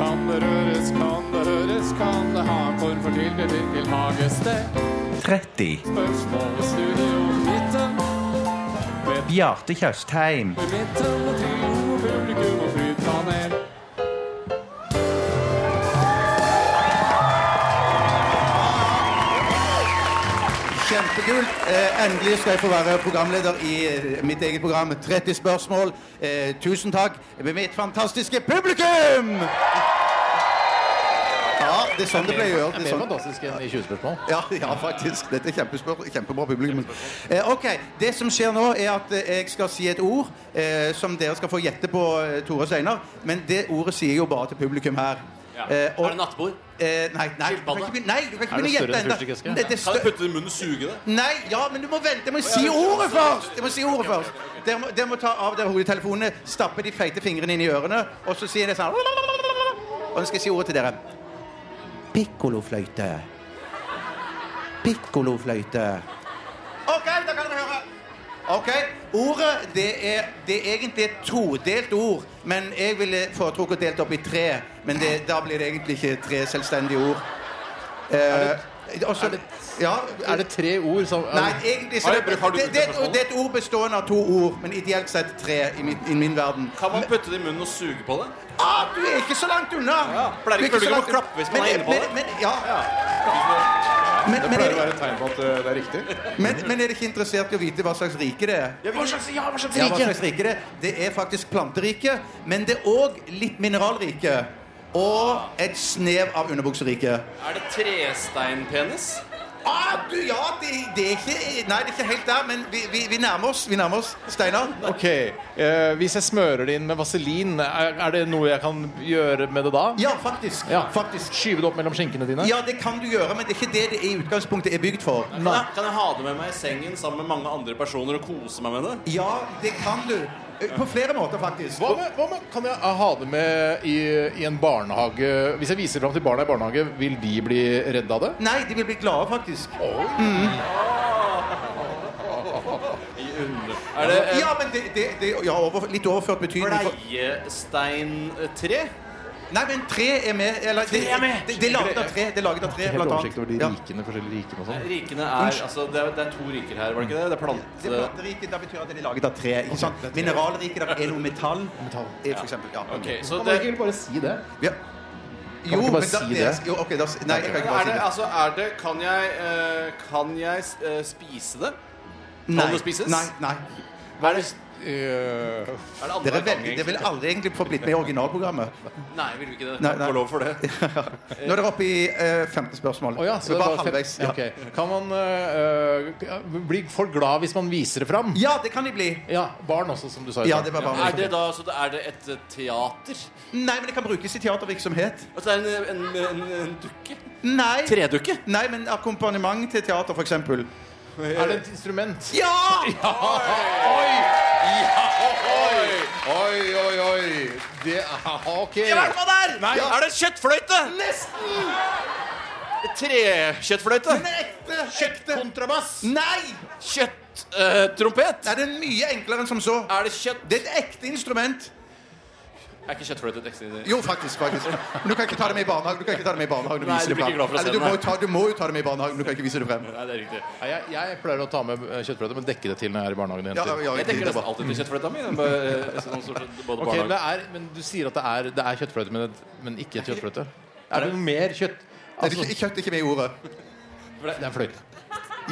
Speaker 5: Kan det røres, kan det høres, kan det ha en form for tilknytning til hagested?
Speaker 11: 30.
Speaker 5: Spørsmål i studio midten,
Speaker 11: Bjarte Tjøstheim.
Speaker 5: i midten og til og publikum og flypanel.
Speaker 4: Kjempekult. Eh, endelig skal jeg få være programleder i eh, mitt eget program 30 spørsmål. Eh, tusen takk med mitt fantastiske publikum! Ja, det er sånn det pleier å gjøre.
Speaker 2: Det er
Speaker 4: Det
Speaker 2: mer
Speaker 4: er sånn.
Speaker 2: fantastisk enn i 20 spørsmål.
Speaker 4: Ja, ja, faktisk. Dette er kjempespør- kjempebra publikum. Eh, ok, Det som skjer nå, er at eh, jeg skal si et ord eh, som dere skal få gjette på, eh, Tore og Steinar. Men det ordet sier jeg jo bare til publikum her.
Speaker 3: Ja.
Speaker 4: Eh, og-
Speaker 3: er det nattbord?
Speaker 4: Eh, nei, nei, du kan
Speaker 3: Skilpadde?
Speaker 4: ikke begynne- nei, du kan ikke
Speaker 2: Er det
Speaker 4: begynne å gjette
Speaker 2: større enn
Speaker 4: ennå.
Speaker 2: fyrstikkeske?
Speaker 4: Det- det er
Speaker 3: Kan
Speaker 4: større-
Speaker 3: du putte det i munnen og suge det?
Speaker 4: Nei, ja, men du må vente. Jeg må si ordet først! Jeg må si ordet først. Dere må, dere må ta av dere hodetelefonene, stappe de feite fingrene inn i ørene, og så sier det sånn Og nå skal jeg si ordet til dere. Pikkolofløyte. Pikkolofløyte. OK, da kan dere høre. OK. Ordet, det er, det er egentlig et todelt ord, men jeg ville foretrukket delt opp i tre. Men det, da blir det egentlig ikke tre selvstendige ord. Eh, også, ja,
Speaker 2: Er det tre ord som
Speaker 4: Nei, egentlig så
Speaker 3: Har
Speaker 4: det,
Speaker 3: jeg brukt- har du
Speaker 4: det,
Speaker 3: brukt
Speaker 4: det,
Speaker 3: det spørsmålet?
Speaker 4: det er et ord bestående av to ord, men ideelt sett tre i min, i min verden.
Speaker 3: Kan man putte det i munnen og suge på det?
Speaker 4: Ah, du er ikke så langt unna!
Speaker 3: for det er
Speaker 4: Du
Speaker 3: ikke-
Speaker 4: så
Speaker 3: du må
Speaker 4: langt unna.
Speaker 3: klappe hvis man
Speaker 4: Men-
Speaker 3: er inne på
Speaker 4: men-
Speaker 3: det.
Speaker 4: Men, ja. Men-
Speaker 2: det
Speaker 4: men
Speaker 2: pleier
Speaker 4: er
Speaker 2: å være et tegn på at eh, det er riktig.
Speaker 4: Men, men er dere ikke interessert i å vite hva slags rike det er?
Speaker 12: Hva slags, ja, hva slags
Speaker 4: Ja, hva
Speaker 12: rike?
Speaker 4: slags rike det er? Det er faktisk planterike, men det er òg litt mineralrike. Og et snev av underbukserike.
Speaker 3: Er det tresteinpenis?
Speaker 4: Ah, du, ja, det, det er ikke Nei, det er ikke helt der, men vi, vi, vi nærmer oss. Vi nærmer oss. Steinar?
Speaker 2: Ok, eh, Hvis jeg smører det inn med vaselin, er, er det noe jeg kan gjøre med det da?
Speaker 4: Ja, faktisk.
Speaker 2: Ja. Skyve det opp mellom skinkene dine?
Speaker 4: Ja, det kan du gjøre, men det er ikke det det i utgangspunktet er bygd for.
Speaker 3: Kan jeg, kan jeg ha det med meg i sengen sammen med mange andre personer og kose meg med det?
Speaker 4: Ja, det kan du. Eh, På flere måter, faktisk.
Speaker 2: Hva med, hva med, kan jeg eh, ha det med i, i en barnehage? Hvis jeg viser fram til barna i barnehage, vil de bli redde av det?
Speaker 4: Nei, de vil bli glade, faktisk.
Speaker 3: Er det eh,
Speaker 4: Ja, men det, det, det ja, over, litt overført betydning. for-
Speaker 3: bleiesteintre?
Speaker 4: Nei, men tre er med. Eller, det,
Speaker 3: er med.
Speaker 4: Det, det er laget av tre, det er laget av tre
Speaker 2: Helt
Speaker 4: blant
Speaker 2: oversikt over de
Speaker 4: annet. Ja.
Speaker 2: rikene, forskjellige rikene og sånn.
Speaker 3: Rikene er Altså, det er, det er to riker her, var det ikke det? Det er
Speaker 4: Det
Speaker 3: plante...
Speaker 4: planteriket, da betyr at det er laget av tre. Ikke sant? Mineralriket, da er det noe metall. eh, For eksempel, ja.
Speaker 3: Ok,
Speaker 2: Kan
Speaker 3: så
Speaker 2: man
Speaker 3: det,
Speaker 2: ikke bare si det?
Speaker 4: ja. Jo,
Speaker 2: ikke bare
Speaker 4: men da,
Speaker 2: si
Speaker 4: er-
Speaker 2: det?
Speaker 4: Jo, ok, da, nei, jeg kan
Speaker 3: er
Speaker 4: ikke bare si
Speaker 3: det
Speaker 4: det.
Speaker 3: Altså, er det Kan jeg, eh, kan jeg eh, spise det?
Speaker 4: Nei,
Speaker 3: det spises?
Speaker 4: nei, nei.
Speaker 3: Er det,
Speaker 2: Eh,
Speaker 3: er det andre
Speaker 4: Dere,
Speaker 3: gang,
Speaker 4: veldig, dere vil aldri egentlig få blitt med i originalprogrammet.
Speaker 3: Nei, vil vi ikke det?
Speaker 4: Nei,
Speaker 3: Takk
Speaker 4: nei.
Speaker 3: og lov for
Speaker 4: *laughs*
Speaker 3: det.
Speaker 4: Nå er dere oppe i eh, 15 spørsmål.
Speaker 2: Å ja, så det
Speaker 4: bare
Speaker 2: var
Speaker 4: halvveis. Ja.
Speaker 2: ok. Kan man eh, eh, Blir folk glad hvis man viser det fram?
Speaker 4: ja, det kan de bli.
Speaker 2: Ja, barn også, som du sa. i
Speaker 4: Ja,
Speaker 2: stad.
Speaker 4: det var bare
Speaker 3: Er det da så det, er det et eh, teater?
Speaker 4: Nei, men det kan brukes i teatervirksomhet.
Speaker 3: Altså, det er en, en, en, en dukke?
Speaker 4: Nei.
Speaker 3: Tredukke?
Speaker 4: Nei, men akkompagnement til teater, for eksempel.
Speaker 2: Er det et instrument?
Speaker 4: Ja!
Speaker 2: Oi, oi, oi! Det er OK.
Speaker 3: Hva der? Nei. Er det en kjøttfløyte?
Speaker 4: Nesten!
Speaker 3: Trekjøttfløyte?
Speaker 4: Men ekte, ekte.
Speaker 2: Kontrabass!
Speaker 4: Nei!
Speaker 3: Kjøtttrompet?
Speaker 4: Nei, det er mye enklere enn som så.
Speaker 3: eh, er det kjøtt...?
Speaker 4: Det er et ekte instrument.
Speaker 3: Er ikke kjøttfløyte et ekstra
Speaker 4: Jo, faktisk. faktisk Men du kan ikke ta det med i barnehagen. Du kan ikke ta det med i barnehagen og
Speaker 3: Nei,
Speaker 4: vise
Speaker 3: du
Speaker 4: det
Speaker 3: blir ikke glad for
Speaker 4: frem.
Speaker 3: å se
Speaker 4: Eller, du,
Speaker 3: den,
Speaker 4: må
Speaker 3: nei.
Speaker 4: jo ta, du må jo ta det med i barnehagen. Du kan ikke vise det frem.
Speaker 3: Nei, det er riktig.
Speaker 2: Nei, jeg, jeg pleier å ta med eh, kjøttfløyte, men dekke det til når jeg er i barnehagen. og
Speaker 4: Ja,
Speaker 2: henter.
Speaker 4: ja,
Speaker 3: Jeg tenker
Speaker 4: det er
Speaker 3: nesten
Speaker 4: bra.
Speaker 3: alltid til kjøttfløyta mi. den bare, eh, *laughs* sånn stort sett Både
Speaker 2: Ok, men,
Speaker 3: barnehage
Speaker 2: det er, men du sier at det er, det er kjøttfløyte, men, et- men ikke et kjøttfløyte? Er det noe mer kjøtt?
Speaker 4: Nei, det
Speaker 2: Altså,
Speaker 4: er ikke- Kjøtt er ikke med i ordet.
Speaker 2: det er en fløyte.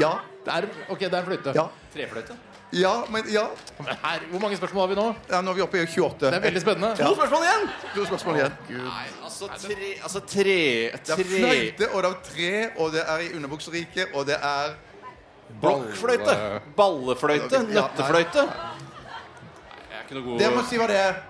Speaker 4: Ja.
Speaker 2: Det er, ok, det er en fløyte.
Speaker 4: Ja.
Speaker 3: Trefløyte.
Speaker 4: Ja, men ja.
Speaker 2: Men Her, hvor mange spørsmål har vi nå?
Speaker 4: ja nå er vi oppe i 28.
Speaker 2: Det er veldig spennende.
Speaker 4: Ja.
Speaker 3: To spørsmål igjen!
Speaker 4: To spørsmål igjen.
Speaker 3: Nei, altså tre Altså tre,
Speaker 4: Det er
Speaker 3: tre.
Speaker 4: fløyte, og det er tre, og det er i underbukseriket, og det er
Speaker 3: Blokkfløyte. Ballefløyte.
Speaker 4: Ja,
Speaker 3: Nøttefløyte. Jeg er ikke noe god
Speaker 4: Dere må si hva det er.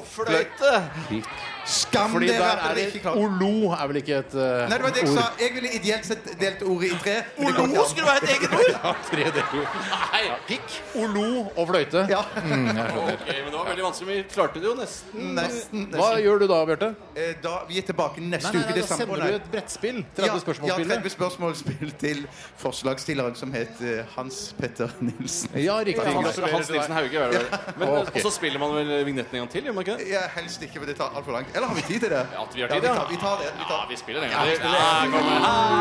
Speaker 3: Pikkolofløyte.
Speaker 4: Skam
Speaker 2: Fordi
Speaker 4: dere
Speaker 2: der
Speaker 4: at
Speaker 2: er
Speaker 4: dere
Speaker 2: det
Speaker 4: ikke klarer
Speaker 2: Olo er vel ikke et eh,
Speaker 4: Nei, det var det jeg
Speaker 2: ord?
Speaker 4: sa. Jeg ville ideelt sett delt ordet i tre. men det går
Speaker 3: Olo
Speaker 4: ikke an.
Speaker 3: skulle være et eget ord!
Speaker 2: Tre deler.
Speaker 3: Nei.
Speaker 2: Pikk, olo og fløyte.
Speaker 4: Ja.
Speaker 3: Ok, men det var veldig vanskelig. men Vi klarte det jo nesten.
Speaker 4: Nesten.
Speaker 2: Hva
Speaker 4: nesten.
Speaker 2: gjør du da, Bjarte?
Speaker 4: Eh, Da, vi er tilbake
Speaker 2: Nei,
Speaker 4: neste
Speaker 2: nei,
Speaker 4: uke.
Speaker 2: nei, da
Speaker 4: det samme-
Speaker 2: sender
Speaker 4: Å, nei.
Speaker 2: du et brettspill.
Speaker 4: Ja,
Speaker 2: 30
Speaker 4: Ja,
Speaker 2: spørsmålsspillet.
Speaker 4: 30 spørsmålsspill til forslagsstilleren som het eh, Hans Petter Nilsen.
Speaker 2: Ja, riktig.
Speaker 3: Hans, Hans Nilsen Hauge. er det vel det? Men, eh,
Speaker 2: Ok.
Speaker 3: Og så spiller man vel vignetten en gang til, gjør man ikke det?
Speaker 4: Ja, helst ikke, for det tar altfor langt. Eller har vi tid til det?
Speaker 3: At vi har
Speaker 4: Ja,
Speaker 3: tid,
Speaker 4: vi
Speaker 3: ja.
Speaker 4: tar, vi tar det. Vi
Speaker 3: Ja,
Speaker 4: tar.
Speaker 3: vi spiller den. Ja,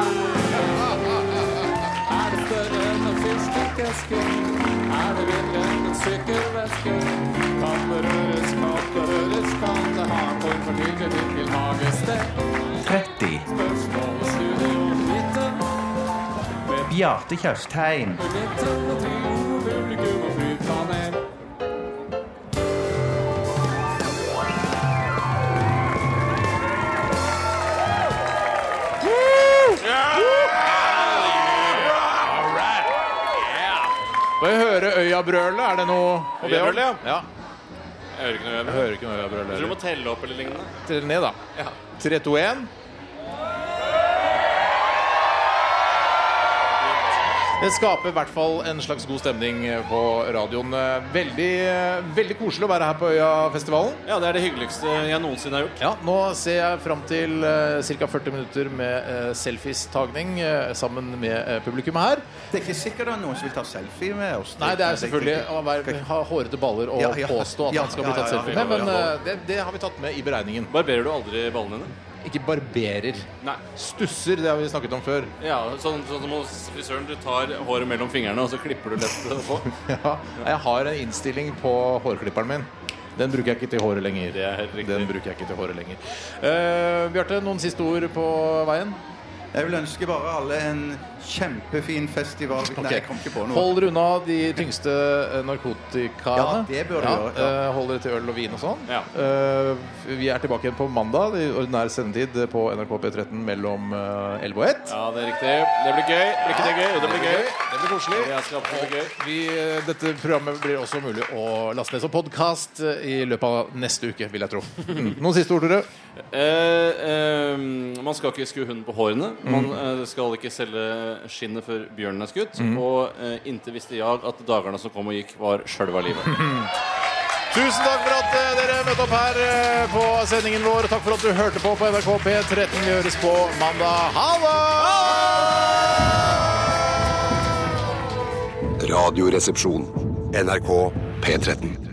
Speaker 13: Bjarte Tjøstheim.
Speaker 2: Får jeg høre Øyabrølet? Er det noe å be om?
Speaker 3: Øyabrølet,
Speaker 2: Ja.
Speaker 3: Jeg hører ikke noe.
Speaker 2: Jeg
Speaker 3: jeg-
Speaker 2: hører ikke noe Øyabrøl.
Speaker 3: Tror du
Speaker 2: eller?
Speaker 3: må telle opp eller lignende?
Speaker 2: Tell ned, da.
Speaker 3: Ja.
Speaker 2: 3, 2, 1. Det skaper i hvert fall en slags god stemning eh, på radioen. Eh, Veldig, eh, veldig koselig å være her på Øyafestivalen.
Speaker 3: Ja, det er det hyggeligste jeg noensinne har gjort.
Speaker 2: Ja, nå ser jeg fram til uh, ca. 40 minutter med uh, selfies-tagning eh, sammen med eh, publikum her.
Speaker 4: Det er ikke sikkert det er noen som vil ta selfie med oss.
Speaker 2: Nei, det er selvfølgelig å være, ha hårete baller og
Speaker 4: Ja, ja.
Speaker 2: påstå at
Speaker 4: Ja,
Speaker 2: man skal
Speaker 4: ja,
Speaker 2: bli tatt
Speaker 4: ja, ja.
Speaker 2: selfie med, men eh, det, det har vi tatt med i beregningen.
Speaker 3: Barberer du aldri ballene dine?
Speaker 2: Ikke barberer.
Speaker 3: Nei.
Speaker 2: Stusser, det har vi snakket om
Speaker 4: *laughs*
Speaker 2: før.
Speaker 3: Ja, sånn, sånn som hos frisøren. Du tar håret mellom fingrene, og så klipper du lett på.
Speaker 2: Ja, jeg har en innstilling på hårklipperen min. Den bruker jeg ikke til håret lenger. Den bruker jeg ikke til håret lenger. Eh, Bjarte, noen siste ord på veien?
Speaker 4: Jeg vil ønske bare alle en kjempefin festival. Nei, jeg kom ikke på noe.
Speaker 2: Hold dere unna de tyngste eh, narkotikaene.
Speaker 4: Ja, det bør dere gjøre,
Speaker 2: eh, Hold dere til øl og vin og sånn. Eh, vi er tilbake igjen på mandag i ordinær sendetid på NRK P13 mellom eh, 11 og 1.
Speaker 3: Ja, det er riktig. Det blir gøy. Blir ikke det gøy? Jo, det blir gøy.
Speaker 2: Det blir koselig.
Speaker 3: Jeg skal absolutt bli gøy.
Speaker 2: Vi, eh, dette programmet blir også mulig å laste ned som podkast i løpet av neste uke, vil jeg tro. Mm. Noen siste ord, Tore?
Speaker 3: Eh, eh, man skal ikke skue hunden på hårene. Man
Speaker 2: Mm.
Speaker 3: eh, skal ikke selge skinnet før bjørnen er skutt. Og eh, inntil visste jeg at dagene som kom og gikk, var sjølva livet.
Speaker 2: Tusen takk for at eh, dere møtte opp her eh, på sendingen vår. Takk for at du hørte på på NRK P13. Vi høres på mandag. Ha det!
Speaker 1: Radioresepsjon. NRK P13.